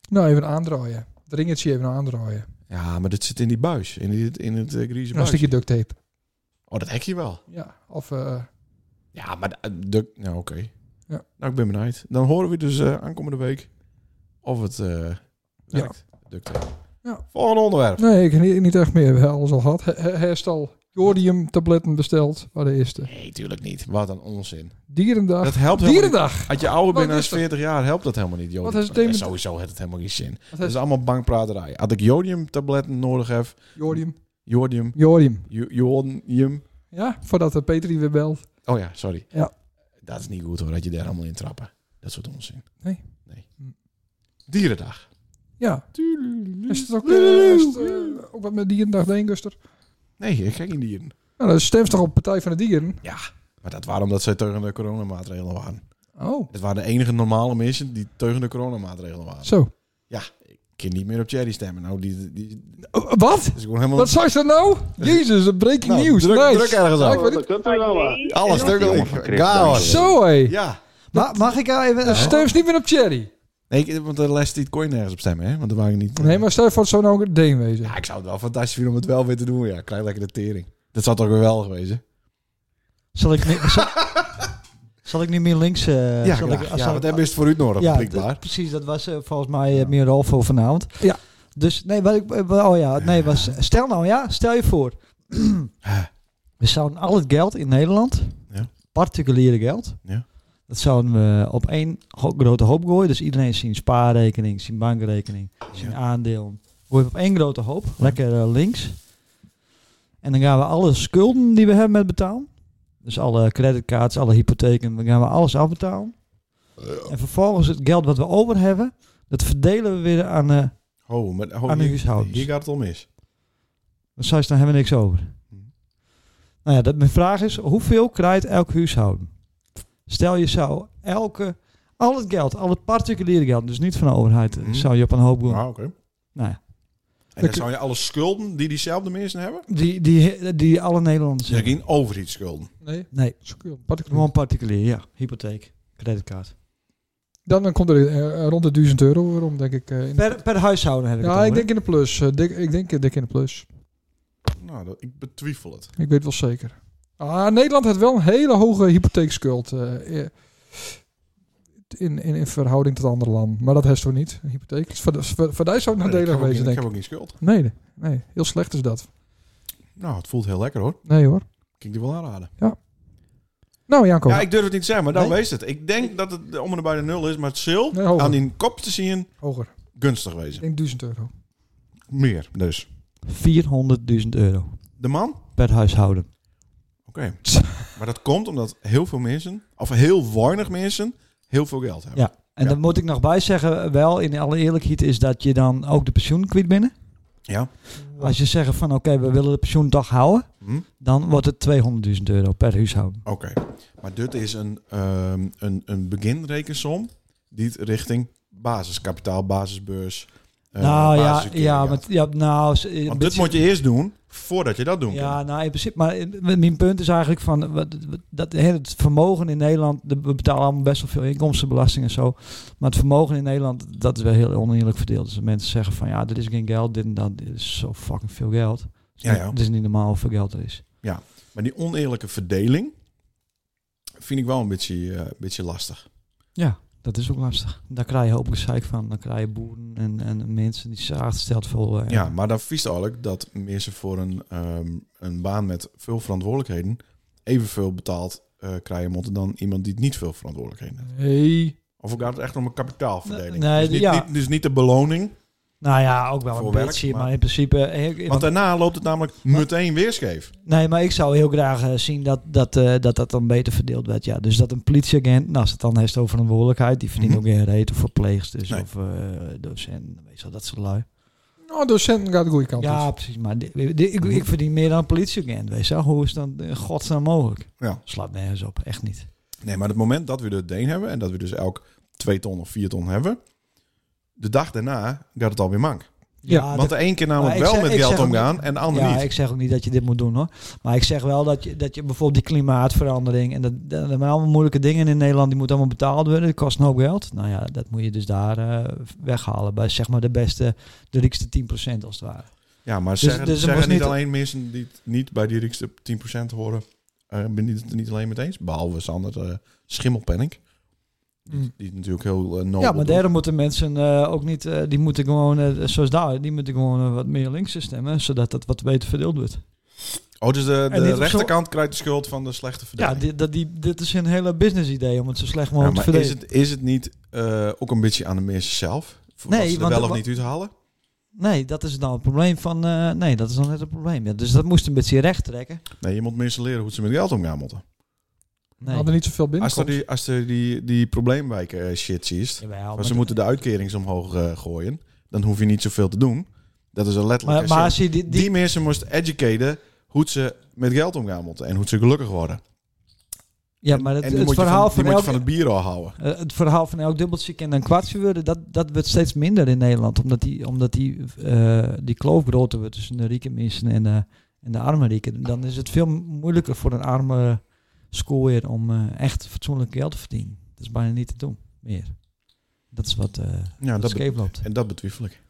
S3: Nou, even aandraaien. Het ringetje even aandraaien.
S2: Ja, maar dit zit in die buis. In, die, in het eh, grieze
S3: En een
S2: buis.
S3: stukje duct tape.
S2: Oh, dat hek je wel.
S3: Ja, of... eh,
S2: Ja, maar de... de- nou, oké.
S3: Ja.
S2: Nou, ik ben benieuwd. Dan horen we dus eh, aankomende week of het eh werkt. Duct tape.
S3: Ja.
S2: Volgende onderwerp.
S3: nee, ik heb niet, niet echt meer. We hebben alles al gehad. He- he- Herstal. Jordium tabletten besteld. Waar de eerste.
S2: Nee, tuurlijk niet. Wat een onzin.
S3: Dierendag.
S2: Dat helpt helemaal niet.
S3: Dierendag!
S2: Als je ouder bent
S3: Wat
S2: dan
S3: is dat?
S2: 40 jaar, helpt dat helemaal niet, joh.
S3: Wat is het thema-
S2: Sowieso heeft het helemaal geen zin.
S3: Wat
S2: Dat is
S3: is
S2: allemaal bankpraterij. Had ik jodiumtabletten nodig heb,
S3: Jordium.
S2: jodium,
S3: Jordium.
S2: jo- jodium.
S3: Ja, voordat eh, Petri weer belt.
S2: Oh ja, sorry.
S3: Ja.
S2: Dat is niet goed hoor, dat je daar allemaal in trappen. Dat soort onzin.
S3: Nee.
S2: nee.
S3: Hm.
S2: Dierendag.
S3: Ja. Is het ook, eh, is het, eh, ook wat met Dierendag de Guster?
S2: Nee, ik kijk geen dieren.
S3: Nou, dat stemt toch op Partij van de Dieren?
S2: Maar dat waren omdat zij tegen de coronamaatregelen waren.
S3: Oh.
S2: Het waren de enige normale mensen die tegen de coronamaatregelen waren.
S3: Zo.
S2: Ik kan niet meer op Jerry stemmen. Nou, die, die, dat
S3: Oh, Wat?
S2: is gewoon helemaal...
S3: Wat zei ze nou? Jezus, een breaking
S2: Nou,
S3: news.
S2: Druk,
S3: nice.
S2: druk ergens
S3: Ja,
S2: aan.
S3: ik weet het.
S2: Alles
S5: Jongen,
S2: tegelijk.
S5: van Christ,
S2: Chaos.
S5: dank je wel.
S3: Zo hé.
S2: Ja.
S4: Maar mag ik jou even...
S3: Dan stem ze niet meer op Cherry.
S2: Nee, ik- want de les die kon je nergens op stemmen, hè? Want er waren niet...
S3: Nee, maar stel je voor het zou nou ook een Deen wezen.
S2: Ja, ik zou het wel fantastisch vinden om het wel weer te doen. Ja, krijg lekker de tering. Dat zou toch wel wel geweest hè?
S4: Zal ik, niet-
S2: [LAUGHS]
S4: zal, zal ik niet meer links... eh,
S2: ja,
S4: zal
S2: ja,
S4: ik,
S2: ja,
S4: zal
S2: want hebben is het voor u nodig,
S4: ja,
S2: blijkbaar.
S4: d- precies. Dat was eh, volgens mij eh, meer een voor vanavond.
S3: Ja.
S4: Dus nee, wat ik... eh, wa- Oh ja, nee, was, stel nou ja, stel je
S2: [CLEARS THROAT]
S4: voor. we zouden al het geld in Nederland,
S2: Ja.
S4: particuliere geld,
S2: Ja.
S4: dat zouden we op één ho- grote hoop gooien. Dus iedereen zijn spaarrekening, zijn bankrekening, zijn
S2: Ja.
S4: aandeel. Gooi je op één grote hoop, lekker eh, links. En dan gaan we alle schulden die we hebben met betalen. Dus alle creditcards, alle hypotheken, dan gaan we alles afbetalen. En vervolgens het geld wat we over hebben, dat verdelen we weer aan... eh
S2: Oh, maar oh,
S4: Aan de
S2: hier-
S4: huishoudens.
S2: Hier gaat het om mis.
S4: dan zou je dan hebben we niks over.
S2: Hm.
S4: Nou ja, dat, mijn vraag is, hoeveel krijgt elk huishouden? Stel je zou elke, al het geld, al het particuliere geld, dus niet van de overheid,
S2: Mhm.
S4: zou je op een hoop doen.
S2: Ah, oké.
S4: Nou ja,
S2: En dan zou je alle schulden die diezelfde mensen hebben?
S4: die, die, die alle Nederlanders
S2: Dus
S4: hebben.
S2: geen overheidsschulden.
S3: Nee.
S4: Nee,
S3: Schuld, particulier.
S4: gewoon particulier, ja. Hypotheek, creditcard.
S3: Dan, dan komt er eh, rond de 1000 euro rond, denk ik. eh, in-
S4: Per, per huishouden heb ik het
S3: ja,
S4: over,
S3: ik
S4: hè?
S3: denk in de plus. eh, dik, ik denk eh, dik in de plus.
S2: Nou, dat, ik betwijfel het.
S3: Ik weet wel zeker. Ah, Nederland heeft wel een hele hoge hypotheekschuld. eh, eh, in, in, in verhouding tot andere landen. Maar dat heeft toch niet, een hypotheek. Dus voor, voor, voor die
S4: Nou,
S3: zou het
S2: Nee, Eh, ik,
S3: nadelig
S2: heb ook
S3: wezen,
S2: geen, ik
S3: denk
S2: heb
S3: ik.
S2: ook geen schuld.
S3: Nee, nee, nee, heel slecht is dat.
S2: Nou, het voelt heel lekker hoor.
S3: Nee hoor.
S2: Kan ik die wel aanraden.
S3: Nou, Janko.
S2: Ja, ik durf het niet te zeggen, maar dan
S4: Nee? Oh.
S2: wees het. Ik denk dat het om en bij de nul is, maar het zil
S3: Nee, hoger.
S2: aan die kop te zien
S3: Hoger.
S2: gunstig
S3: Ik
S2: wezen.
S3: denk 1000 euro.
S2: Meer dus.
S4: 400.000 euro
S2: De man?
S4: per huishouden.
S2: Oké. maar dat komt omdat heel veel mensen, of heel weinig mensen, heel veel geld hebben.
S4: Ja. En
S2: Ja.
S4: dan moet ik nog bij zeggen, wel in alle eerlijkheid, is dat je dan ook de pensioen kwijt binnen.
S2: Ja.
S4: Als je zegt van oké, we willen de pensioen toch houden,
S2: Hm?
S4: dan wordt het 200.000 euro per huishouden.
S2: Oké, maar dit is een, ehm, een, een beginrekensom die het richting basiskapitaal, basisbeurs, eh,
S4: nou ja,
S2: basisuitkering
S4: ja,
S2: had.
S4: maar, ja, nou... ze- een
S2: Want dit
S4: beetje-
S2: moet je eerst doen, voordat je dat doen kan.
S4: Ja, nou in principe, maar eh, mijn punt is eigenlijk van wat- wat- dat hè, het vermogen in Nederland, de- we betalen allemaal best wel veel inkomstenbelasting en zo, maar het vermogen in Nederland, dat is wel heel oneerlijk verdeeld. Dus mensen zeggen van ja, dit is geen geld, dit en dat, dit is zo fucking veel geld.
S2: Ja, ja.
S4: Het is niet normaal hoeveel geld er is.
S2: Maar die oneerlijke verdeling vind ik wel een beetje, eh, een beetje lastig.
S4: Ja, dat is ook lastig. Daar krijg je hoop gezeik van, dan krijg je boeren en, en mensen die zich aangesteld voelen. En-
S2: Ja, maar dan vies eigenlijk dat mensen voor een, ehm, een baan met veel verantwoordelijkheden evenveel betaald eh, krijgen moeten dan iemand die niet veel verantwoordelijkheden heeft.
S3: Hey.
S2: Of ook gaat het echt om een kapitaalverdeling.
S4: Nee,
S2: dus, niet,
S4: ja.
S2: niet- dus niet de beloning.
S4: Nou ja, ook wel
S2: Voor
S4: een
S2: werk,
S4: beetje,
S2: maar-
S4: maar, in principe... eh, ik-
S2: Want daarna loopt het namelijk meteen weer scheef.
S4: Nee, maar ik zou heel graag eh, zien dat dat, eh, dat dat dan beter verdeeld werd. Ja. Dus dat een politieagent, nou, als het dan heeft over een verantwoordelijkheid, die verdient
S2: Mhm.
S4: ook geen reet of verpleegsters
S2: Nee.
S4: of eh, docenten, weet je wel, dat soort lui.
S3: Nou, docenten gaat de goede kant
S4: Ja,
S3: op.
S4: precies. Maar di- di- ik, ik verdien meer dan een politieagent, weet je wel. Hoe is dan in godsnaam mogelijk?
S2: Ja.
S4: Slaat nergens op, echt niet.
S2: Nee, maar het moment dat we de deen hebben en dat we dus elk twee ton of vier ton hebben, de dag daarna gaat het alweer mank.
S3: Ja,
S2: Want de een keer namelijk
S4: maar Ah,
S2: wel
S4: ik zeg-
S2: met
S4: ik
S2: geld
S4: zeg ook
S2: omgaan en de ander
S4: ja,
S2: niet.
S4: ik zeg ook niet dat je dit moet doen hoor. Maar ik zeg wel dat je, dat je bijvoorbeeld die klimaatverandering en dat, dat, dat zijn allemaal moeilijke dingen in Nederland, die moeten allemaal betaald worden. Dat kost een hoop geld. Nou ja, dat moet je dus daar eh, weghalen bij zeg maar de beste, de rijkste 10% als het ware.
S2: Ja, maar
S4: Dus-
S2: zeggen,
S4: dus er
S2: zeggen
S4: was
S2: niet
S4: niet-
S2: alleen mensen die het niet bij die rijkste 10% horen, eh ben ik het er niet alleen mee eens. Behalve Sander eh, Schimmelpenninck.
S3: Mm.
S2: Die het natuurlijk heel eh
S4: ja, maar
S2: maar
S4: daarom moeten mensen eh, ook niet, eh, die moeten gewoon, eh, zoals daar, die moeten gewoon eh, wat meer links stemmen, zodat dat wat beter verdeeld wordt.
S2: Oh, dus de,
S4: En niet
S2: de
S4: op zo-
S2: rechterkant krijgt de schuld van de slechte
S4: Ja,
S2: verdeling.
S4: dit, dat, die, dit is een hele business idee om het zo slecht
S2: Ja,
S4: mogelijk te
S2: maar is
S4: verdelen.
S2: het, is het niet eh, ook een beetje aan de mensen zelf? Voor
S4: Nee,
S2: wat ze er
S4: want-
S2: wel of
S4: wa-
S2: niet uithalen?
S4: Nee, dat is dan het probleem van, eh, nee, dat is dan net het probleem. Ja, dus dat moest een beetje recht trekken.
S2: Nee, je moet mensen leren hoe ze met geld omgaan moeten.
S3: We
S4: Nee.
S3: hadden niet zoveel
S2: Als je
S3: binnenkomt.
S2: die, als je die, die probleemwijken eh, shit ziet,
S4: Jawel,
S2: als
S4: maar
S2: ze
S4: d-
S2: moeten de uitkerings omhoog eh, gooien, dan hoef je niet zoveel te doen. Dat is een letterlijk. als
S4: Maar, maar
S2: je-
S4: als je die,
S2: die,
S4: die,
S2: mensen moest educaten hoe ze met geld omgaan moeten en hoe ze gelukkig worden.
S4: ja, maar het,
S2: en die
S4: het
S2: moet je
S4: verhaal
S2: van, die moet
S4: van, elk,
S2: je van het bier al houden.
S4: eh, het verhaal van elk dubbeltje en een kwartje worden, dat, dat wordt steeds minder in Nederland, omdat die, omdat die, eh, die kloof groter wordt tussen de rieke mensen en de, en de arme rieken. Dan is het veel moeilijker voor een arme schoolheer om eh, echt fatsoenlijk geld te verdienen. Dat is bijna niet te doen meer. Dat is wat eh
S2: Ja, dat
S4: dat
S2: be-
S4: scheef loopt.
S2: en dat betwijfel ik.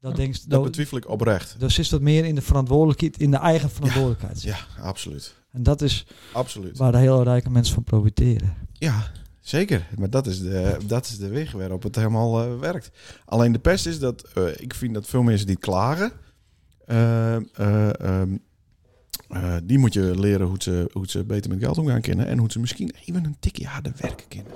S4: Dat, denk,
S2: Dat
S4: dat,
S2: betwijfel ik oprecht.
S4: dus is dat meer in de verantwoordelijkheid, in de eigen verantwoordelijkheid.
S2: Ja, absoluut.
S4: En dat is
S2: Absoluut.
S4: waar de hele rijke mensen van profiteren.
S2: Ja, zeker. Maar dat is de, dat is de weg waarop het helemaal eh, werkt. Alleen de pest is dat eh, ik vind dat veel mensen die klagen, eh, eh, ehm, eh, die moet je leren hoe ze, hoe ze beter met geld omgaan kennen en hoe ze misschien even een tikje harder werken kennen.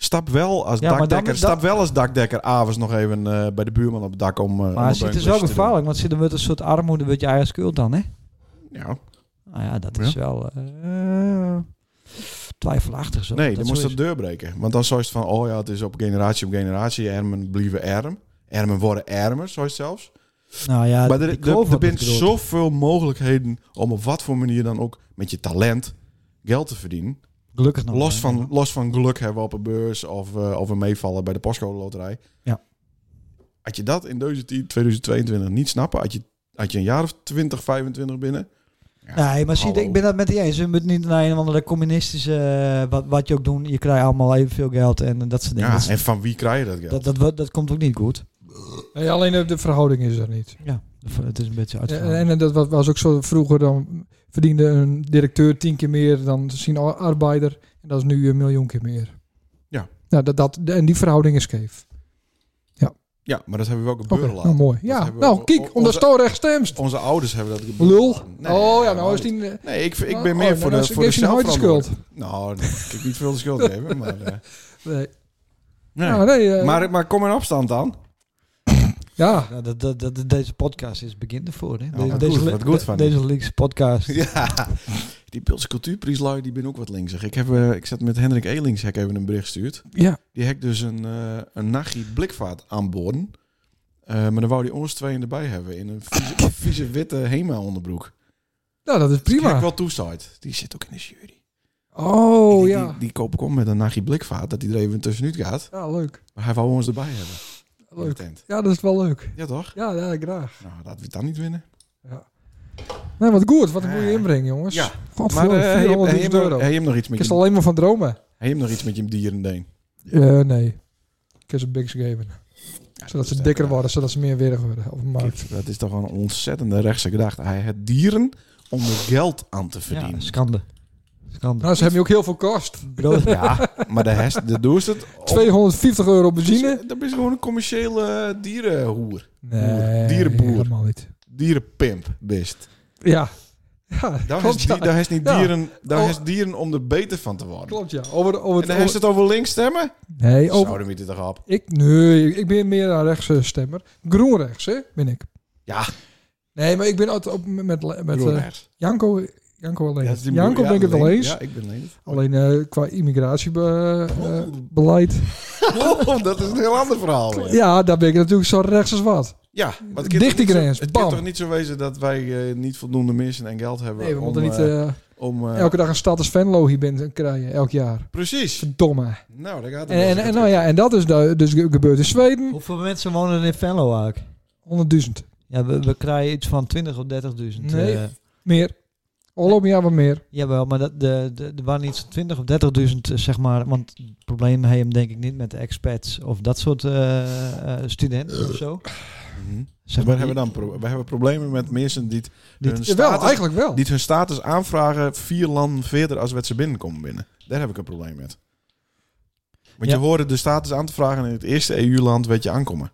S2: Stap wel als
S4: Ja, maar dan-
S2: dakdekker,
S4: dan-
S2: stap wel als dakdekker avonds nog even eh, bij de buurman op het dak om. eh, om
S4: Maar
S2: een
S4: het is wel
S2: beunkusje te
S4: gevaarlijk, want zit er wordt een soort armoede, wordt je eigen schuld dan, hè?
S2: doen. Ja.
S4: Nou ja, dat is wel eh, twijfelachtig zo.
S2: Nee,
S4: dat
S2: dan
S4: zo
S2: moest
S4: is.
S2: dat deur breken. Want dan zou je het van, oh ja, het is op generatie op generatie. Ermen blijven erm. Ermen worden ermer, zo is het zelfs.
S4: Nou ja,
S2: maar er,
S4: die
S2: er,
S4: kloof
S2: er
S4: wordt
S2: zijn
S4: groter.
S2: zoveel mogelijkheden om op wat voor manier dan ook met je talent geld te verdienen.
S4: Gelukkig nog.
S2: los,
S4: hè.
S2: van, los van geluk hebben op een beurs of, eh of een meevallen bij de postcode loterij.
S4: Ja.
S2: Had je dat in deze 10 2022 niet snappen, had je, had je een jaar of 20, 25 binnen.
S4: Nee, maar zie, je,
S2: Hallo.
S4: ik ben dat met die eens. Je moet niet naar een of andere communistische... eh, wat, wat je ook doet, je krijgt allemaal evenveel geld en dat soort dingen.
S2: Ja,
S4: dat, is-
S2: en van wie krijg je dat geld?
S4: dat, dat, wordt- dat komt ook niet goed.
S3: Nee, alleen de- de verhouding is er niet.
S4: Ja, het is een beetje
S3: Ja,
S4: uitgegaan.
S3: en dat was- was ook zo vroeger, dan verdiende een directeur tien keer meer dan zijn ar- arbeider. En dat is nu een miljoen keer meer.
S2: Ja.
S3: Nou, dat, dat, en die verhouding is scheef.
S2: Ja, maar dat hebben we ook op
S3: Oké,
S2: beuren
S3: nou
S2: laten.
S3: mooi.
S2: Dat
S3: Ja,
S2: hebben we
S3: nou
S2: ook-
S3: kijk, omdat
S2: onze-
S3: Stoor recht stemt.
S2: Onze ouders hebben dat gebeurd.
S3: Lul.
S2: Nee,
S3: oh ja,
S2: helemaal
S3: nou is
S2: niet.
S3: die... eh,
S2: Nee, ik, ik
S3: oh,
S2: ben meer
S3: oh,
S2: voor
S3: nou,
S2: de,
S3: ze
S2: voor de
S3: geeft je nooit de
S2: zelfverantwoording. Nou, nee, ik heb niet veel de schuld geven, maar... eh,
S3: Nee.
S2: nee.
S3: Nou, nee, eh,
S2: maar, maar kom in opstand aan.
S3: ja.
S4: Nou, dat, dat, dat- deze podcast is het begin ervoor. Hè?
S2: Nou,
S4: Deze-
S2: wat
S4: deze,
S2: goed,
S4: li-
S2: wat goed van
S4: deze linkse podcast.
S2: Ja, die Pulse Cultuurprieslui, die ben ook wat linksig. Ik, heb, eh, ik zat met Hendrik Elings, heb ik even een bericht gestuurd.
S3: Ja.
S2: Die hek dus een, eh een nachtje blikvaart aanboorden. Eh maar dan wou die ons tweeën erbij hebben in een
S3: [COUGHS]
S2: vieze, vieze witte Hema-onderbroek.
S3: Nou, dat is
S2: Prima.
S3: prima.
S2: wel toestaat. Die zit ook in de jury.
S3: Oh,
S2: die,
S3: ja.
S2: Die, die koop ik om met een nachtje blikvaart, dat die er even tussenuit gaat.
S3: Ja, leuk.
S2: Maar hij wou ons erbij hebben. in de
S3: leuk.
S2: tent.
S3: Ja, dat is wel leuk.
S2: Ja, toch?
S3: Ja, ja, graag.
S2: Nou, dat we het dan niet winnen.
S3: Nee, wat goed. Wat een goede
S2: Ja.
S3: inbreng, jongens.
S2: Ja. Maar
S3: Godverdomme,
S2: eh, hij heeft-
S3: 400
S2: hij heeft nog-
S3: euro.
S2: hij heeft nog iets
S3: Ik
S2: met
S3: is
S2: je,
S3: er alleen maar van dromen.
S2: hij heeft nog iets met je dierendeen.
S3: Eh, nee. Ik heb ze biks geven. Zodat ze dikker
S2: was.
S3: worden, zodat ze meer weerig worden op de markt.
S2: eh, Dat is toch een ontzettende rechtse gedachte. Hij had dieren om er geld aan te verdienen.
S4: Ja, schande. Schande.
S3: Nou, ze hebben je ook heel veel kost.
S4: Brood-
S2: Ja, maar de hest, de doest
S3: [LAUGHS]
S2: het. op-
S3: 250 euro benzine.
S2: Dat is gewoon een commerciële eh, dierenhoer.
S3: Nee,
S2: Dierenboer.
S3: helemaal niet.
S2: Dierenpimp, best.
S3: Ja. Ja,
S2: Daar
S3: klopt,
S2: is,
S3: ja.
S2: die- daar is niet
S3: Ja.
S2: dieren, daar
S3: Oh.
S2: is dieren om er beter van te worden.
S3: Klopt, ja. Over, over,
S2: En
S3: het-
S2: daar is
S3: over,
S2: het over links stemmen?
S3: nee, over,
S2: Zouden we dit toch op?
S3: Ik, nee, ik ben meer een rechtse stemmer. Groenrechts, hè, ben ik.
S2: Ja.
S3: Nee, maar ik ben altijd op met, met, met
S2: Groen
S3: eh,
S2: rechts.
S3: Janko, Janko alleen.
S2: Ja, dat is die
S3: Janko
S2: broer-
S3: ben ik het
S2: ja,
S3: wel
S2: Leen- [LAUGHS]
S3: eens.
S2: Ja, ik ben alleen.
S3: Alleen eh, qua immigratiebeleid.
S2: Oh, dat is een heel ander verhaal. weer.
S3: ja, daar ben ik natuurlijk zo rechts als wat.
S2: Ja, maar het kan toch
S3: Dicht die
S2: niet zo-
S3: grens,
S2: Het
S3: bam.
S2: kan toch niet zo wezen dat wij eh, niet voldoende mensen en geld hebben
S3: Nee, we
S2: om,
S3: moeten niet
S2: eh,
S3: eh,
S2: om eh,
S3: elke dag een status Venlo hier binnen krijgen, elk jaar.
S2: Precies.
S3: Verdomme.
S2: Nou, daar gaat het.
S3: En, en, en, nou ja, en dat is da- dus ge- gebeurd in Zweden. 100.000.
S4: [LAUGHS] Hoeveel mensen wonen in Venlo eigenlijk? Ja, we, we krijgen iets van 20 of 30.000.
S3: Nee.
S4: eh,
S3: Meer. Al jaar wat meer.
S4: jawel, maar dat, de, de, er waren iets van 20 of 30.000, eh, zeg maar. Want het probleem heeft hem denk ik niet met de expats of dat soort eh, eh, studenten of zo.
S2: Mhm.
S4: Zeg
S2: Waar
S4: maar,
S2: hebben we dan pro- we hebben problemen met mensen die, het-
S4: Dit-
S2: hun
S3: Wel,
S2: status,
S3: eigenlijk wel.
S2: die het hun status aanvragen vier landen verder als wat ze binnenkomen binnen. Daar heb ik een probleem met. Want
S4: Ja.
S2: je hoorde de status aan te vragen in het eerste EU-land weet je aankomen.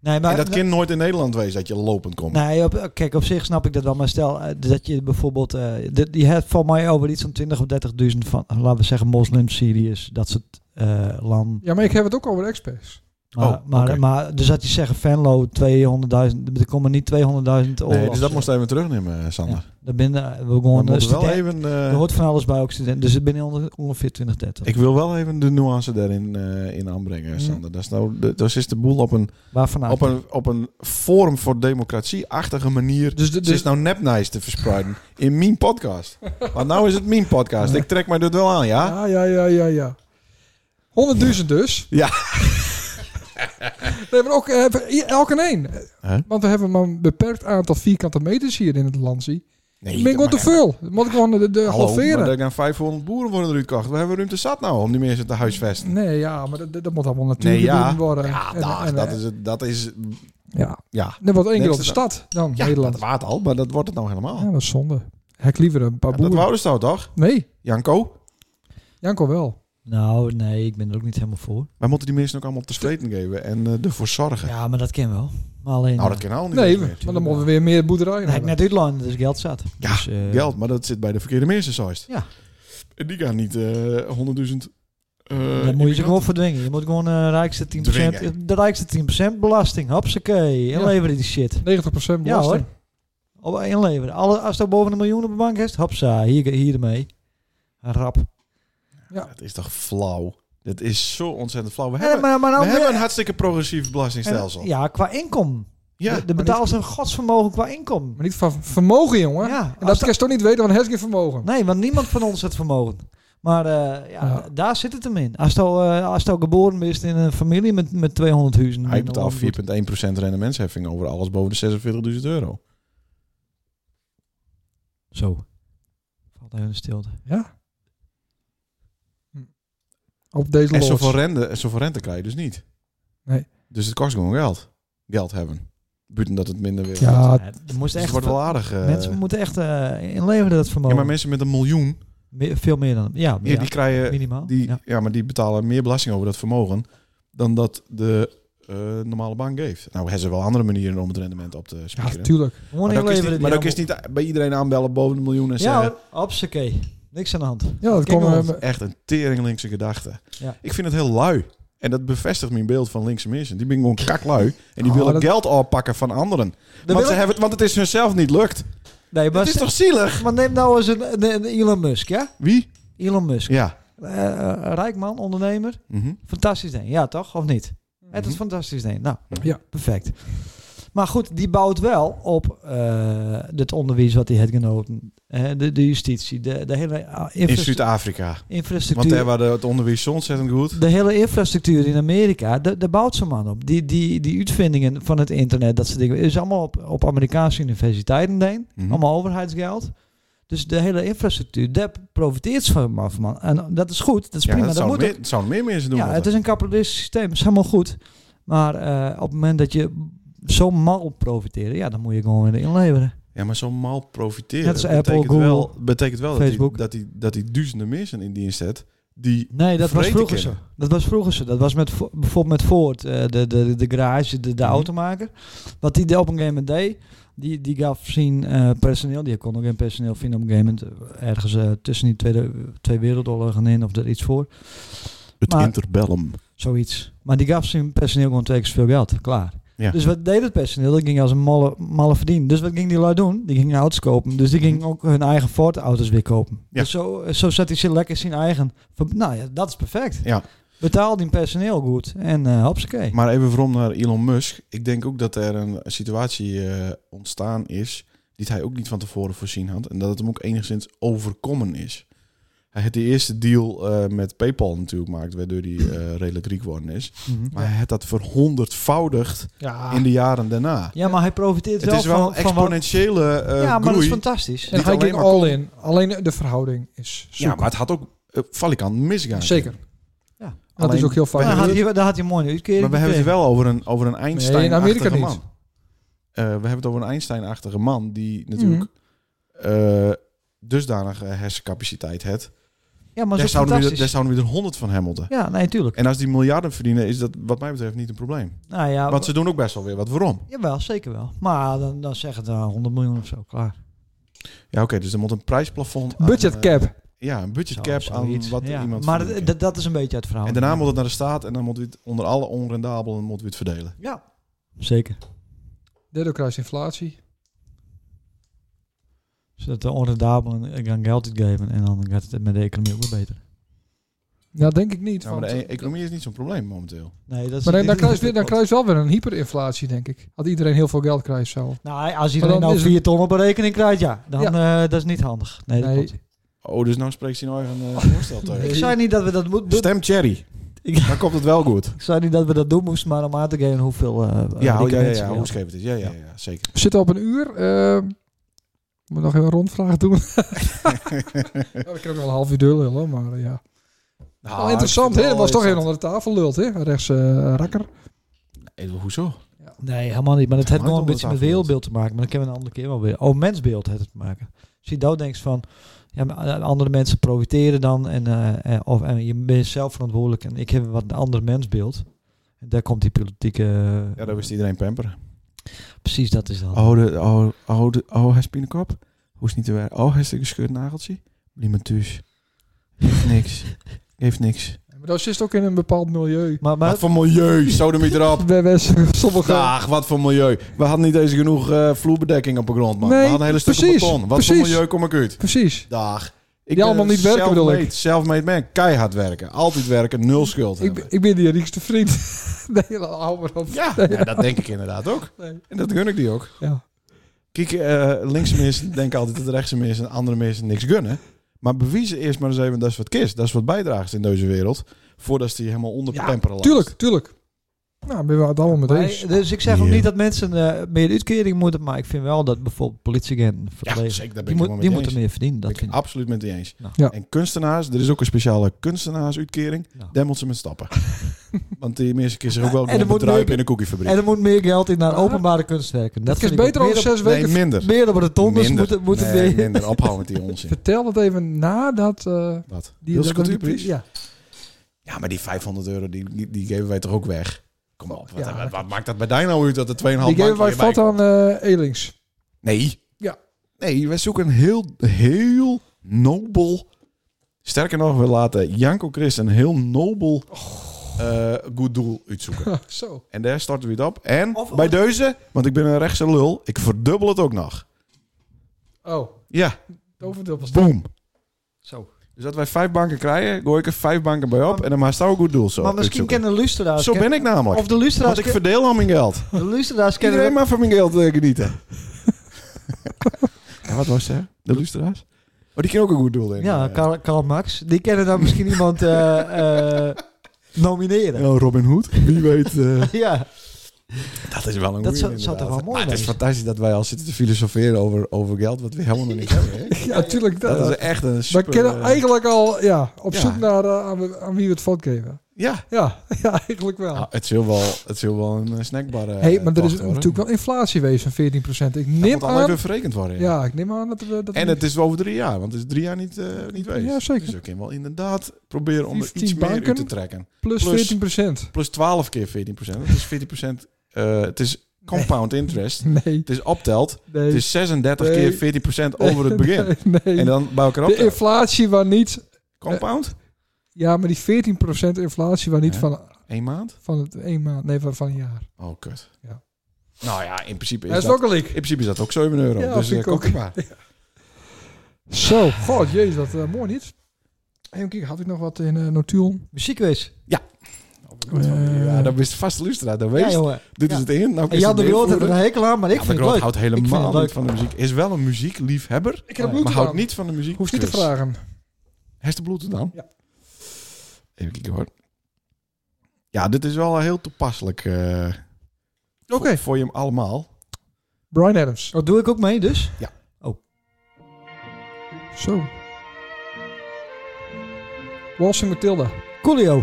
S4: Nee,
S2: en
S3: Nou,
S4: maar,
S2: dat kind nooit in Nederland wees dat je lopend komt.
S4: Nee, op, kijk, op zich snap ik dat wel. Maar stel eh, dat je bijvoorbeeld... eh de, je hebt voor mij over iets van 20 of 30.000 van, laten we zeggen, moslims, Syriërs, dat soort eh landen.
S3: Ja, maar ik heb het ook over experts.
S4: Maar,
S2: Oh,
S4: maar,
S2: oké.
S4: maar dus dat je zeggen Venlo 200.000, er komen niet 200.000
S2: Nee,
S4: oorlogs.
S2: dus dat moest even terugnemen, eh,
S4: Ja,
S2: Sander.
S4: daar binnen we
S2: We
S4: gewoon eh,
S2: moeten wel
S4: studenten-
S2: even, eh,
S4: Er hoort van alles bij ook studenten. Dus het binnen onder- ongeveer 20, 30.
S2: ik wil wel even de nuance daarin eh, in
S3: Mm.
S2: aanbrengen, Sander. Dat is nou, de- dat is de boel op een,
S4: Waarvan
S2: op een, op een vorm voor democratie-achtige manier
S3: Dus, de-
S2: Ze is
S3: dus,
S2: nou nepnice te verspreiden in mijn podcast. Want nou is het mijn podcast. Ik trek mij dit wel aan, ja?
S3: ja, ja, ja, ja, ja. 100.000 dus.
S2: Ja.
S3: [LAUGHS] Nee, maar ook eh, voor i- elke een.
S2: Huh?
S3: Want we hebben maar een beperkt aantal vierkante meters hier in het land. Zie.
S2: Nee,
S3: ik ben gewoon te veel. Dan moet ik gewoon de, de
S2: Hallo, maar
S3: halveren.
S2: er gaan 500 boeren worden eruit gekocht. We hebben ruimte zat nou om die mensen te huisvesten.
S3: Nee, ja, maar dat, dat- dat moet allemaal natuurlijk
S2: Nee, ja.
S3: worden.
S2: Ja,
S3: En-
S2: dag,
S3: en-
S2: dat is het. Dat is,
S3: Ja,
S2: ja,
S3: dat wordt één keer op de
S2: Niks te
S3: stad dan,
S2: ja
S3: Nederland.
S2: dat waard al, maar dat wordt het nou helemaal.
S3: Ja, dat is zonde. Hek liever een paar
S2: Ja, dat
S3: boeren.
S2: wouden ze nou toch?
S3: Nee,
S2: Janko,
S3: Janko wel.
S4: Nou, nee, ik ben er ook niet helemaal voor.
S2: wij moeten die mensen ook allemaal op de streten geven en eh, ervoor zorgen.
S4: Ja, maar dat ken wel. Maar alleen...
S2: Nou, dat kan al niet
S3: Nee,
S2: meer.
S3: maar dan moeten we weer meer boerderijen
S4: Nee, ik
S3: hebben.
S4: net Uitland, dus geld zat.
S2: Ja,
S4: dus, eh,
S2: Geld, maar dat zit bij de verkeerde mensen, zoals
S4: Ja.
S2: En die gaan niet eh 100.000... eh,
S4: dat moet je ze
S2: immigranten
S4: gewoon verdwingen. Je moet gewoon eh rijkste 10%,
S2: Dwingen.
S4: de rijkste 10% belasting. Hopsakee, inleveren die shit.
S3: 90% belasting.
S4: Op inleveren. Alle, als dat boven een miljoen op de bank is, hopsa, hier, hier ermee. Rap.
S2: Het is toch flauw? Dat is zo ontzettend flauw. We
S4: Ja,
S2: hebben,
S4: maar, maar
S2: we
S4: nou,
S2: hebben een hartstikke progressief belastingstelsel. Ja.
S4: ja, qua inkom.
S2: Ja.
S4: de, de betaalt zijn godsvermogen qua inkom.
S3: Maar niet van vermogen, jongen.
S4: Ja,
S3: En dat
S4: als
S3: kan je toch niet weten, want hij heeft geen vermogen.
S4: Nee, want niemand van ons het vermogen. Maar eh, ja,
S3: Ja.
S4: d- daar zit het hem in. Als je eh, als je geboren bent in een familie met, met 200 huizen.
S2: Hij
S4: in een
S2: betaalt 4,1%
S4: landgoed.
S2: rendementsheffing over alles boven de 46.000 euro.
S4: Zo. Valt even een stilte.
S3: Ja. Op deze
S2: En
S3: loods.
S2: zoveel rente, en zoveel rente krijg je dus niet.
S3: Nee.
S2: Dus het kost gewoon geld. Geld hebben. Buiten dat het minder weer. Dus
S3: Ja,
S4: Ja, er moest
S2: het
S4: echt,
S2: wordt wel aardig. eh.
S4: mensen moeten echt eh, inleveren dat
S2: ja,
S4: vermogen.
S2: maar mensen met een miljoen,
S4: Me- veel meer dan. Ja,
S2: ja,
S4: ja,
S2: die krijgen...
S4: minimaal.
S2: Die, ja.
S4: ja.
S2: maar die betalen meer belasting over dat vermogen dan dat de eh, normale bank geeft. Nou, hebben ze wel andere manieren om het rendement op te
S3: ja,
S2: spiegelen.
S3: tuurlijk.
S4: Gewoon
S2: Maar dan kun je
S4: inleveren.
S2: niet,
S4: die
S2: maar dan kun
S4: allemaal-
S2: je niet bij iedereen aanbellen boven de miljoen en
S4: Ja,
S2: zeggen...
S4: hoor. hopsakee. Niks aan de hand.
S3: Ja, dat eh,
S4: Kijk
S3: kon
S4: jongens.
S3: hem.
S2: Echt een teringlinkse gedachte.
S4: Ja.
S2: Ik vind het heel lui. En dat bevestigt mijn beeld van linkse mensen. Die ben gewoon kraklui. En die
S3: Oh,
S2: willen
S3: dat-
S2: geld oppakken van anderen.
S4: Dan
S2: Want, ze
S4: wil ik-
S2: hebben, het- want het is hunzelf niet lukt.
S4: Nee, maar,
S2: Het is
S4: ze-
S2: toch zielig?
S4: maar neem nou eens een, een, een Elon Musk, ja?
S2: Wie?
S4: Elon Musk.
S2: Ja.
S4: Eh, eh, rijk man, ondernemer.
S2: Mhm.
S4: Fantastisch ding. Ja, toch? Of niet? Het is fantastisch ding. Nou,
S3: Ja.
S4: perfect. Maar goed, die bouwt wel op eh, het onderwijs wat hij heeft genoten. Eh, de, de justitie, de, de hele ah,
S2: In
S4: infra-
S2: Zuid-Afrika. Want
S4: infrastructuur.
S2: daar waren het onderwijs zo ontzettend goed.
S4: De hele infrastructuur in Amerika, da- daar bouwt zo'n man op. Die, die, die uitvindingen van het internet, dat soort dingen, is allemaal op, op Amerikaanse universiteiten deen.
S2: Mhm.
S4: Allemaal overheidsgeld. Dus de hele infrastructuur, daar profiteert ze van, van man. En dat is goed, dat is
S2: Ja,
S4: prima.
S2: dat
S4: dat
S2: zouden
S4: moet
S2: meer, zouden meer mensen doen.
S4: ja, het is een kapitalistisch systeem. Dat is helemaal goed. Maar eh, op het moment dat je zo mal profiteren, ja, dan moet je gewoon weer inleveren.
S2: Ja, maar zo'n mal profiteren.
S4: Net als Apple,
S2: betekent
S4: Google,
S2: wel, betekent wel dat hij,
S4: Facebook.
S2: dat, hij, dat hij duizenden mensen in dienst zet. Die,
S4: Nee, dat was
S2: Vreten
S4: vroeger zo.
S2: kennen.
S4: Dat was vroeger zo. Dat was met, Fo- bijvoorbeeld met Ford, eh, de, de, de garage, de, de
S2: Mhm.
S4: automaker. Wat die op een gegeven moment deed, die, die gaf zien eh, personeel. Die kon ook geen personeel vinden op een gegeven moment. eh, Ergens eh, tussen die tweede, twee wereldoorlogen in of er iets voor.
S2: het
S4: maar-
S2: interbellum.
S4: Zoiets. Maar die gaf zijn personeel gewoon twee keer zoveel geld. Klaar.
S2: Ja.
S4: Dus wat deed het personeel? Dat ging als een malle, malle verdienen. Dus wat ging die lui doen? Die gingen auto's kopen. Dus die gingen ook hun eigen Ford-auto's weer kopen.
S2: Ja.
S4: Dus zo, zo zat hij zich lekker zijn eigen... ver- Nou ja, dat is perfect.
S2: Ja.
S4: Betaal die personeel goed. En eh hopsakee.
S2: Maar even voorom naar Elon Musk. Ik denk ook dat er een situatie eh, ontstaan is die hij ook niet van tevoren voorzien had. En dat het hem ook enigszins overkomen is. Hij had die eerste deal eh, met PayPal natuurlijk gemaakt, waardoor hij eh, redelijk riek geworden is.
S4: Mhm.
S2: Maar hij had dat verhonderdvoudigd
S3: Ja.
S2: in de jaren daarna.
S4: Ja, maar hij profiteert
S2: Het
S4: Ah. wel
S2: is wel een
S4: van... van wat-
S2: exponentiële eh
S4: ja, maar dat is
S2: groei.
S4: fantastisch. Nou,
S3: En
S2: Niet
S3: hij
S2: alleen
S3: ging
S2: maar
S3: all in. Alleen de verhouding is
S2: ja,
S3: zoek.
S2: maar het had ook eh, valikant misgaan.
S3: Zeker.
S4: Ja.
S3: Ja. Dat
S2: Alleen-
S3: is ook heel
S2: we
S4: Daar
S3: fijn.
S4: had,
S2: hebben-
S4: hij, daar had hij een mooie uitkering
S2: Maar we hebben het
S4: gekregen.
S2: wel over een, over een einstein
S3: in Amerika niet.
S2: man. Eh, we hebben het over een Einstein-achtige man
S3: Mhm.
S2: die natuurlijk eh, dusdanige hersencapaciteit heeft.
S4: Ja, maar
S2: Daar
S4: zo
S2: zouden, we,
S4: fantastisch.
S2: daar zouden we er honderd van hem moeten.
S4: Ja, nee, tuurlijk.
S2: En als die miljarden verdienen, is dat wat mij betreft niet een probleem.
S4: Nou ja,
S2: Want ze doen ook best wel weer wat. Waarom?
S4: jawel, zeker wel. Maar dan, dan zeg het dan 100 miljoen of zo, klaar.
S2: Ja, oké, dus er moet een prijsplafond... aan,
S3: Budget
S2: eh,
S3: cap.
S2: ja, een budget
S4: Zo-
S2: cap
S4: zoiets.
S2: aan wat
S4: Ja,
S2: iemand
S4: Maar
S2: verdient.
S4: dat, dat- dat is een beetje het verhaal.
S2: En daarna moet het naar de staat en dan moet het onder alle onrendabelen moet het verdelen.
S4: Ja, zeker.
S3: Daardoor krijg je inflatie.
S4: Zodat de onredabelen gaan geld uitgeven en dan gaat het met de economie ook weer beter.
S3: Nou, denk ik niet.
S2: Nou, maar
S3: want-
S2: de e- economie is niet zo'n probleem momenteel.
S4: Nee, dat is
S3: Maar dan, dan,
S4: dit is
S3: krijg je, weer- dan
S4: natuurlijk
S3: krijg je wel weer een hyperinflatie, denk ik. Had iedereen heel veel geld krijgt zou.
S4: wat. Nou, als iedereen
S3: dan
S4: nou
S3: is het-
S4: 4 ton op een rekening krijgt, ja, dan eh, dat is niet handig. Nee, dat
S3: Nee.
S4: klopt.
S2: Oh, dus nou spreekt hij nou even [LAUGHS] een eh, voorstel tegen.
S4: Ik zei niet dat we dat moeten doen.
S2: Stem Cherry.
S4: Ik-
S2: Dan komt het wel goed.
S4: Ik zei niet dat we dat doen moesten, maar om aan te geven hoeveel. eh,
S2: Ja,
S4: rijke
S2: oh, ja, ja,
S4: mensen
S2: ja,
S4: we
S2: hoe
S4: hebben.
S2: scheef het is. Ja, ja, ja, zeker.
S3: We zitten op een uur. eh, moet nog even een rondvraag
S4: [LAUGHS]
S3: doen. nou, dat kan ook wel een half uur deur lullen, maar eh, ja.
S4: Ah,
S2: Nou,
S3: wel interessant,
S2: ik vind
S3: hè? Dat
S2: het
S3: was toch
S2: wel
S3: heel onder de tafel lult, hè? Rechts eh, rakker.
S2: interessant. Eh, hoezo?
S4: Nee, helemaal niet. Maar het heeft
S2: Helemaal
S4: nog
S2: niet
S4: een beetje met
S2: onder tafel.
S4: wereldbeeld te maken. Maar dat kunnen we een andere keer wel weer. Oh, mensbeeld heeft het te maken. Als je daar denkt van, ja, maar a- andere mensen profiteren dan. En, eh, eh, of, en je bent zelf verantwoordelijk. En ik heb wat een ander mensbeeld. En daar komt die politieke...
S2: Ja, daar wist iedereen pamperen.
S4: Precies, dat is dan.
S2: Oh, de, oh, oh, de, oh hij is binnenkop. Hoe is het niet te werken? Oh, hij is een gescheurd nageltje. Niemand thuis. Geeft niks. Geeft niks.
S3: Maar dat zit ook in een bepaald milieu.
S4: Maar, maar
S2: Wat voor milieu? Sodemiet erop.
S3: Bij bij sommige.
S2: Dag, wat voor milieu. We hadden niet eens genoeg eh, vloerbedekking op de grond, man.
S3: Nee,
S2: we hadden hele stukken
S3: precies,
S2: beton. Wat voor
S3: precies.
S2: milieu kom ik uit?
S3: Precies.
S2: Dag. Ik
S3: Die
S2: ben
S3: allemaal niet werken, bedoel ik.
S2: self-made- Self-made man. Keihard werken. Altijd werken. Nul schuld
S3: Ik,
S2: hebben.
S3: ben- ik ben die riekste vriend. [LAUGHS] nee, hou maar op.
S2: Ja, ja, dat denk ik inderdaad ook.
S3: Nee.
S2: En dat gun ik die ook.
S3: Ja.
S2: Kijk, eh, linkse mensen denken altijd dat rechtse mensen en andere mensen niks gunnen. Maar bewijzen eerst maar eens even dat is wat kist. Dat is wat bijdraagt in deze wereld. Voordat ze die helemaal onderpamperen laat.
S3: Tuurlijk, tuurlijk. Nou, ben je het allemaal met
S4: Maar,
S3: eens.
S4: dus ik zeg ook
S2: Ja.
S4: niet dat mensen eh, meer uitkering moeten, maar ik vind wel dat bijvoorbeeld politieagenten,
S2: Ja,
S4: verplegers,
S2: zeker. Daar ben
S4: die,
S2: ik helemaal
S4: moet, die
S2: mee eens.
S4: moeten meer verdienen.
S2: Ben
S4: Dat
S2: ik
S4: vind ik.
S2: absoluut met die eens.
S4: Nou.
S3: Ja.
S2: En kunstenaars, er is ook een speciale kunstenaarsuitkering.
S4: Nou.
S2: Daar moeten ze met stappen. Want die mensen kunnen zich ook wel
S4: En er
S2: gewoon
S4: moet
S2: bedruipen
S4: meer-
S2: in een koekiefabriek.
S4: En er moet meer geld in naar
S3: Maar-
S4: openbare kunstwerken.
S3: Dat
S4: Dat
S3: is
S4: vind ik
S3: beter
S4: ook.
S3: over
S4: Meer
S3: zes
S2: nee,
S3: weken.
S2: minder.
S4: Meer dan de tonders
S2: Minder.
S4: moeten, moeten
S2: nee,
S4: weer-
S2: minder. Ophouden met die
S3: [LAUGHS]
S2: onzin.
S3: Vertel dat even nadat... eh
S2: Wat?
S3: die
S2: Wils
S3: dat- dat-
S2: Cultuurprijs?
S3: Ja.
S2: Ja, maar die 500 euro, die, die, die geven wij toch ook weg? Kom op, wat,
S3: Ja.
S2: wat- wat maakt dat bij jou nou uit dat er 2,5
S3: Die geven wij
S2: bankje bij
S3: vat
S2: komt?
S3: aan eh Elings.
S2: Nee.
S3: Ja.
S2: Nee, wij zoeken een heel, heel nobel... Sterker nog, we laten Janko Christ een heel nobel
S3: Oh.
S2: eh, goed doel uitzoeken.
S3: [LAUGHS] [LAUGHS] Zo.
S2: En daar starten we het op. En
S4: Of-
S2: bij deze, want ik ben een rechtse lul, ik verdubbel het ook nog.
S3: Oh,
S2: Ja,
S3: overdubbelst.
S2: boom.
S4: Zo.
S2: Dus dat wij vijf banken krijgen, gooi ik er vijf banken bij op. en dan maakt het ook een goed doel zo.
S4: maar misschien
S2: uitzoeken.
S4: kennen de luisteraars...
S2: Zo ben ik namelijk.
S4: Of de luisteraars,
S2: Want ik verdeel al mijn geld.
S4: de luisteraars kennen...
S2: Iedereen mag van mijn geld eh, [LAUGHS] genieten. en wat was ze? De luisteraars? Oh, die kennen ook een goed doel, denk ik.
S4: Ja, Karl, Karl Max. Die kennen dan
S2: [LAUGHS]
S4: misschien iemand eh, eh, nomineren.
S2: Oh, Robin Hood. Wie weet. eh,
S4: Ja.
S2: [LAUGHS] dat is wel een
S4: Dat
S2: goeie,
S4: zou- zou toch wel
S2: inderdaad.
S4: mooi
S2: Maar het is
S4: zijn.
S2: fantastisch dat wij al zitten te filosoferen over, over geld wat we helemaal nog
S4: [LAUGHS]
S2: niet hebben. hè?
S3: [LAUGHS] Ja, natuurlijk. Dat,
S2: Dat is echt een
S3: we
S2: super...
S3: kennen
S2: eh,
S3: eigenlijk al ja, op
S2: Ja.
S3: zoek naar eh, aan, we- aan wie we het valt geven.
S2: Ja.
S3: Ja, [LAUGHS] ja eigenlijk wel.
S2: Nou, het, is heel wel, het is heel wel een eh, snackbar. eh,
S3: hey, maar er is
S2: tocht, hoor.
S3: natuurlijk wel inflatie geweest van 14%. Ik
S2: Dat
S3: neem
S2: moet allemaal
S3: aan...
S2: even verrekend worden. ja.
S3: Ja, ik neem aan dat we... Dat
S2: En
S3: we-
S2: het is wel over drie jaar, want het is drie jaar niet, eh niet geweest.
S3: Ja, zeker.
S2: Dus we kunnen wel inderdaad proberen om er iets
S3: 15
S2: meer
S3: banken.
S2: uit te trekken.
S3: plus,
S2: plus-
S3: 14%.
S2: Plus 12 keer 14 procent. Dat is 14 procent. eh, het is compound interest.
S3: [LAUGHS] Nee,
S2: Het is optelt.
S3: nee.
S2: Het is 36
S3: Nee.
S2: keer 14 procent over
S3: [LAUGHS]
S2: het begin.
S3: Nee, nee.
S2: En dan bij elkaar
S3: de
S2: optelt.
S3: inflatie waar niet...
S2: Compound?
S3: Ja, maar die 14% inflatie waar niet
S2: Ja.
S3: van,
S2: Eén maand?
S3: van het een maand... Nee, van, van een jaar.
S2: Oh, kut.
S3: Ja.
S2: Nou ja, in principe is,
S3: Dat is
S2: dat,
S3: ook een leak.
S2: in principe is dat ook 7 euro.
S3: Ja,
S2: dus
S3: vind
S2: eh,
S3: ik ook.
S2: kom
S3: [LAUGHS]
S2: maar.
S3: Zo, god, jezus, wat eh, mooi niet. Even kijken, had ik nog wat in eh notulen?
S4: Muziekquiz.
S3: Eh,
S2: ja, dat wist vast de luisteraar. Dat
S4: Ja,
S2: weet
S4: jongen.
S2: Dit
S4: Ja.
S2: is het in. Nou, kun
S4: En
S2: je
S4: Jan de
S2: het
S4: Groot heeft er
S2: invoeren.
S4: een hekel aan, maar ik
S2: Ja, maar
S4: vind het
S2: Groot
S4: leuk.
S2: houdt
S4: Ik vind
S2: helemaal
S4: het leuk.
S2: niet van de muziek. Is wel een muziekliefhebber,
S3: Ik heb
S4: Ja,
S3: bloed
S2: maar houdt
S3: aan.
S2: niet van de muziek.
S3: Hoef je niet te vragen.
S2: Heeft de bloed dan?
S3: Ja.
S2: Even kijken hoor. Ja, dit is wel heel toepasselijk. eh,
S3: Oké,
S2: voor, voor je hem allemaal.
S3: Brian Adams.
S4: Dat doe ik ook mee, dus.
S3: Oh, Zo. Walsing Matilda.
S4: Coolio.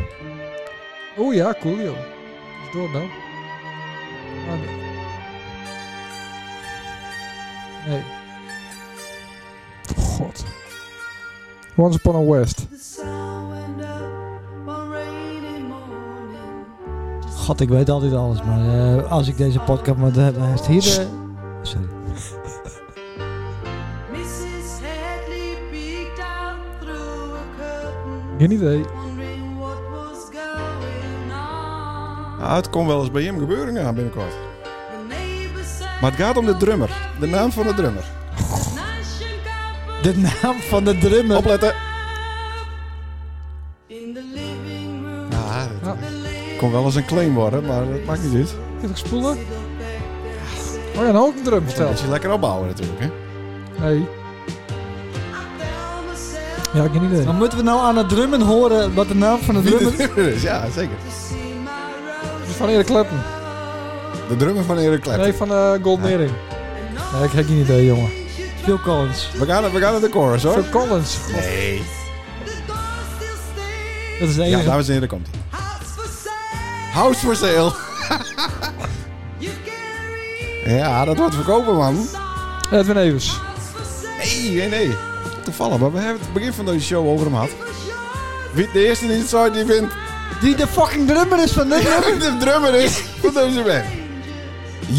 S3: Oh ja, Coolio. Is door nou. Ah, nee. Nee. God. Once Upon a West.
S6: The sun went up one rainy morning.
S4: God, ik weet altijd alles, maar eh, als ik deze podcast... Maar dan dan is het hier... de- sorry.
S6: Mrs. Hadley peeked out through a curtain,
S3: Geen idee.
S6: wondering what was going on.
S2: Ah, het kon wel eens bij hem gebeuren ja, binnenkort.
S6: The neighbor said,
S2: Maar het gaat om de drummer. De naam van de drummer.
S6: "Nice and comfort
S4: De naam van de drummer.
S2: Opletten.
S6: in the living room.
S2: Ja, dat
S3: Ja.
S2: kon wel eens een claim worden, maar dat maakt niet uit.
S3: Even spoelen. Oh ja, nou ook een drum
S2: Dat
S3: verteld.
S2: is je lekker opbouwen natuurlijk. Hè?
S3: Nee. Ja, geen idee.
S4: Dan moeten we nou aan het drummen horen wat de naam van de
S2: Wie
S4: drummer...
S2: [LAUGHS] de drummer is, ja zeker.
S3: Is Van Erik Clapton.
S2: De drummer van Erik Clapton.
S3: Nee, van eh Golden Earring. Nee, ik heb geen idee, jongen.
S4: Phil Collins.
S2: We, gaan, we gaan naar de chorus hoor.
S3: Phil Collins.
S2: Nee.
S4: Dat is de
S2: Ja,
S4: enige.
S2: dames en heren, daar komt hij. House for sale. Ja, dat wordt verkopen man.
S3: Edwin Evers.
S2: Nee, nee, nee. Toevallig, maar we hebben het begin van deze show over hem gehad. Wie de eerste die het zou, die vindt
S4: Die de fucking drummer is van dit
S3: Oh,
S4: nummer.
S2: wie de drummer is van deze band.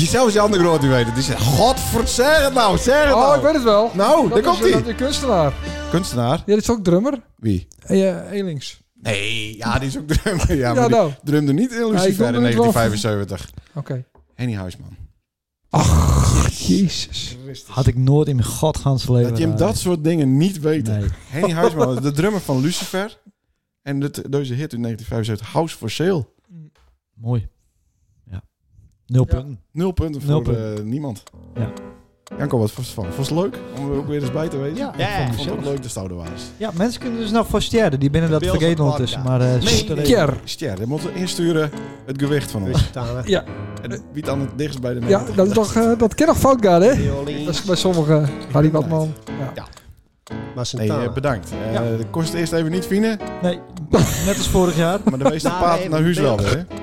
S2: Jezelf Jan de Groot, die weet het. Die zegt, godver, zeg het nou, zeg het
S3: Oh,
S2: nou.
S3: ik weet het wel.
S2: Nou,
S3: Dat
S2: daar
S3: is,
S2: komt-ie.
S3: eh, De kunstenaar.
S2: Kunstenaar?
S3: Ja, dit is ook drummer.
S2: Wie?
S3: En ja, Elings.
S2: Nee, ja, die is ook drummer. Ja, maar
S3: Ja,
S2: die
S3: nou.
S2: drumde niet in
S3: Ja, ik
S2: Lucifer
S3: noemde
S2: in
S3: het wel.
S2: 1975.
S3: Oké.
S2: Henny Huisman.
S3: Jezus.
S4: Had ik nooit in mijn godgans leven.
S2: Dat je
S3: nou,
S2: hem dat soort dingen niet weet.
S4: Nee.
S2: Henny Huisman was de drummer van Lucifer. En dit, deze hit in 1975, House for Sale.
S4: Mooi. Ja. Nul
S3: Ja.
S4: punten.
S2: Nul punten
S4: Nul
S2: voor
S4: punten.
S2: eh, niemand.
S4: Ja.
S2: Janko, wat vond je ervan? Vond je het leuk om er ook weer eens bij te wezen?
S4: Ja, ik
S2: ik
S4: vond het
S2: vond het ook
S4: gezellig.
S2: leuk dat Stouder was.
S4: Ja, mensen kunnen dus nog vaststellen. Die binnen dat
S1: Beelden
S4: vergeten
S1: van
S4: ondertussen. Maar
S1: Barca.
S4: eh,
S1: Nee,
S4: zit er
S1: nee.
S4: even-
S3: Kier.
S2: Stjer, we moeten insturen het gewicht van ons.
S1: Tana,
S2: En wie dan het dichtst bij de
S3: Ja,
S2: 90.
S3: dat, is toch, eh, dat kan nog fout gaan, hè?
S1: Violin,
S3: Dat is bij sommigen. Harry Watman. Ja.
S2: Nee,
S1: Masentana.
S2: eh, bedankt. Eh,
S4: Ja.
S2: De kost eerst even niet vinden,
S4: Nee, [LAUGHS] net als vorig jaar.
S2: maar de meeste
S1: Daar
S2: paard
S1: even
S2: naar huis wel
S1: beeld.
S2: weer. hè?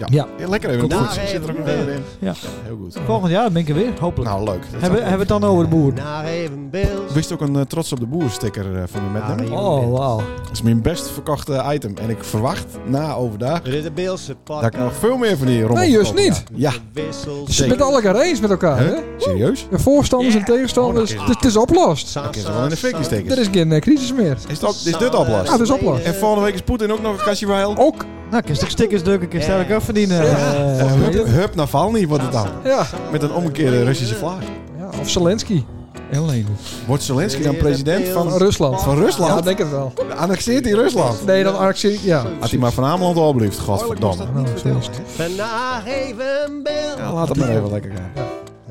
S2: Ja.
S4: Ja.
S2: Ja, lekker even.
S4: Komt
S2: goed.
S1: goed.
S2: Zit er ook nog
S1: Daar
S2: even
S1: even
S2: in.
S4: Ja.
S2: Heel goed.
S4: Volgend jaar ben ik er weer, hopelijk.
S2: Nou, leuk. Dat
S4: hebben,
S2: is
S4: hebben we het dan over de boer?
S1: Naar even beeld.
S2: leuk. Wist ook een eh, trots op de boer sticker eh, van me metnemen.
S1: Ah,
S4: Oh, wauw.
S2: Dat is mijn best verkochte item. En ik verwacht na overdag
S1: Dit is de Beelse
S2: dat ik nog veel meer van die rommel
S3: Nee, juist
S2: verkoop.
S3: niet.
S2: Ja.
S1: De wissels.
S3: Ze zijn het met elkaar eens met elkaar,
S2: Huh?
S3: hè?
S2: Serieus?
S3: De voorstanders en tegenstanders.
S2: Oh, dat
S3: Het
S2: is-
S3: is- het is oplost.
S1: Sa-
S2: Ik kan ze wel in de fik
S1: sa-
S2: steken.
S3: Er is geen eh, crisis meer.
S2: Is, dat, is dit oplast?
S1: Nou,
S3: Ja, dat is oplast.
S2: En volgende week is Poetin ook nog een kastje wel.
S3: Ook.
S4: Nou, kun je stuk stickers drukken, kun je
S1: Ja.
S4: sterk ook verdienen.
S3: Ja.
S4: eh,
S2: Hup, hup naar Valny wordt het dan.
S3: Ja.
S2: Met een omgekeerde Russische vlag.
S3: ja. Of Zelensky. Heel Lenin.
S2: Wordt Zelensky dan president van,
S3: Rusland.
S2: van
S3: Ja, ik
S2: Rusland?
S3: denk het wel.
S2: Annexeert hij Rusland?
S3: Nee, dan actie. Ja.
S2: Had hij maar van Ameland al blijft, godverdomme.
S3: Nou, zo is het.
S1: Vandaag even een beeld.
S2: Ja, laat het maar even lekker gaan. Oh,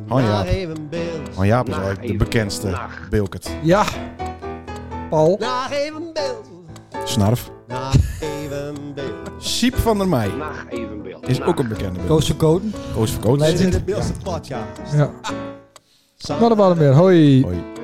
S1: Vandaag
S2: ja. Oh,
S1: even een beeld.
S2: Want Jaap is eigenlijk de bekendste Bilkert.
S3: Ja. Paul.
S1: Vandaag even een beeld.
S2: Snarf.
S1: Vandaag even een beeld.
S2: Siep van der Meij is ook een bekende Bilkert.
S4: Koos van Koten.
S2: Koos van Koot.
S1: Dit is
S4: Legend.
S1: de beeldste podcast.
S3: Ja. Nou, dat waren we weer. Hoi.
S2: Hoi.